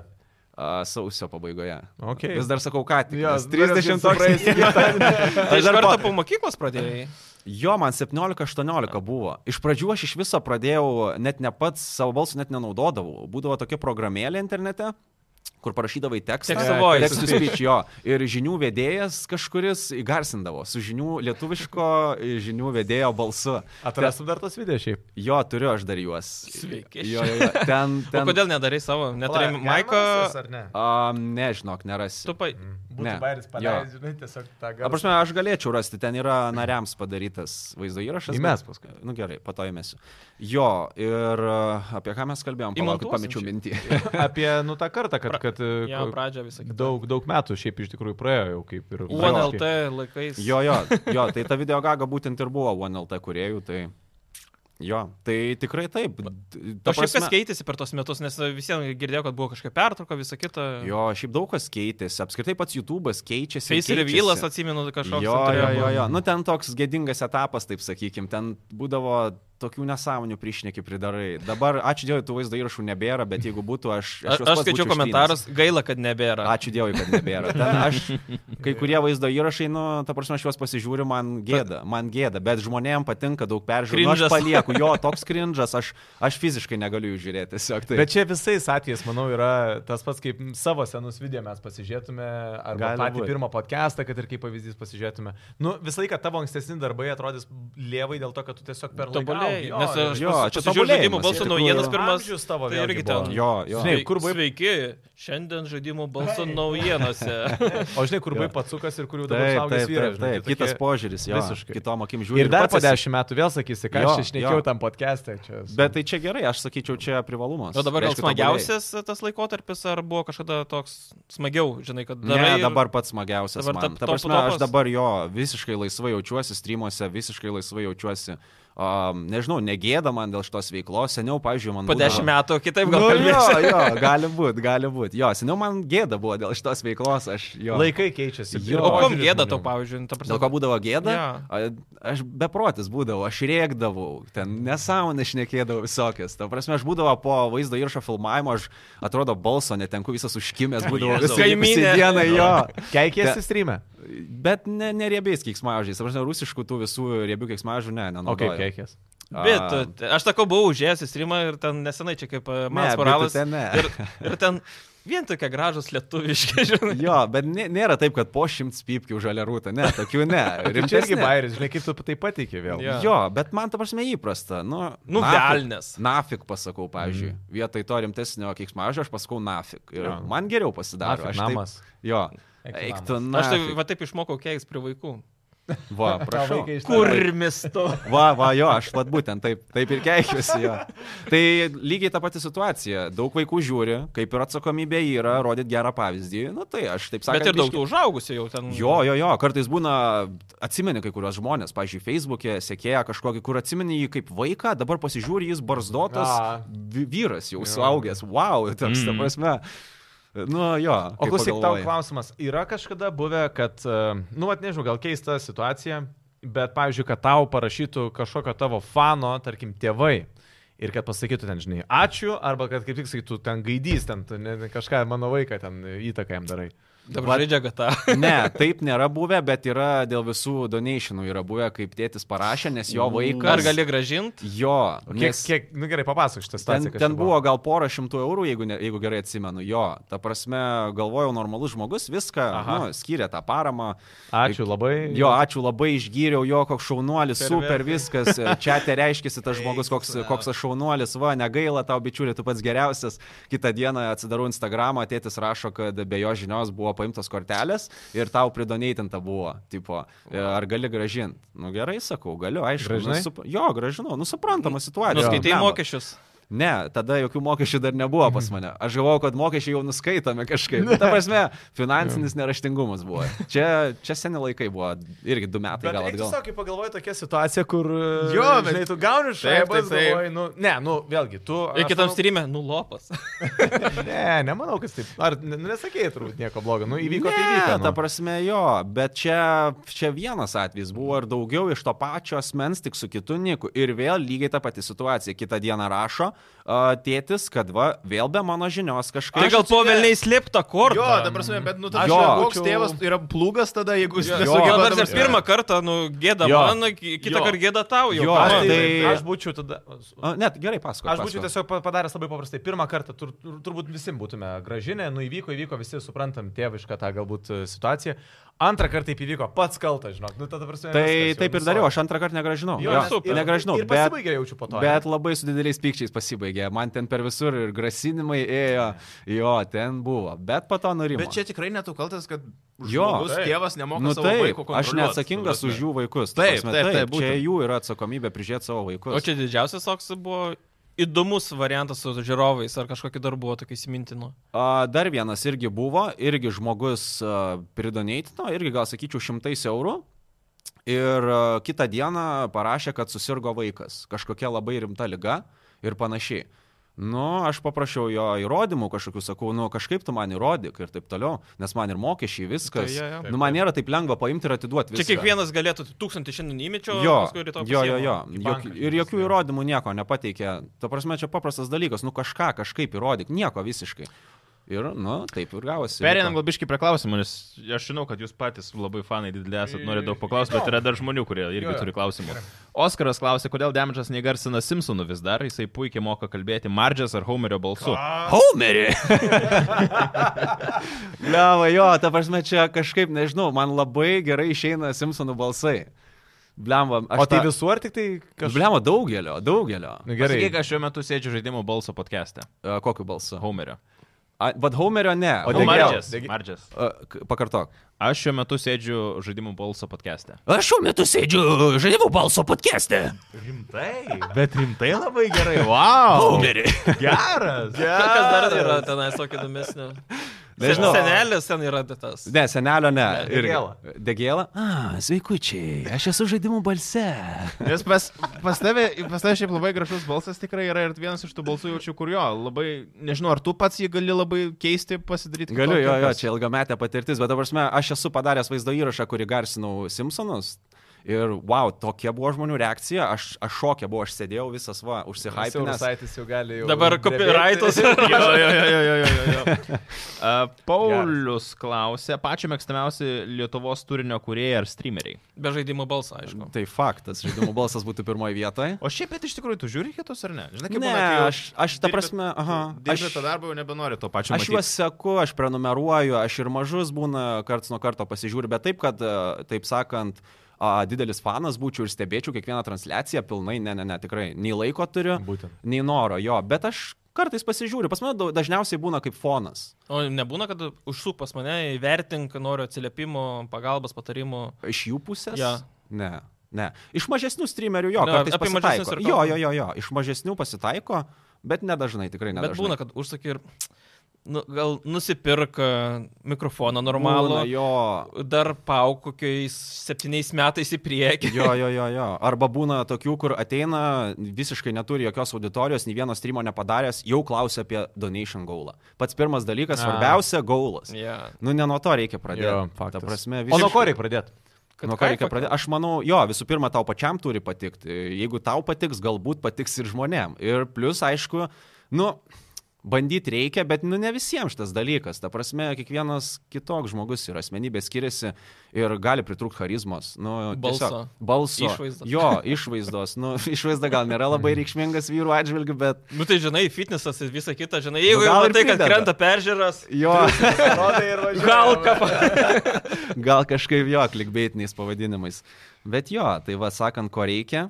D: A, sausio pabaigoje.
B: Okei.
D: Vis dar sakau, ką tik.
A: nu,
B: Jo,
D: nes
B: dar aš
D: 30
B: jau
D: toks.
A: Tai
D: *laughs* Aš
A: iš
D: dar
A: karto
D: po-
A: po mokyklos pradėjai.
D: *laughs* Jo, man 17-18 buvo. Iš pradžių aš iš viso pradėjau, net ne pats savo balsų net nenaudodavau. Būdavo tokia programėlė internete kur parašydavai tekstą.
A: Text to voice.
D: Text to speech, jo. Ir žinių vedėjas kažkuris įgarsindavo su žinių lietuviško žinių vedėjo balsu.
B: Atrastum dar tas video šiaip.
D: Jo, turiu aš dar juos.
A: Sveiki.
D: Jo, jo, jo. Ten,
A: O
D: ten.
A: kodėl nedarai savo? Netarai
B: Pala,
A: Maiko.
B: galimas jis ar ne?
D: Um, nežinok, nerasi.
A: Tu pa...
B: Būtų
D: Ne.
B: bairis
D: Jo.
B: paleidžiu, žinai, tiesiog tą
D: Ta prasme, aš galėčiau rasti, ten yra nariams padarytas vaizdo įrašas.
B: Įmesk
D: bet- Nu gerai, po to įmesiu. Jo, ir uh, apie ką mes kalbėjom, palaukit,
A: Įmontuosim
D: pamečiau
A: čia.
D: mintį. *laughs*
B: Apie, nu, tą kartą, kad, kad e,
A: Jo,
B: ko-
A: pradžią visą kitą.
B: daug, daug metų šiaip iš tikrųjų praėjo jau kaip ir...
A: UNLT laikais.
D: Jo, jo, jo, tai ta videogaga būtent ir buvo OneLT kuriejų, tai jo, tai tikrai taip. D- ta
A: O šiaip kas
D: prasme-
A: keitėsi per tos metus, nes visiems girdėjau, kad buvo kažkokia pertrauka, visa kita.
D: Jo, šiaip daug kas keitėsi, apskritai pats YouTube'as keičiasi.
A: Face
D: keičiasi.
A: revealas, atsimenu, kažkoks.
D: Jo,
A: ten
D: jo,
A: turėjo
D: jo,
A: būt.
D: jo. Nu, ten toks gėdingas etapas, taip sakykim, ten būdavo tokių nesąmonių priešneki pridarai. Dabar, ačiū Dievui, tų vaizdo įrašų nebėra, bet jeigu būtų, aš...
A: A-
D: juos
A: Aš
D: pats
A: skaičiau
D: būčiau
A: komentarus, gaila, kad nebėra.
D: ištrinęs. Ačiū Dievui, kad nebėra. Ten aš, kai kurie vaizdo įrašai, nu, ta prasme, aš juos pasižiūriu, man gėda, man gėda, bet žmonėms patinka daug peržiūrų. Nu, aš
A: Cringe'as.
D: palieku, jo, toks krindžas, aš, aš fiziškai negaliu jų žiūrėti, tiesiog tai.
B: Bet čia visais atvejais, manau, yra tas pats, kaip savo senus video mes pasižiūrėtume, arba
D: Gali
B: Gali patį
D: būt.
B: būt. pirmą podcastą, kad ir kaip pavyzdys pasižiūrėtume. Nu, visą laiką tavo ankstesni darbai atrodys lievai dėl to, kad tu tiesiog per
A: Tobulėjai. Nes aš
D: jo, čia
A: pasižiūrėjau žaidimų
D: tobulėjimas,
A: balso
D: iš tikrųjų.
A: naujienas pirmas.
B: Amžius tavo
A: tai
B: vėlgi
A: irgi
B: buvo.
A: ten.
D: Jo, jo.
B: Žinai, kur buvai-
A: Sveiki, šiandien žaidimų balso
D: *laughs*
A: naujienose.
B: O žinai, kur buvai pats sukas ir kur jau dabar saugęs vyras. žinai, tai
D: kitas
B: tokie-
D: požiūris, jo,
B: Visiškai.
D: kitom akim žiūri.
B: Ir dar
D: pats
B: po
D: esi-
B: dešimt metų vėl sakysi, ką
D: Jo,
B: aš išnekėjau
D: jo.
B: tam podcast'e. čia su-
D: Bet tai čia gerai, aš sakyčiau, čia privalumas.
A: O
D: Tai
A: dabar gal
D: Reiškia, tobulėji.
A: smagiausias tas laikotarpis, ar buvo kažkada toks smagiau, žinai, kad darai.
D: Ne,
A: ir-
D: dabar pats smagiausias.
A: Dabar
D: Dabar
A: tap-
D: man. Ta
A: top
D: prasme, aš
A: topas.
D: dabar jo visiškai laisvai jaučiuosi streamuose, visiškai laisvai jaučiuosi. Um, nežinau, negėda man dėl šitos veiklos. Seniau, pavyzdžiui, man...
A: Po dešimt metų kitaip gal
D: Nu, jo,
A: kalbėsiu.
D: jo, gali būti, gali būti. Jo, seniau man gėda buvo dėl šitos veiklos. Aš, jo.
B: Laikai keičiasi.
D: Jo.
A: O kom
B: požiūris
A: gėda
B: žmonių.
A: tau, pavyzdžiui, ta prasme.
D: Dėl ko būdavo gėda?
A: Jo.
D: A- Aš beprotis būdavau, aš rėkdavau, ten nesąmonę šnekėdavau visokias. Ta prasme, aš būdavo po vaizdo įrašo filmavimo, aš atrodo balso netenku, visas užkimęs būdavau visą
A: Kaimynė.
D: dieną jo.
B: Keikiesi
D: Te-
B: streamę.
D: Bet ne, neriebiais kiksmažiais, ta prasme, rusiškų tų visų riebių kiksmažių, ne,
B: O
D: nenaudoju.
B: kaip keikies?
A: Bet tu- aš tako buvau užėjęs į streamą ir ten nesenai čia kaip
D: Ne,
A: Mans
D: bet
A: Moralas.
D: tu ten ne.
A: Ir, ir ten vien tokie gražus lietuviški, *laughs* žinai.
D: *laughs* Jo, bet nė- nėra taip, kad po šimts pypkių žalia rūta. Ne, tokių ne.
B: Čia irgi
D: Rimtesni.
B: bairis, žinai, kaip tu tai patikė vėl.
A: Jo.
D: Jo, bet man ta prasme įprasta. Nu,
A: Nu,
D: nafik-
A: velnias.
D: Nafik pasakau, pavyzdžiui. Mm. Vietoj to rimtesnio keiksmažio aš pasakau nafik. Ir
B: Jo.
D: man geriau pasidaro.
B: Nafik
D: Aš taip-
B: namas.
D: Jo.
B: Eik tu
D: Eik tu, na.
A: Aš tai, va taip išmokau keiks prie vaikų.
D: Va, prašau.
A: Kurmis to.
D: Va, va, jo, aš pat būtent taip, taip ir keikiuosi jo. Tai lygiai ta pati situacija. Daug vaikų žiūri, kaip ir atsakomybė yra rodyti gerą pavyzdį. Na tai aš taip sakau.
A: Bet ir daug tų užaugusių jau ten.
D: Jo, jo, jo, kartais būna, atsimeni kai kurios žmonės, pavyzdžiui, Facebook'e sekėja kažkokį, kur atsimeni jį kaip vaiką, dabar pasižiūri, jis barzdotas
B: A.
D: vi- vyras jau suaugęs, wow,
A: Mm.
D: tarsi, ta prasme. Nu jo,
B: O
D: kaip
B: klausyk, tau
D: pagalvoji.
B: klausimas. Yra kažkada buvę, kad, e, nu, at nežinau, gal keista situacija, bet, pavyzdžiui, kad tau parašytų kažkokio tavo fano, tarkim, tėvai. Ir kad pasakytų ten, žinai, ačiū, arba kad kaip tik sakytų, ten gaidys, ten tu ne, ne kažką mano vaiką ten įtaką jam darai.
A: Dabar žaidžia gata.
D: Ne, taip nėra buvę, bet yra dėl visų donationų yra buvę, kaip tėtis parašė, nes jo vaikas.
A: Ar Mm. gali gražinti?
D: Jo,
B: O kiek,
D: nes
B: kiek, nu gerai, papasakok šitą
D: ten,
B: situaciją. kas čia
D: ten buvo gal pora šimtų eurų, jeigu, ne, jeigu gerai atsimenu. Jo, ta prasme, galvojau, normalus žmogus viską
B: Aha.
D: nu, skyrė tą paramą.
B: Ačiū labai.
D: Jo, ačiū labai, išgyriau jo, koks šaunuolis, super viskas. Čia te reiškėsi
B: *laughs*
D: tas žmogus, koks, koks aš šaunuolis, va, negaila tau, bičiuli, tu pats geriausias. Kitą dieną atsidarau Instagramą, tėtis rašo, kad be jo žinios buvo paimtos kortelės ir tau pridoneitinta buvo. Tipo, e, ar gali gražinti? Nu gerai, sakau, galiu, aišku. Nu,
B: Gražinai?
D: sup... Jo, gražinau, nu suprantama situacija.
A: Nuskaitai
D: Blemba.
A: mokesčius.
D: Ne, tada jokių mokesčių dar nebuvo pas mane. Aš galvojau, kad mokesčiai jau nuskaitome kažkaip. Nu, Ta prasme, finansinis neraštingumas buvo. Čia, čia seni laikai buvo, irgi du metai
B: Bet
D: Tai gal
B: gal
D: atgal.
B: tiesiog, kai pagalvoji tokia situacija, kur... e,
C: Jo, bet-
B: žinai, tu gauni
C: Taip,
B: šaibas,
C: taip, taip.
B: galvoji, nu, ne, nu, vėlgi, tu...
A: Ir
B: aš
A: kitam
B: manau-
A: streamė, nu
D: *laughs*
A: lopas.
B: Ne, nemanau, kad taip. Ar ne- nu, nesakėjai turbūt nieko blogo, nu įvyko tai
D: ne,
B: įvyko. Nu.
D: ta prasme jo, bet čia, čia vienas atvejis buvo ir daugiau iš to pačio asmens, tik su kitu niku. Ir vėl lygiai ta pati situacija. Kitą dieną rašo uh, tėtis, kad va, vėl be mano žinios kažkas.
A: Tai gal po velniai slėpta kortą.
C: Jo, ta prasme, bet nu tas
D: Jo.
C: koks tėvas yra plūgas tada, jeigu jis
A: Jo,
C: nesugeba.
A: nors
C: ta
A: ir
C: prasme-
A: pirmą kartą, nu, gėda
B: Jo.
A: man, kitą
C: Jo.
A: kartą gėda tau jau.
D: Jo,
A: Ką
B: Aš,
A: man?
B: tai,
D: Tai-
B: aš būčiau tada...
D: Uh, net gerai pasakoju.
B: Aš būčiau tiesiog pa- padaręs labai paprastai. Pirmą kartą tur, tur, turbūt visi būtume gražinę, nu įvyko, įvyko, visi suprantam tėvišką tą galbūt e, situaciją. Antrą kartą taip įvyko, pats kaltas, žinok. Nu, tada, ta prasme,
D: Tai
B: viskas, jau
D: taip ir
B: nuso.
D: dariau, aš antrą kartą negražinau.
B: Jo, nes-
A: super.
B: ir-
D: negražinau,
B: Ir
D: bet,
B: pasibaigė jaučiu po to.
D: bet labai su dideliais pykčiais pasibaigė. Man ten per visur ir grasinimai ėjo. Jo, ten buvo. Bet po to norėjau.
C: Bet čia tikrai netu kaltas, kad
D: Jo.
C: žmogus,
B: Taip.
C: tėvas nemoka
D: nu,
C: savo
D: taip,
C: vaiko
D: aš
C: kontroliuot.
D: neatsakingas
C: Ta prasme.
D: už jų vaikus. ta
C: Taip,
D: prasme,
C: taip, taip,
D: Čia
C: būtent.
D: jų yra atsakomybė prižiūrėti savo vaikus.
A: O čia didžiausias toks buvo įdomus variantas su žiūrovais, ar kažkokį darbą tokį įsimintinu.
D: A, Dar vienas irgi buvo, irgi žmogus a, pridonėtino, irgi gal sakyčiau šimtais eurų. Ir a, kitą dieną parašė, kad susirgo vaikas, kažkokia labai rimta lyga ir panašiai. Nu, aš paprašiau jo įrodymų kažkokių, sakau, nu kažkaip tu man įrodyk ir taip toliau, nes man ir mokesčiai,
A: Tai
D: viskas.
A: jo, jo.
D: Nu, man nėra taip lengva paimti ir atiduoti
A: Čia
D: viską.
A: kiekvienas galėtų tūkstantį šiandien įmečiau,
D: Jo,
A: paskui rytoj.
D: jo, jo,
A: pasiimu.
D: jo.
B: Į
D: Jok,
B: banką
D: ir jokių
B: žingsnį.
D: įrodymų nieko nepateikė. Ta prasme, čia paprastas dalykas, nu kažką kažkaip įrodyk, nieko visiškai. Ir, nu, taip ir gavosi.
C: Pereinam galbiškai prie klausimų, nes aš žinau, kad jūs patys labai fanai dideli esat,
D: Mm.
C: noriu daug paklausti, bet yra dar žmonių, kurie irgi
B: Jo, jo.
C: turi klausimų. Oskaras klausė, kodėl Demidžas negarsina Simpsonų vis dar, jisai puikiai moka kalbėti Mardžės ar Homerio balsu.
D: Homerį! *laughs* Liava, jo, ta prasme, čia kažkaip, nežinau, man labai gerai išeina Simpsonų balsai. Bliamba, aš
B: O tai visur ar tik tai
D: Kaž...
B: kažkas...
D: Bliamba, daugelio, daugelio.
B: Nu, gerai.
C: Gerai, aš šiuo metu sėdžiu žaidimo balso podcast'e.
D: E, Kokiu balsu?
C: Homerio.
D: Vad Homerio ne.
B: O
D: Homerio-
B: Degel?
C: Mardžės.
B: Degel.
C: Mardžės.
D: A, k- Pakartok.
C: Aš šiuo metu sėdžiu žaidimo balso podcast'e.
D: Aš šiuo metu sėdžiu žaidimų balso podcast'e.
C: Rimtai, bet rimtai labai gerai. Wow. Geras.
A: Na, Kas dar yra tenais tokio įdomesnio?
D: Nežinau.
A: Senelis ten yra tas.
D: Ne, senelio ne.
B: Ne, Degėla.
D: Degėlą? A, sveikučiai, aš esu žaidimų balse.
C: Nes pas, pas tave, pas tave šiaip labai gražus balsas tikrai yra ir vienas iš tų balsų jaučiu, kur jo, labai, nežinau, ar tu pats jį gali labai keisti, pasidaryti.
D: Galiu,
C: kitokį, *laughs*
D: jo, jo,
C: kas-
D: čia ilgametė patirtis, bet dabar, aš esu padaręs vaizdo įrašą, kurį garsinau Simpsonus. Ir wow, tokia buvo žmonių reakcija, aš, aš šokė buvau, aš sėdėjau visas va, užsihypinęs.
B: Siaurusaitis jau gali jau.
A: Dabar copyrightus.
C: Jo, jo, jo, jo, jo, jo, jo. A, Paulius klausė, pačiu mėgstamiausi Lietuvos turinio kūrėjai ar streameriai.
A: Be žaidimo balsą, aišku.
D: Tai faktas, žaidimų balsas būtų pirmoje vietoje.
C: O šiaip, bet iš tikrųjų, tu žiūri kitus ar ne? Žinai, kaip
D: Ne,
C: būna, kai jau
D: aš, aš ta
C: dirbi-
D: prasme, aha.
C: Dirbi
D: Aš,
C: tą darbą jau nebenori to pačio.
D: aš
C: matyt.
D: juos seku, aš prenumeruoju, aš ir mažus būna karts nuo karto pasižiūriu, bet taip, kad, e, taip sakant, a, didelis fanas būčiau ir stebėčiau kiekvieną transliaciją pilnai, ne, ne, ne, tikrai, nei laiko turiu,
B: Būtent.
D: nei noro jo, bet aš kartais pasižiūriu, pas mane dau- dažniausiai būna kaip fonas.
A: O nebūna, kad užsuk pas mane, įvertink, noriu atsiliepimo, pagalbos, patarimų.
D: Iš jų pusės?
A: Jo.
D: Ne. Ne. Iš mažesnių streamerių jo,
A: Ne,
D: ne, kartais
A: apie mažesnius
D: pasitaiko.
A: ir
D: Jo,
A: kalbam.
D: jo, jo, jo, iš mažesnių pasitaiko, bet nedažnai, tikrai
A: Bet
D: nedažnai.
A: būna, kad užsakai ir nu, gal nusipirk a, mikrofoną
D: Būna,
A: normalų,
D: jo.
A: dar pauk kokiais septyniais metais į
D: *laughs*
A: priekį.
D: Jo, jo, jo, jo. Arba būna tokių, kur ateina, visiškai neturi jokios auditorijos, nei vieno streamo nepadaręs, jau klausia apie donation gaulą. Pats pirmas dalykas,
B: A.
D: svarbiausia, gaulas.
A: Yeah.
D: Nu, ne nuo to reikia pradėti.
B: Jo,
D: Ta
B: faktas.
D: prasme,
B: O nuo
D: visiškai-
B: ko reikia pradėti?
D: Nuo ko Nu, reikia pradėti? Aš manau, jo, visų pirma, tau pačiam turi patikti. Jeigu tau patiks, galbūt patiks ir žmonėm. Ir plus, aišku, nu, bandyti reikia, bet nu ne visiems šitas dalykas. Ta prasme, kiekvienas kitoks žmogus ir asmenybė skiriasi ir gali pritrūkti charizmos. Nu,
A: Balso.
D: tiesiog Balso.
A: Išvaizdos.
D: Jo, išvaizdos. Nu, *laughs* išvaizda gal nėra
B: *laughs*
D: labai reikšmingas vyrų atžvilgių, bet...
A: Nu tai žinai, fitnesas ir visa kita, žinai, jeigu jau
D: Nu, gal ir
A: matai, kad
D: prideda.
A: krenta peržiūras,
B: *laughs*
D: Jo,
A: gal ką
D: gal kažkaip jo, klikbeitiniais pavadinimais. Bet jo, tai va, sakant, ko reikia,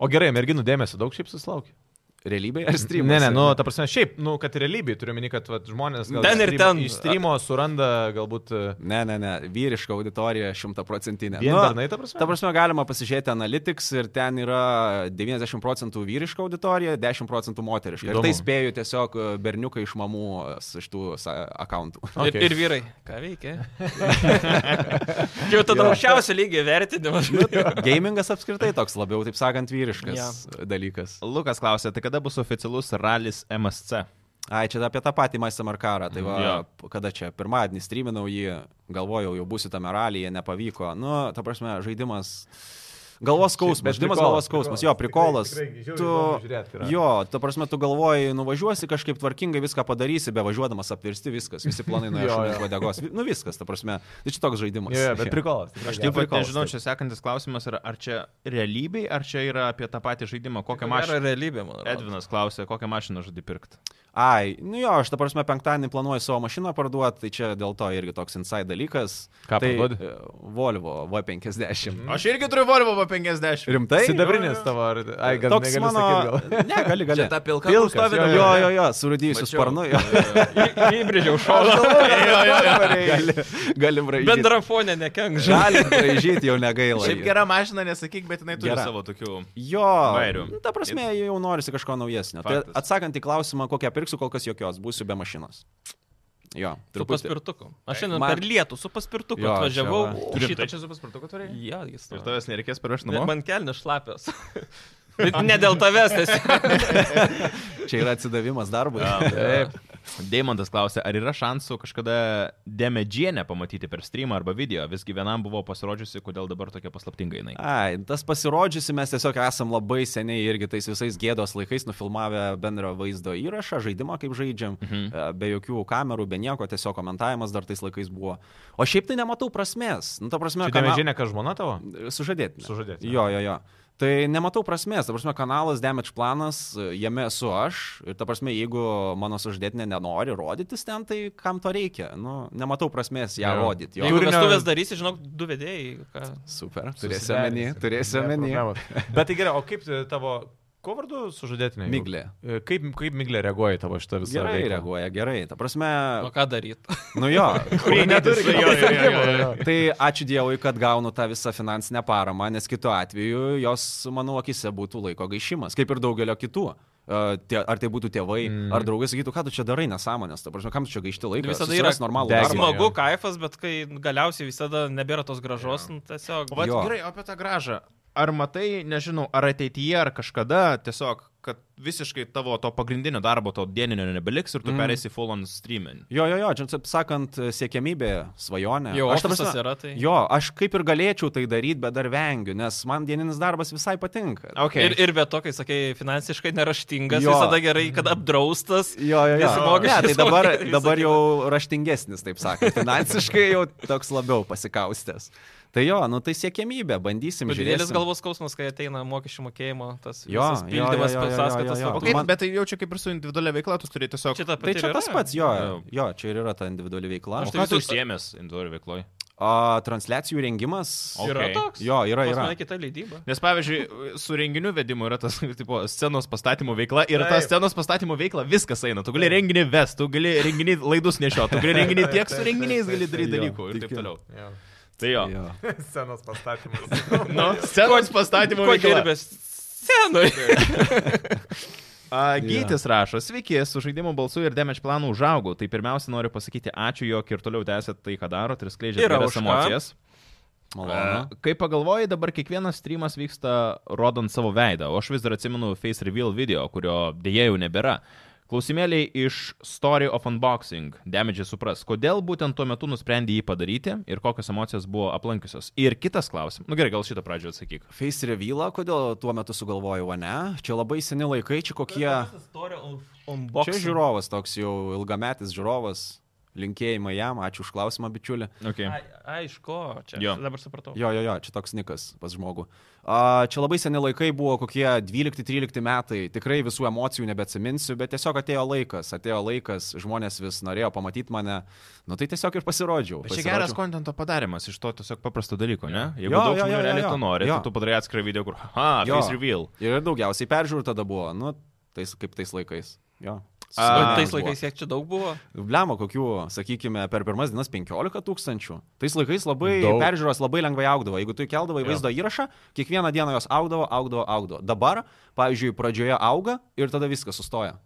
B: O gerai, merginų dėmesio daug šiaip susilaukia.
D: realybėje ar streamui.
B: Ne, ne, nu, ta prasme, šiaip, nu, kad realybėje turiu meni, kad vat, žmonės gal
A: Ten
B: iš
A: ir
B: streamo-
A: ten.
B: iš streamo suranda galbūt... e,
D: Ne, ne, ne, vyriška auditorija šimtaprocentinė. Nu,
B: Vien bernai, ta prasme?
D: Ta prasme, galima pasižiūrėti Analytics ir ten yra 90 procentų vyriška auditorija, 10 procentų moteriška.
B: Įdomu.
D: Ir tai spėju tiesiog e, berniukai iš mamų e, s- iš tų sa- e,
B: *laughs*
D: akauntų.
A: Ir,
B: Okay.
A: ir vyrai, ką veikia?
D: *laughs*
A: Jau tada aukščiausio lygio tai vertinimas.
D: Nu, tai Gamingas apskritai toks labiau, taip sakant, vyriškas dalykas.
C: Lukas klausė, tai kada bus oficialus ralis MSC?
D: Ai, čia apie tą patį Maistą Markarą.
B: Mhm.
D: Tai va,
C: Jo.
D: yeah. kada čia pirmadienį streaminau jį, galvojau, jau būsiu tame ralyje, nepavyko. Nu, ta prasme, žaidimas. Galvos skausmas, žaidimas
B: prikolas,
D: galvos skausmas, jo,
B: prikolas.
D: prikolas.
B: Tikrai- tikrai žiauriai įdomu žiūrėt yra.
D: tu, jo, ta prasme, tu galvoji, nuvažiuosi kažkaip tvarkingai, viską padarysi, be važiuodamas apvirsti viskas, visi
B: *laughs*
D: planai nuo
B: Jo, jo.
D: šalies vadegos. Nu viskas, ta prasme, tai čia toks žaidimas.
B: Jo, jo, bet prikolas. tikrai geras.
C: Aš taip pat
D: prikolas,
C: nežinau,
D: taip.
C: čia sekantis klausimas yra, ar čia realybėj, ar čia yra apie tą patį žaidimą, kokią
A: Yra
C: mašiną.
A: realybė, man atrodo.
C: Edvinas klausė, kokią mašiną žadi pirkti.
D: Ai, nu jo, aš ta prasme penktadienį planuoju savo mašiną parduoti, tai čia dėl to irgi toks inside dalykas.
B: Ką
D: tai,
B: parduodi?
D: e, Volvo V50.
C: Aš irgi turiu Volvo 50.
D: Rimtai?
B: Sidabrinis tavo, ar... Ai, gal
D: Tai, nu, Toks
B: negali
D: mano...
B: sakyt, gal.
D: Ne, gali, gali.
E: Ta pilka
B: Pilkas,
E: kur stovi
B: jo,
E: dabar.
D: Jo, jo, jo, surudėjusiu
E: Mačiau.
D: sparnu.
C: *laughs*
D: Jo.
A: Įbrėžiau šalą.
D: Gali, galim rašyti.
A: Bendra fonė nekenk žalį.
D: Galim rašyti, jau negaila.
C: Šiaip gera mašina, nesakyk, bet jinai turi
D: Gera.
C: savo tokių.
D: Jo,
C: Vairių.
D: nu, ta prasme, jau norisi kažko naujesnio.
C: Faktas.
D: Tai atsakant į klausimą, kokią pirksiu, kol kas jokios, būsiu be mašinos. Jo,
A: Su
D: truputį.
A: paspirtuku. Aš šiandien
D: Man-
A: per lietų su paspirtuku
D: Jo,
A: atvažiavau.
D: *laughs* čia
A: Turiu šitą čia.
C: su paspirtuku turėjai?
A: Ja, jis
C: Ir
A: tave.
C: tavęs nereikės paruošti namo.
A: Man kelnes
D: *laughs*
A: šlapios. Bet ne dėl tavęs, nes
D: Čia yra atsidavimas darbui. *laughs*
C: Taip. Deimantas klausė, ar yra šansų kažkada Demedžienę pamatyti per streamą arba video, visgi vienam buvo pasirodžiusi, kodėl dabar tokia paslaptinga jinai.
D: Ai, tas pasirodžiusi mes tiesiog esam labai seniai irgi tais visais gėdos laikais nufilmavę bendrą vaizdo įrašą, žaidimą kaip žaidžiam, mhm. be jokių kamerų, be nieko, tiesiog komentavimas dar tais laikais buvo. O šiaip tai nematau prasmės. Nu, ta prasme,
B: Tu nemežinė, kad žmona tavo?
D: Sužadėti.
B: Sužadėtinė.
D: Jo, jo, jo. Tai nematau prasmės, ta prasme, kanalas Damage planas, e, jame esu aš ir ta prasme, jeigu mano sužadėtinė nenori rodytis ten, tai kam to reikia? Nu, nematau prasmės ją
B: Jo.
D: rodyti. Jo.
A: jeigu
B: Turinio-
A: vestuvės darysi, žinok, du vedėjai. ką-
D: Super, turėsiu omeny,
B: Susiderinsim.
D: turėsiu
B: Ne
D: omeny.
B: problemos. Bet tai gerai, o kaip e, tavo, ko vardu sužadėtinė? jau?
D: Miglė.
B: E, Kaip, kaip Miglė reaguoja į tavo šitą visą
D: Gerai
B: veiklą?
D: reaguoja, gerai. Ta prasme,
A: O ką daryti?
D: nu jo.
B: *laughs* Kurie neturi
C: jo.
D: Tai ačiū Dievui, kad gaunu tą visą finansinę paramą, nes kitu atveju jos, mano akise, būtų laiko gaišimas, kaip ir daugelio kitų. E, tie- Ar tai būtų tėvai, mm. ar draugai sakytų, ką tu čia darai nesąmonės, ta prasme, kam tu čia gaišti laiką.
A: Visada
D: Susirask
A: yra
D: normalų
B: deginimas.
D: darbą.
A: Smagu, kaifas, bet kai galiausiai visada nebėra tos gražos, nu, tiesiog.
C: O vat,
D: Jo.
C: gerai, o apie tą gražą. ar matai, nežinau, ar ateityje, ar kažkada tiesiog, kad visiškai tavo to pagrindinio darbo, to dieninio nebeliks ir tu mm. perėsi full on streaming.
D: Jo, jo, jo, čia, taip sakant, siekiamybė, svajonė.
A: Jau
D: ta
A: ofisas yra, tai-
D: Jo, aš kaip ir galėčiau tai daryti, bet dar vengiu, nes man dieninis darbas visai patinka.
C: Okay.
A: Ir, ir be to, kai sakai, finansiškai neraštingas,
D: Jo.
A: jo. visada gerai, kad apdraustas.
D: Jo, jo, jo.
A: Nesimokęs,
D: Ne, tai dabar,
A: nesimokęs ir
D: dabar
A: visa
D: jau raštingesnis, taip sakant. Finansiškai jau toks labiau pasikaustęs. Tai jo, nu tai siekiamybė, bandysim
A: Didelis
D: žiūrėti.
A: galvos skausmas, kai ateina mokesčių mokėjimo, tas
D: Jo,
A: visas
D: jo, jo,
A: pildymas
D: jo, jo, jo,
A: sąskaitas.
D: jo, jo.
A: va,
C: Okay,
A: tu-
D: man-
C: man... Bet tai jaučiu kaip ir su individualia veikla, tu turi tiesiog...
A: Čia ta
D: Tai
A: pati
D: čia
A: ir
D: tas
A: yra.
D: pats, jo,
C: Jo.
D: jo, čia ir yra ta individuali veikla.
A: Aš
C: Aš
A: tai
C: tai
A: visur-
C: visur siemės individualiai veikloj.
D: O, transliacijų rengimas.
C: O.
A: Yra
C: Okay.
A: toks.
D: Jo, yra,
A: Pas
D: yra.
A: mane Kita leidyba.
C: Nes pavyzdžiui, su renginių vedimu yra tas *laughs* tipo, scenos pastatymų veikla ir ta
B: Taip.
C: scenos pastatymų veikla viskas eina. Tu gali renginį vest, tu gali renginį laidus nešiot, tu gali renginį tiek su renginiais gali daryti dalykų ir taip
D: tikiu.
C: toliau.
B: Jo.
C: Tai jo.
D: Jo.
B: *laughs* Scenos pastatymas. *laughs*
C: Nu, scenos pastatymų
A: Ko
C: veikla.
A: dirbės? Senui.
C: A, Gytis rašo, sveiki, su žaidimo balsu ir damage planu užaugau. Tai pirmiausia noriu pasakyti ačiū, jog ir toliau tęsėt tai, ką darot ir skleidžiate
A: Yra
C: geras
A: už ką.
C: emocijas.
D: Malonu.
C: Kai pagalvoji, dabar kiekvienas streamas vyksta rodant savo veidą, o aš vis dar atsimenu Face Reveal video, kurio dėja jau nebėra. Klausimėliai iš Story of Unboxing, Damage supras, kodėl būtent tuo metu nusprendė jį padaryti ir kokios emocijos buvo aplankiusios. Ir kitas klausimas, nu gerai, gal šitą pradžią atsakyk.
D: Face revealą, kodėl tuo metu sugalvojau, o ne? Čia labai seni laikai, čia kokie... Čia žiūrovas toks jau ilgametis žiūrovas. Linkėjimai jam, ačiū už klausimą, bičiulį.
C: Okay.
A: Aišku, čia. Jo.
C: Jo.
A: Dabar supratau.
D: Jo, jo, jo, čia toks nikas pas žmogų. A, čia labai seni laikai buvo kokie 12-13 metai, tikrai visų emocijų nebeatsiminsiu, bet tiesiog atėjo laikas, atėjo laikas, žmonės vis norėjo pamatyti mane, nu tai tiesiog ir pasirodžiau.
C: Bet čia
D: pasirodžiau.
C: geras kontento padarimas iš to tiesiog paprasto dalyko, ne? Jeigu
D: Jo,
C: jo, daug
D: jo,
C: žmonių
D: jo, jo,
C: realiai
D: jo.
C: to nori,
D: Jo.
C: tai tu padarai atskirą video, kur, aha,
D: Jo.
C: Face Reveal.
D: Ir daugiausiai peržiūrų tada buvo, nu, tais, kaip tais laikais. Jo.
A: O
C: A,
D: Ah.
A: tais laikais kiek čia daug buvo?
D: Blemo, kokių, sakykime, per pirmas dienas 15 tūkstančių. Tais laikais labai Daug.
B: Daug.
D: peržiūros labai lengvai augdavo. Jeigu tu keldavai vaizdo įrašą, kiekvieną dieną jos augdavo, augdavo, augdavo. Dabar, pavyzdžiui, pradžioje auga ir tada viskas sustoja.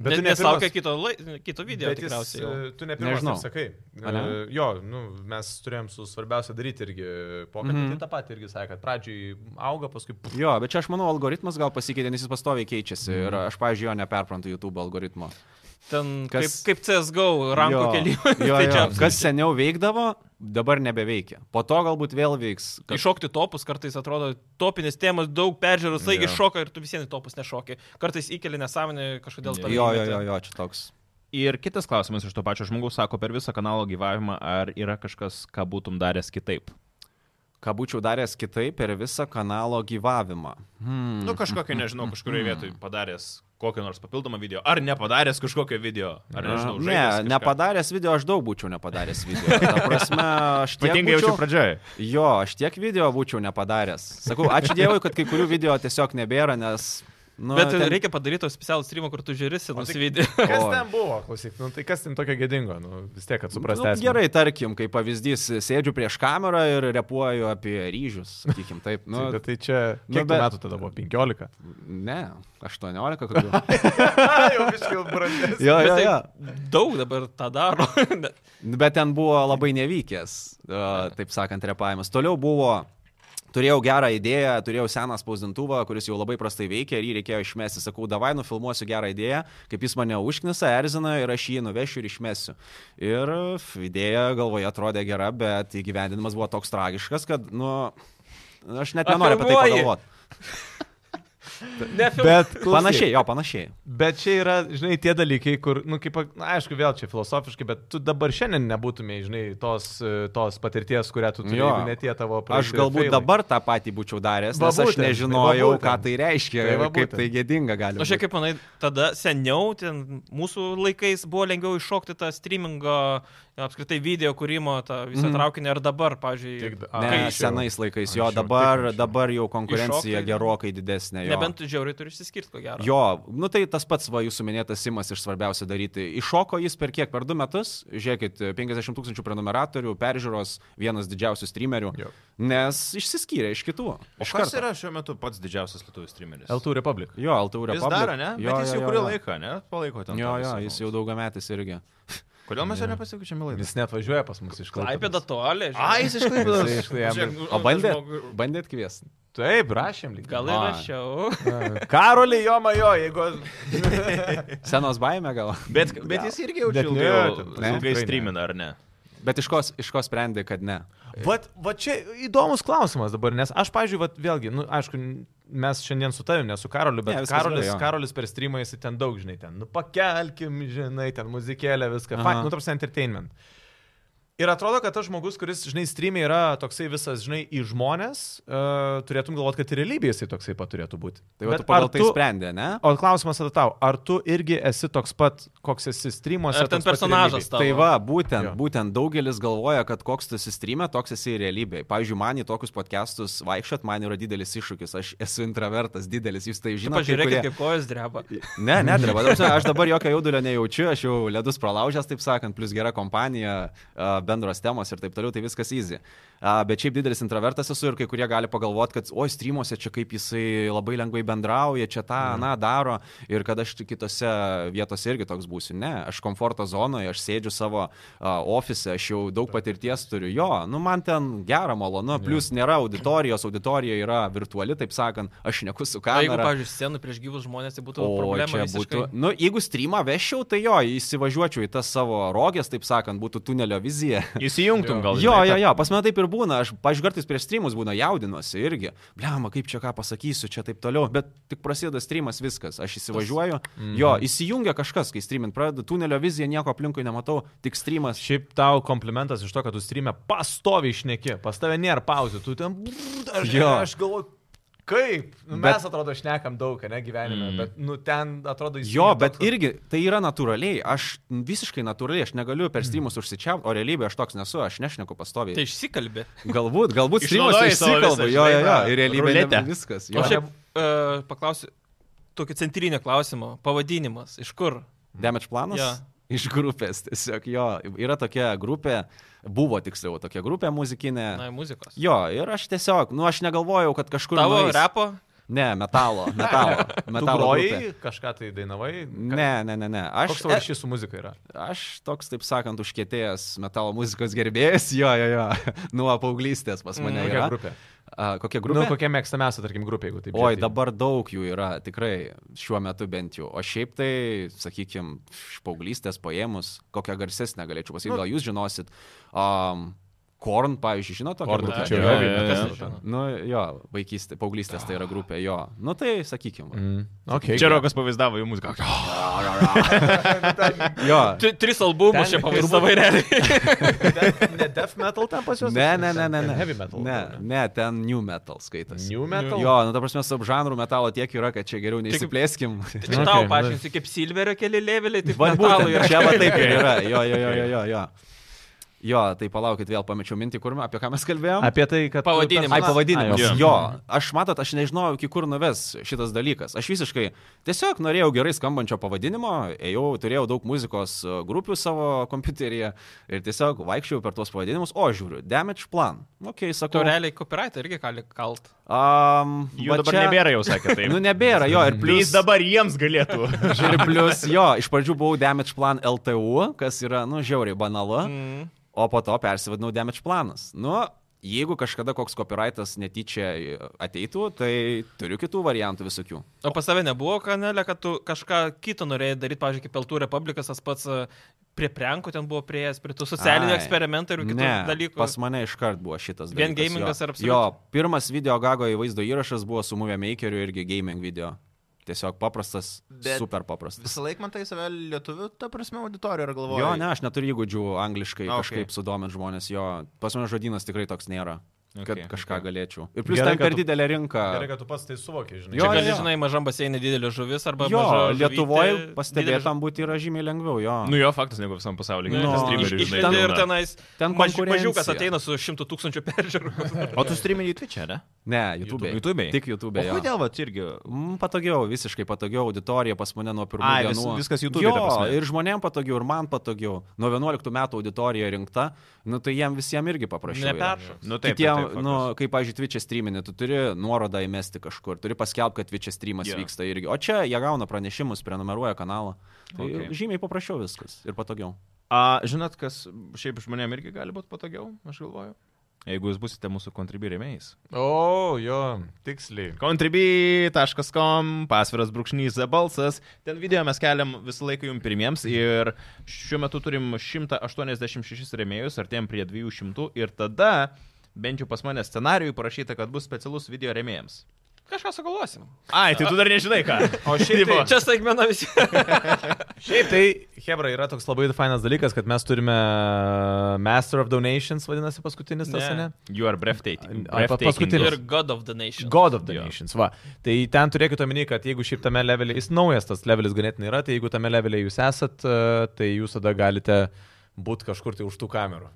A: Bet
B: tu
A: Net
B: ne
A: neslaukia
B: pirmas-
A: kito, lai... kito video
B: bet jis,
A: tikriausiai. jau.
B: e, Tu ne pirmas,
D: Nežinau.
B: taip sakai. E,
D: Ane?
B: Jo, nu, mes turėjom su svarbiausia daryti irgi pokalbį. Mm -hmm. Tai tą patį irgi sakė, kad pradžiai auga, paskui... Puf,
D: Jo, bet čia aš manau, algoritmas gal pasikeitė, nes jis pastoviai keičiasi ir
A: Mhm.
D: aš, pavyzdžiui, jo neperprantu YouTube algoritmo.
A: Ten kaip,
D: Kas-
A: kaip CSGO rankų
D: Jo,
A: kelimas. *laughs*
D: Jo,
A: tai
D: jo.
A: čia
D: Kas seniau veikdavo, dabar nebeveikia. Po to galbūt vėl veiks.
A: Kad... Iššokti topus, kartais atrodo topinės temos, daug peržiūros, tai
C: Jo.
A: iššoka ir tu visiems į topus nešoki. Kartais įkeli nesąmonį kažkodėl
D: Jo,
A: tave
D: jo,
A: įmeta.
D: jo, jo, čia toks.
C: Ir kitas klausimas iš to pačio žmogaus sako, per visą kanalo gyvavimą, ar yra kažkas, ką būtum daręs kitaip?
D: Ką būčiau daręs kitaip per visą kanalo gyvavimą. Hmm.
C: Nu, kažkokia, nežinau, kažkurioje
D: Mhm.
C: vietoje padaręs kokį nors papildomą video, ar nepadaręs kažkokio video, ar nežinau, žaidęs
D: ne,
C: kažką.
D: nepadaręs video, aš daug būčiau nepadaręs video. Ta prasme, aš tiek
C: Ypatingai
D: būčiau,
C: jaučiu pradžioje.
D: jo, aš tiek video būčiau nepadaręs. Sakau, ačiū Dievui, kad kai kurių video tiesiog nebėra, nes... Nu,
A: Bet ten... reikia padaryti to specialų streamą, kur tu žiūri senus
B: tai-
A: video.
D: *laughs*
B: Kas
D: Oi.
B: ten buvo, klausyk, nu, tai kas ten tokio gėdingo, nu, vis tiek, kad suprasti.
D: Nu, gerai, tarkim, kaip pavyzdys, sėdžiu prieš kamerą ir repuoju apie ryžius, sakykim, taip.
B: Nu,
D: Nu,
B: bet tai čia,
D: nu,
B: kiek nu,
D: bet-
B: bet... metų tada buvo? 15. *laughs*
D: ne, 18 kokių.
B: jau visiškai brandesnis.
D: Jo,
A: Bet
D: jo,
A: tai
D: jo.
A: Daug dabar tą daro. *laughs*
D: Bet ten buvo labai nevykęs, a, taip sakant, repavimas. Toliau buvo, turėjau gerą idėją, turėjau seną spausdintuvą, kuris jau labai prastai veikia ir jį reikėjo išmesti. Sakau, davai nufilmuosiu gerą idėją, kaip jis mane užknisa, erzina ir aš jį nuvešiu ir išmesiu. Ir f, idėja galvoje atrodė gera, bet įgyvendinimas buvo toks tragiškas, kad, nu, aš net nenoriu apie tai
A: Apgalvoji.
D: pagalvoti.
A: Nefilmuoju.
B: *laughs* Bet
D: Panašiai, jo, panašiai.
B: Bet čia yra, žinai, tie dalykai, kur, nu, kaip, na, aišku, vėl čia filosofiškai, bet tu dabar šiandien nebūtumėjai, žinai, tos, e, tos patirties, kurią tu turi,
D: Jo.
B: jeigu netie tavo
D: Aš
B: praeiti
D: galbūt
B: failai.
D: dabar tą patį būčiau daręs,
B: Va
D: nes aš
B: būtent, tai va
D: nežinojau, ką
B: būtent.
D: tai reiškia,
B: Tai va
D: kaip tai
B: būtent. Nu,
D: gėdinga gali
A: Na,
D: būti.
A: šiek tiek, Nu, manai, tada seniau, ten mūsų laikais buvo lengviau iššokti tą streamingo, apskritai video kūrimo, tą visą
D: Mhm.
A: mm. traukinį, ar dabar, pavyzdžiui,
B: Tik- a,
D: Ne,
B: anksčiau.
D: senais laikais, jo,
B: Anksčiau, taip
D: dabar,
B: anksčiau.
D: dabar jau konkurencija
A: Iššokai.
D: gerokai didesnė. Jo.
A: nebent tu žiauriai turi išsiskirti, ko gero.
D: Jo, nu tai tas pats, va, jūsų minėtas Simas iš svarbiausia daryti. Iššoko jis per kiek, per du metus, žiūrėkit, 50 tūkstančių prenumeratorių, peržiūros, vienas didžiausių streamerių,
B: Jo.
D: nes išsiskyrė iš kitų.
C: O
D: Iš
C: kas
D: karto.
C: yra šiuo metu pats didžiausias lietuvių streameris?
B: L2 Republic.
D: Jo, Altaurė
C: Jis daro, ne? Bet jis jau kurį laiką, ne? Palaiko ten.
D: Jo,
C: tą
D: jo,
C: visą
D: jis
C: mūsų.
D: jau daugiametis irgi.
C: Kodėl mes jo nepasikučiam į laidą?
B: Jis net važiuoja pas mus iš
A: Klaipėda
B: Klaipėdos.
A: tolė,
C: Ai, jis išklaipėdas.
B: Jisai iš Klaipėdos.
A: Nu,
D: O bandė, bandėt kviesti.
B: Taip, rašėm lyg.
A: Gal ir
D: Man.
A: rašiau.
B: Karolį, jo majo, jeigu... *laughs*
D: Senos baime gal.
C: Bet, bet nu jis irgi jau
B: Bet
C: čia
B: ne,
C: ilgai,
B: ten-
D: ne,
C: ilgai
B: tikrai ne.
C: streamina, ar ne?
D: Bet iš ko, iš ko sprendė, kad ne?
B: E. Vat, va čia įdomus klausimas dabar, nes aš, pažiūrėjau, vat, vėlgi, nu, aišku, mes šiandien su tavim, ne su Karoliu, bet
D: Ne,
B: ne,
D: viskas
B: Karolis,
D: gerai, jo.
B: Karolis per streamą jis ten daug, žinai, ten, nu pakelkim, žinai, ten muzikėlė, viską,
D: Aha.
B: Fine, nu, tarsi entertainment. Ir atrodo, kad tas žmogus, kuris, žinai, streamė yra toksai visas, žinai, į žmonės, uh, turėtum galvoti, kad ir realybėje jisai toksai pat turėtų būti.
D: Tai va,
B: Bet
D: tu pagal
B: ar
D: tai sprendė, ne?
B: O klausimas tada tau, ar tu irgi esi toks pat, koks esi streamuose?
A: Ar ten
B: toks pat
A: personažas
B: realybėj?
A: tavo?
D: Tai va, būtent,
B: Jo.
D: būtent daugelis galvoja, kad koks tu esi streamė, toks esi ir realybėje. Pavyzdžiui, man į tokius podcastus vaikščiot, man yra didelis iššūkis, aš esu intravertas didelis, jūs tai žinote.
A: Pažiūrėkit, kaip kojas dreba.
D: Ne, nedreba. Ta prasme, Aš dabar jokio jaudulio nejaučiu, aš jau ledus pralaužęs, taip sakant, plus gera kompanija, a, bendros temos ir taip toliau, tai viskas easy. A, Bet šiaip didelis intravertas esu ir kai kurie gali pagalvoti, kad, oi, streamuose čia kaip jisai labai lengvai bendrauja, čia tą,
A: Mhm.
D: na, daro ir kad aš kitose vietose irgi toks būsiu. Ne, aš komforto zonoje, aš sėdžiu savo ofise, aš jau daug patirties turiu. Jo, nu man ten gera, malonu, plus nėra auditorijos, auditorija yra virtuali, taip sakant, aš neku su
A: O jeigu,
D: kamera.
A: pavyzdžiui, scenų prieš gyvus žmonės, tai būtų
D: O,
A: problema.
D: čia
A: visiškai.
D: būtų- Nu, jeigu streamą vešiau, tai jo, įsivažiuočiau į tas savo rogės, taip sakant, būtų tunelio vizija.
C: *laughs* Įsijungtum gal.
D: Jo,
C: žinai,
D: jo,
C: tą-
D: jo, pas mane taip ir būna, aš, pažiūrėjau, kartais prieš streamus būna jaudinuosi irgi, blema, kaip čia ką pasakysiu, čia taip toliau, bet tik prasideda streamas viskas, aš įsivažiuoju, jo, įsijungia kažkas, kai streamint pradedu, tunelio vizija, nieko aplinkui nematau, tik streamas.
B: Šiaip tau komplimentas iš to, kad tu streamė pastoviai išneki, pas tave nėra pauzių, tu ten... brrr, Aš,
D: Jo.
B: aš galvoju, kaip? Nu,
D: Bet-
B: mes bet, atrodo šnekam daug, ne gyvenime, mm. bet nu, ten atrodo jis...
D: Jo, bet irgi tai yra natūraliai, aš visiškai natūraliai, aš negaliu per streamus užsičiaupti, o realybėje aš toks nesu, aš nešneku pastoviai.
A: Tai išsikalbė.
D: Galbūt, galbūt streamuose
C: Išnaudoji savo
D: išsikalbu,
C: visą,
D: jo, jo,
C: žinai,
D: jo,
C: tą
D: ir realybėje
C: ruletę.
D: ne- viskas.
A: O
D: Jo.
A: šiaip e, paklausiu tokį centrinį klausimą. Pavadinimas. Iš kur?
D: Damage planas?
A: Jo.
D: Iš grupės, tiesiog jo, yra tokia grupė, buvo tiksliau tokia grupė muzikinė.
A: Na, muzikos.
D: Jo, ir aš tiesiog, nu aš negalvojau, kad kažkur...
A: Tavo
D: nueis.
A: repo?
D: Ne, metalo, metalo, metalo. grupė.
B: Metalojai, kažką tai dainavai.
D: Ne, ne, ne, ne.
B: Aš,
D: Aš, e-
B: Koks tavo ryšys su muzika yra?
D: aš toks, taip sakant, užkėtėjęs metalo muzikos gerbėjas, jo, jo, jo, *laughs* nuo paauglystės pas mane.
B: Mm, Kokia
D: yra.
B: grupė?
D: A, kokia
B: grupė?
D: grupė?
B: Nu, kokia mėgstamiausia, tarkim, grupė, jeigu taip tai-
D: Oi,
B: žiūrėti?
D: dabar daug jų yra, tikrai, šiuo metu bent jau. O šiaip tai, sakykime, iš paauglystės paėmus, kokią garsesnę galėčiau pasakyti, gal jūs žinosit. Um, Korn, pavyzdžiui, žinot,
B: Korn,
D: tokią
B: tai
D: grupę?
B: čia
C: Jo,
B: yra
C: jo,
B: Vilnius,
C: jo,
B: kas
A: jo.
B: tai žino?
D: Nu, jo, vaikystė, paauglystės tai yra grupė, jo. Nu, tai,
B: *laughs*
D: sakykime.
B: Mm. Okay.
C: Čia Rokas pavaizdavo jų muziką.
D: Jo.
A: Tri- Tris albumus čia pavaizdavai realiai.
D: *laughs*
B: Ne death metal ten pas juos?
D: Ne, ne, ne, ne, ne.
B: Ten Heavy metal.
D: Ne, ne, ten new metal skaitas.
B: New metal.
D: Jo, nu, ta prasme, subžanrų metalo tiek yra, kad čia geriau neįsiplėskim.
A: Čia tau
B: Okay,
A: paaiškinsiu, kaip silverio keli leveliai, tai
D: Va,
A: metalų
D: tai nu- būtent,
A: yra.
D: čia va taip ir yra. Jo, jo, jo, jo, jo, jo. Jo, tai palaukit, vėl pamečiau mintį, kur, apie ką mes kalbėjom.
B: Apie tai, kad...
A: Pavadinimas.
D: Ai, pavadinimas.
B: Ai,
D: Jo.
C: jo.
D: jo, aš matot, aš nežinojau, iki kur nuves šitas dalykas. Aš visiškai tiesiog norėjau gerai skambančio pavadinimo, ėjau, turėjau daug muzikos e, grupių savo kompiuteryje ir tiesiog vaikščiau per tuos pavadinimus, o žiūriu, damage plan. Ok, sakau.
A: Tu realiai copyrightą irgi gali kalt.
D: Um,
C: Jų dabar čia... nebėra jau, sakė *laughs* taip. Tai
D: Nu, nebėra jo, ir
C: Jis
D: plius.
C: dabar jiems galėtų.
D: Ir plus, jo, iš pradžių buvau Damage Plan LTU, kas yra, nu, žiauriai banalu.
A: Mm.
D: o po to persivadinau Damage planas. Nu, jeigu kažkada koks copyrightas netyčia ateitų, tai turiu kitų variantų visokių.
A: O pas tave nebuvo kanelė, kad tu kažką kito norėjai daryti, pavyzdžiui, kaip Peltų Republikas, tas pats e, prie prenkų ten buvo prieėjęs, prie tų socialinių
D: Ai,
A: eksperimentų ir kitų
D: ne,
A: dalykų.
D: Pas mane iškart buvo šitas dalykas.
A: Vien gamingas
D: jo.
A: ar absoliučiai?
D: Jo, pirmas video gago į vaizdo įrašas buvo su Movie Makeriu irgi gaming video. Tiesiog paprastas, Bet
C: Bet
D: super paprastas.
C: *laughs* Visą laiką man tai save lietuvių, ta prasme, auditorija yra galvoja.
D: Jo, ne, aš neturiu įgūdžių angliškai okay.
C: Okay.
D: kažkaip sudomint žmonės, jo, pas mane žodynas tikrai toks nėra, kad
C: Okay,
D: okay, kažką okay. galėčiau. Ir plus
B: Gerai,
D: ten
B: kad
D: per
B: tu-
D: didelę rinką.
B: Gerai, kad tu pats tai suvoki, žinai.
D: Jo,
A: Čia gali,
D: jo.
A: žinai, mažam baseinė didelė žuvis arba...
D: Jo,
A: maža žuvytė,
D: Lietuvoje
A: didelė
D: pastebėtam būti yra žymiai lengviau, jo.
C: Nu jo, faktas, negu visam pasaulyje.
A: Nu,
C: kad
D: jo.
C: streameriai,
D: Iš-
A: Iš,
C: žinai, tai
A: ten
C: būna.
A: ir tenais.
D: Ten
A: maž-
D: konkurencija.
A: Mažiukas ateina su šimtu tūkstančių
B: *laughs*
A: peržiūrų.
C: O tu streamini į Twitch, ne?
D: Ne, YouTube'e.
C: YouTube'e.
D: Tik YouTube'e.
C: O
D: jo.
C: kodėl, va, irgi.
D: Mm, Patogiau, visiškai patogiau, auditorija pas mane nuo pirmų
C: Ai, vis-
D: dienų.
C: viskas YouTube'e ta
D: Jo,
C: prasme.
D: ir žmonėm patogiau, ir man patogiau. Nuo 11 metų auditorija rinkta, nu tai jiem visiems irgi paprašiau.
A: Neperšoks.
C: Nu, taip,
D: Kitiem,
C: taip, taip,
D: nu,
C: faktas.
D: kaip, pavyzdžiui, Twitch'e streaminė, tu turi nuorodą įmesti kažkur, turi paskelbti, kad Twitch'e streamas
C: Jo.
D: yeah. vyksta irgi. O čia jie gauna pranešimus, prenumeruoja kanalą. Tai
C: Okay.
D: okay. žymiai paprasčiau viskas ir patogiau.
C: A, žinot, kas šiaip žmonėm irgi gali būti patogiau, aš galvoju. Jeigu jūs busite mūsų kontribį rėmėjais.
B: O, jo, tiksliai.
C: Contribui.com, pasviras brūkšnys The balsas. Ten video mes keliam visą laiką jums pirmiems ir šiuo metu turim 186 rėmėjus, artėjom prie 200 ir tada bent jau pas mane scenarijui parašyta, kad bus specialus video rėmėjams.
A: Kažką sugalvosim.
C: Ai, tai tu dar nežinai ką.
B: O
D: *laughs*
B: šiaip tai,
A: Čia staigmena visi.
B: šiaip tai, Hebra, yra toks labai fainas dalykas, kad mes turime e, Master of Donations, vadinasi, paskutinis tas,
A: Ne.
B: ne?
C: You are breathtaking.
B: Ai, pa- paskutinis.
A: Ir God of the Nation.
B: God of the
C: Jo.
B: Nations, va. Tai ten turėkite omeny, kad jeigu šiaip tame levelį, jis naujas tas levelis ganėtinai yra, tai jeigu tame levelį jūs esat, e, tai jūs tada galite būti kažkur tai už tų kamerų.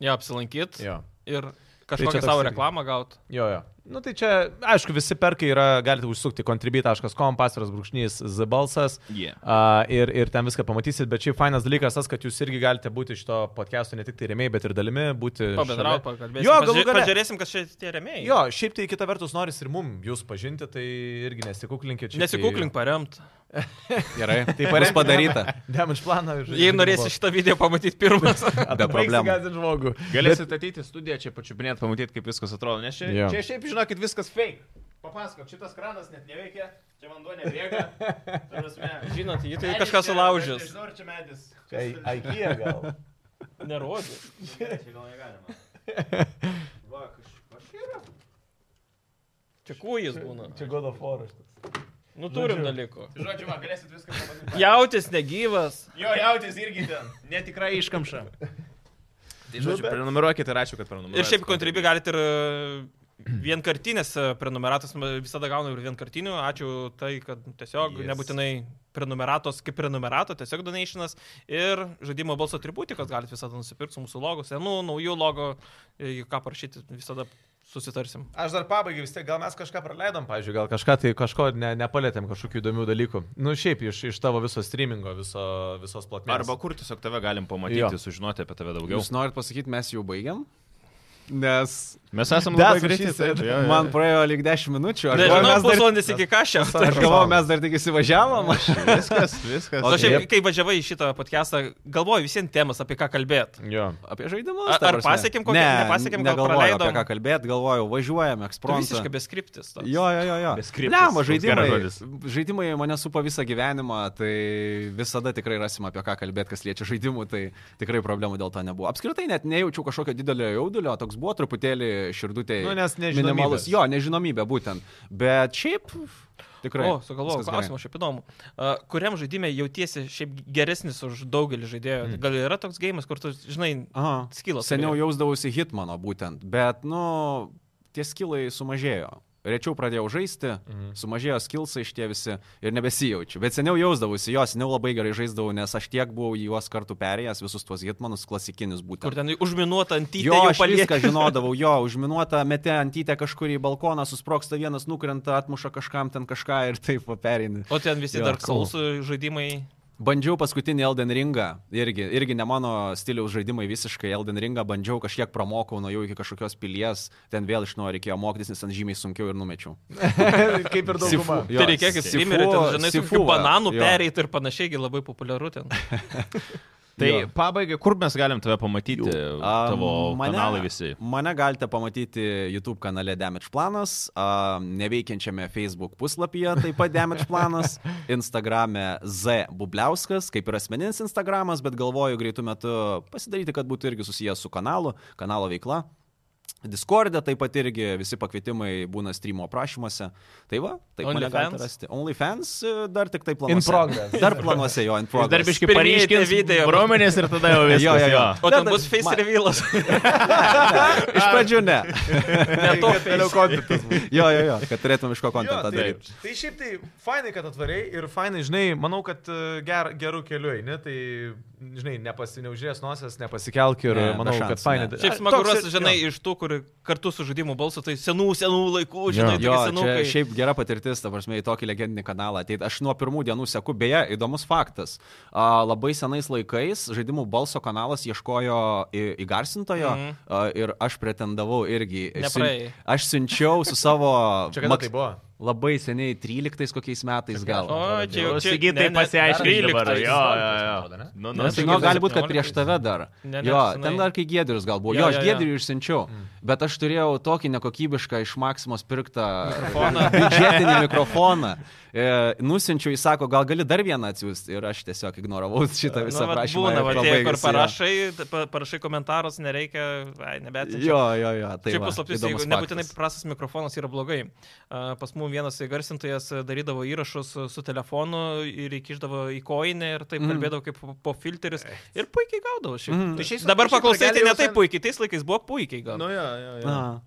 A: Jo, apsilankyt.
B: Jo. Tai
A: Ir
B: čia
A: kažkokią
B: toks
A: savo
B: irgi.
A: reklamą gaut.
B: Jo, jo. Na nu, tai čia, aišku, visi perkai yra, galite užsukti contribui.com, pasviras brūkšnys, zbalsas.
C: Yeah.
B: Uh, ir, ir ten viską pamatysit, bet šiaip fainas dalykas tas, kad jūs irgi galite būti šito podcast'o ne tik tai rėmėjai, bet ir dalimi, būti...
A: Pabendraut,
B: šalia.
A: pakalbėsim.
B: Jo,
A: Pažiūrė-
B: galų gale.
A: Pažiūrėsim, kas čia tie rėmėjai.
B: Jo, šiaip tai kita vertus noris ir mum jūs pažinti, tai irgi nesikuklinkit. šiaip tai-
A: Nesikuklink paremt.
B: *laughs*
D: Gerai, tai
B: parenkime-
D: bus padaryta.
B: Damage planą ir...
A: Jei norėsi šitą video pamatyti pirmas.
D: Be problemų.
B: žmogų.
C: Galėsit bet... ateiti į studiją, čia pačiupinėti, pamatyti, kaip viskas atrodo. Nes čia,
B: Jo.
C: čia šiaip, žinokit, viskas fake. Papasakok, šitas kranas net neveikia, čia vanduo nebėga. Ta prasme,
A: Žinot, jį tai
C: medis
A: kažkas
C: čia,
A: sulaužys.
C: aš Nežinau, ar čia medis.
B: Aikija gal.
A: Nerodžiu.
C: Ne, Čia gal negalima. *laughs* Va, kažkas yra.
A: Čia kūjis būna.
B: God of War.
A: Nu turim dalykų.
C: Žodžiu, va, galėsit viską pamatyti.
A: Jautis negyvas.
C: Jo, jautis irgi ten. Netikrai iškamša. Tai žodžiu, prenumeruokit ir ačiū, kad
D: Nu,
C: prenumeruojate.
A: Ir šiaip kontribį galite ir e, vienkartinės e, prenumeratos, m, visada gaunu ir vienkartinių, ačiū tai, kad tiesiog
C: Yes.
A: yes. nebūtinai prenumeratos kaip prenumerato, tiesiog donationas ir žaidimo balso atributikos galite visada nusipirkti su mūsų logo, senų, naujų logo, e, ką parašyti, visada susitarsim.
B: Aš dar pabaigai vis tiek, gal mes kažką praleidom, pažiūrėjau, gal kažką tai kažko ne, nepalėtėm, kažkokių įdomių dalykų. Nu šiaip iš, iš tavo viso streamingo, viso, visos platformos.
C: Arba kur tiesiog tave galim pamatyti,
B: Jo.
C: jo. sužinoti apie tave daugiau.
D: Jūs norit pasakyti, mes jau baigiam? Nes
C: Mes esame labai
D: That's what she
C: greitai.
D: said.
C: taip, jo, jo, jo.
D: Man praėjo lyg 10 minučių. Aš galvoju,
A: Nežinau,
D: mes dar,
A: pusvalandis iki kažio.
D: aš galvoju, mes dar tik įsivažiavom.
C: Viskas, viskas.
A: O
D: Okay.
A: Nu, šiaip, kai važiavai į šitą podcastą, galvoju visiems temas, apie ką kalbėti.
B: Jo.
D: Apie žaidimus.
A: Ar-
D: ta
A: ar
D: prasme.
A: pasiekėm kokią-
D: Ne,
A: nepasiekėm, gal
D: negalvojau
A: praleidom?
D: Apie ką kalbėt, galvojau, važiuojam, ekspromtas.
A: Visiškai beskriptis. toks.
D: Jo, jo, jo. jo.
C: Beskriptis,
D: Bliamba,
C: koks
D: žaidimai,
C: geras
D: žaidimai mane supa visą gyvenimą, tai visada tikrai rasim apie ką kalbėti, kas liečia žaidimų, tai tikrai problemų dėl to nebuvo. Apskritai net nejaučiau kažkokio didelio jaudulio, toks buvo truputėlį širdutė.
B: Nu, nes nežinomybės.
D: minimalus. Jo, nežinomybė būtent. Bet šiaip tikrai.
A: O, sugalvojau
D: viskas gerai.
A: klausimą, šiaip įdomu. Uh, kuriam žaidimė jautiesi šiaip geresnis už daugelį žaidėjų?
D: Hmm.
A: Mm. Gal yra toks gėjimas, kur tu, žinai,
D: Aha.
A: Skylą
D: Seniau
A: turėjai.
D: jausdavausi hitmano būtent, bet, nu, tie skilai sumažėjo. Rečiau pradėjau žaisti, *laughs* mhm. sumažėjo skilsai iš tie visi ir nebesijaučiu. Bet seniau jausdavausi, jos seniau labai gerai žaisdavau, nes aš tiek buvau į juos kartu perėjęs, visus tuos hitmanus klasikinius būtent.
A: kur ten užminuota ant
D: Jo,
A: įtėvių
D: aš viską
A: palieka. *laughs*
D: žinodavau, jo, užminuota metė antytę kažkur į balkoną, susproksta vienas, nukrenta, atmuša kažkam ten kažką ir taip va, pereini.
A: O ten visi
D: Jo,
A: dar
D: cool.
A: Souls žaidimai.
D: Bandžiau paskutinį Elden Ringą, irgi, irgi ne mano stiliaus žaidimai visiškai Elden Ringą, bandžiau kažkiek pramokau, nuėjau iki kažkokios pilies, ten vėl iš naujo reikėjo mokytis, nes ten žymiai sunkiau ir numečiau.
B: Kaip ir dauguma.
A: Jo, tai reikia, kad
D: Sifu-
A: streameriai, ten, žinai, su kokiu
D: Sifu, va,
A: bananų
D: jo.
A: pereiti ir panašiai, gi labai populiaru
D: *laughs*
A: ten.
C: Tai
D: Jo.
C: pabaigai, kur mes galim tave pamatyti?
D: A,
C: Tavo mane... kanalai visi.
D: Mane galite pamatyti YouTube kanale Damage Planas, a, neveikiančiame Facebook puslapyje taip pat Damage Planas, Instagrame Z Bubliauskas, kaip ir asmeninis Instagramas, bet galvoju greitų metų pasidaryti, kad būtų irgi susijęs su kanalu, kanalo veikla. Discord'e taip pat irgi visi pakvietimai būna streamo aprašymuose. Tai va, taip mane
A: OnlyFans?
D: galite rasti. OnlyFans e, dar tik tai planuose.
B: In progress.
D: Dar planuose jo, in progress.
A: Pirmieji
C: Darbiškai
A: tie
C: pareiškins
A: video.
C: video. Bromenės ir tada jau viskas.
D: Jo, jo, jo.
A: O ten
D: Ne,
A: bus
D: tai-
A: face
D: ma- *laughs*
A: revealas.
D: Iš pradžių ne.
A: Ne to
B: Toliau
A: face.
B: kontentas.
D: *laughs* Jo, jo, jo, kad turėtum iš ko
B: Jo,
D: kontentą
B: tai,
D: daryti.
B: tai šiaip tai fainai, kad atvarai ir fainai, žinai, manau, kad e, ger, gerų kelių eini, tai, žinai, nepasineužės nosės, nepasikelk ir
D: Ne,
B: ne, manau,
D: be šansų,
B: kad fainai.
D: ne.
A: Šiaip
B: A,
A: smagu,
B: toks ir-
A: ras, žinai,
B: jo.
A: iš tų, kur kartu su žaidimu balsu, tai senų, senų laikų, žinai,
D: Jo,
A: tokie senų.
D: čia šiaip gera patirtis, ta prasme, į tokį legendinį kanalą. Tai aš nuo pirmų dienų seku, beje, įdomus faktas. A, labai senais laikais žaidimų balso kanalas ieškojo į- įgarsintojo
A: Mhm.
D: a, ir aš pretendavau irgi.
A: Nepraėjai.
D: Aš siunčiau su savo...
B: *laughs* Čia kada
D: maks-
B: tai buvo?
D: labai seniai, 13 kokiais metais gal.
A: O, čia jau
C: Jau
A: čia. ne,
C: Sigitai
A: ne,
C: pasiaiškink
A: dar
C: dabar.
A: 13.
C: Jo, jo, jo.
B: atrodo,
C: Nu, nu,
A: Nes,
D: Nes, nu,
A: sakykim,
D: gali būti, kad
A: 17
D: prieš tave dar.
A: tai Ne, ne,
D: jo,
A: senai.
D: ten dar kai Gedrius gal buvo.
A: Jo,
D: Jo,
A: jo,
D: aš
A: jo. Mm.
D: Gedriui išsiunčiau, bet aš turėjau tokį nekokybišką iš Maksimos pirktą
A: Mikrofoną.
D: *laughs* biudžetinį mikrofoną. E, nusinčiau, jis sako, gal gali dar vieną atsiųsti ir aš tiesiog ignoravau šitą
A: Nu,
D: visą
A: vat
D: prašymą.
A: būna,
D: ir
A: va, tie, kur
D: pabaigus, jo.
A: parašai, pa- parašai komentarus, nereikia, ai, nebetikiu.
D: Jo, jo, jo. Tai
A: Tai Šiaip
D: va,
A: paslaptis,
D: įdomus
A: jeigu nebūtinai
D: faktas.
A: prastas mikrofonas yra blogai. A, Pas mum vienas garsintojas darydavo įrašus su- su telefonu ir įkiždavo į koinę ir taip
D: Mm.
A: mm. kalbėdavo kaip po- po filteris. Ir puikiai gaudavo šiaip.
D: Mm.
A: Mm.
D: Eh. Tai
C: šiais-
A: Dabar
C: šiaip
A: paklausai, tai
C: rageliai
A: ne
C: jau
A: taip
C: sen-
A: puikiai, tais laikais buvo puikiai gal.
C: Nu, jo, jo, jo.
D: Na.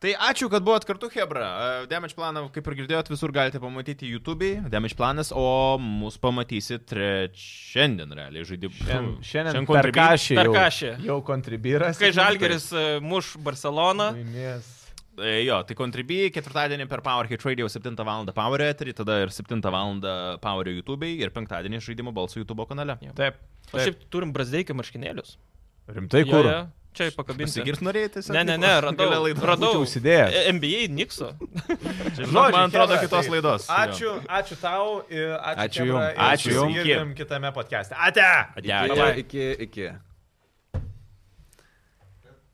C: Tai ačiū, kad buvot kartu, Hebra. E, Damage planą, kaip ir girdėjot, visur galite pamatyti YouTube'ai. Damage planas, o mus pamatysit treč... šiandien, realiai, žaidimų.
B: Šiandien, šiandien per
C: kontribui-
B: kašį.
A: Per
B: jau-
A: kašį.
B: Jau kontribyras.
A: Kai Žalgeris a, muš Barceloną.
B: Laimės.
C: E, Jo, tai Contribui ketvirtadienį per Powerhead Radio 7 val. Power Eterį, tada ir 7 val. Power YouTube'ai ir penktadienį žaidimo balsų YouTube kanale.
A: Jo.
B: Taip.
A: O šiaip turim brazdeikį marškinėlius.
B: Rimtai
A: Jo,
B: kur?
A: jo. Čia pakabinti.
C: Pasigirs norėjai tiesiog.
A: Ne, ne, ne, radau.
C: Gale laidos.
A: radau
B: būčiau užsidėjęs.
A: E, NBA Nikso.
C: Žinau, man atrodo,
B: Chebra,
C: kitos
B: tai
C: laidos.
B: Ačiū, ačiū tau ir ačiū,
D: Ačiū
B: Chebra,
D: jum.
B: ir
C: Ačiū jum.
B: susigirdim kitame podcast'e. Ate!
C: Jo. Ate.
D: Iki,
A: Bye-bye.
D: iki, iki.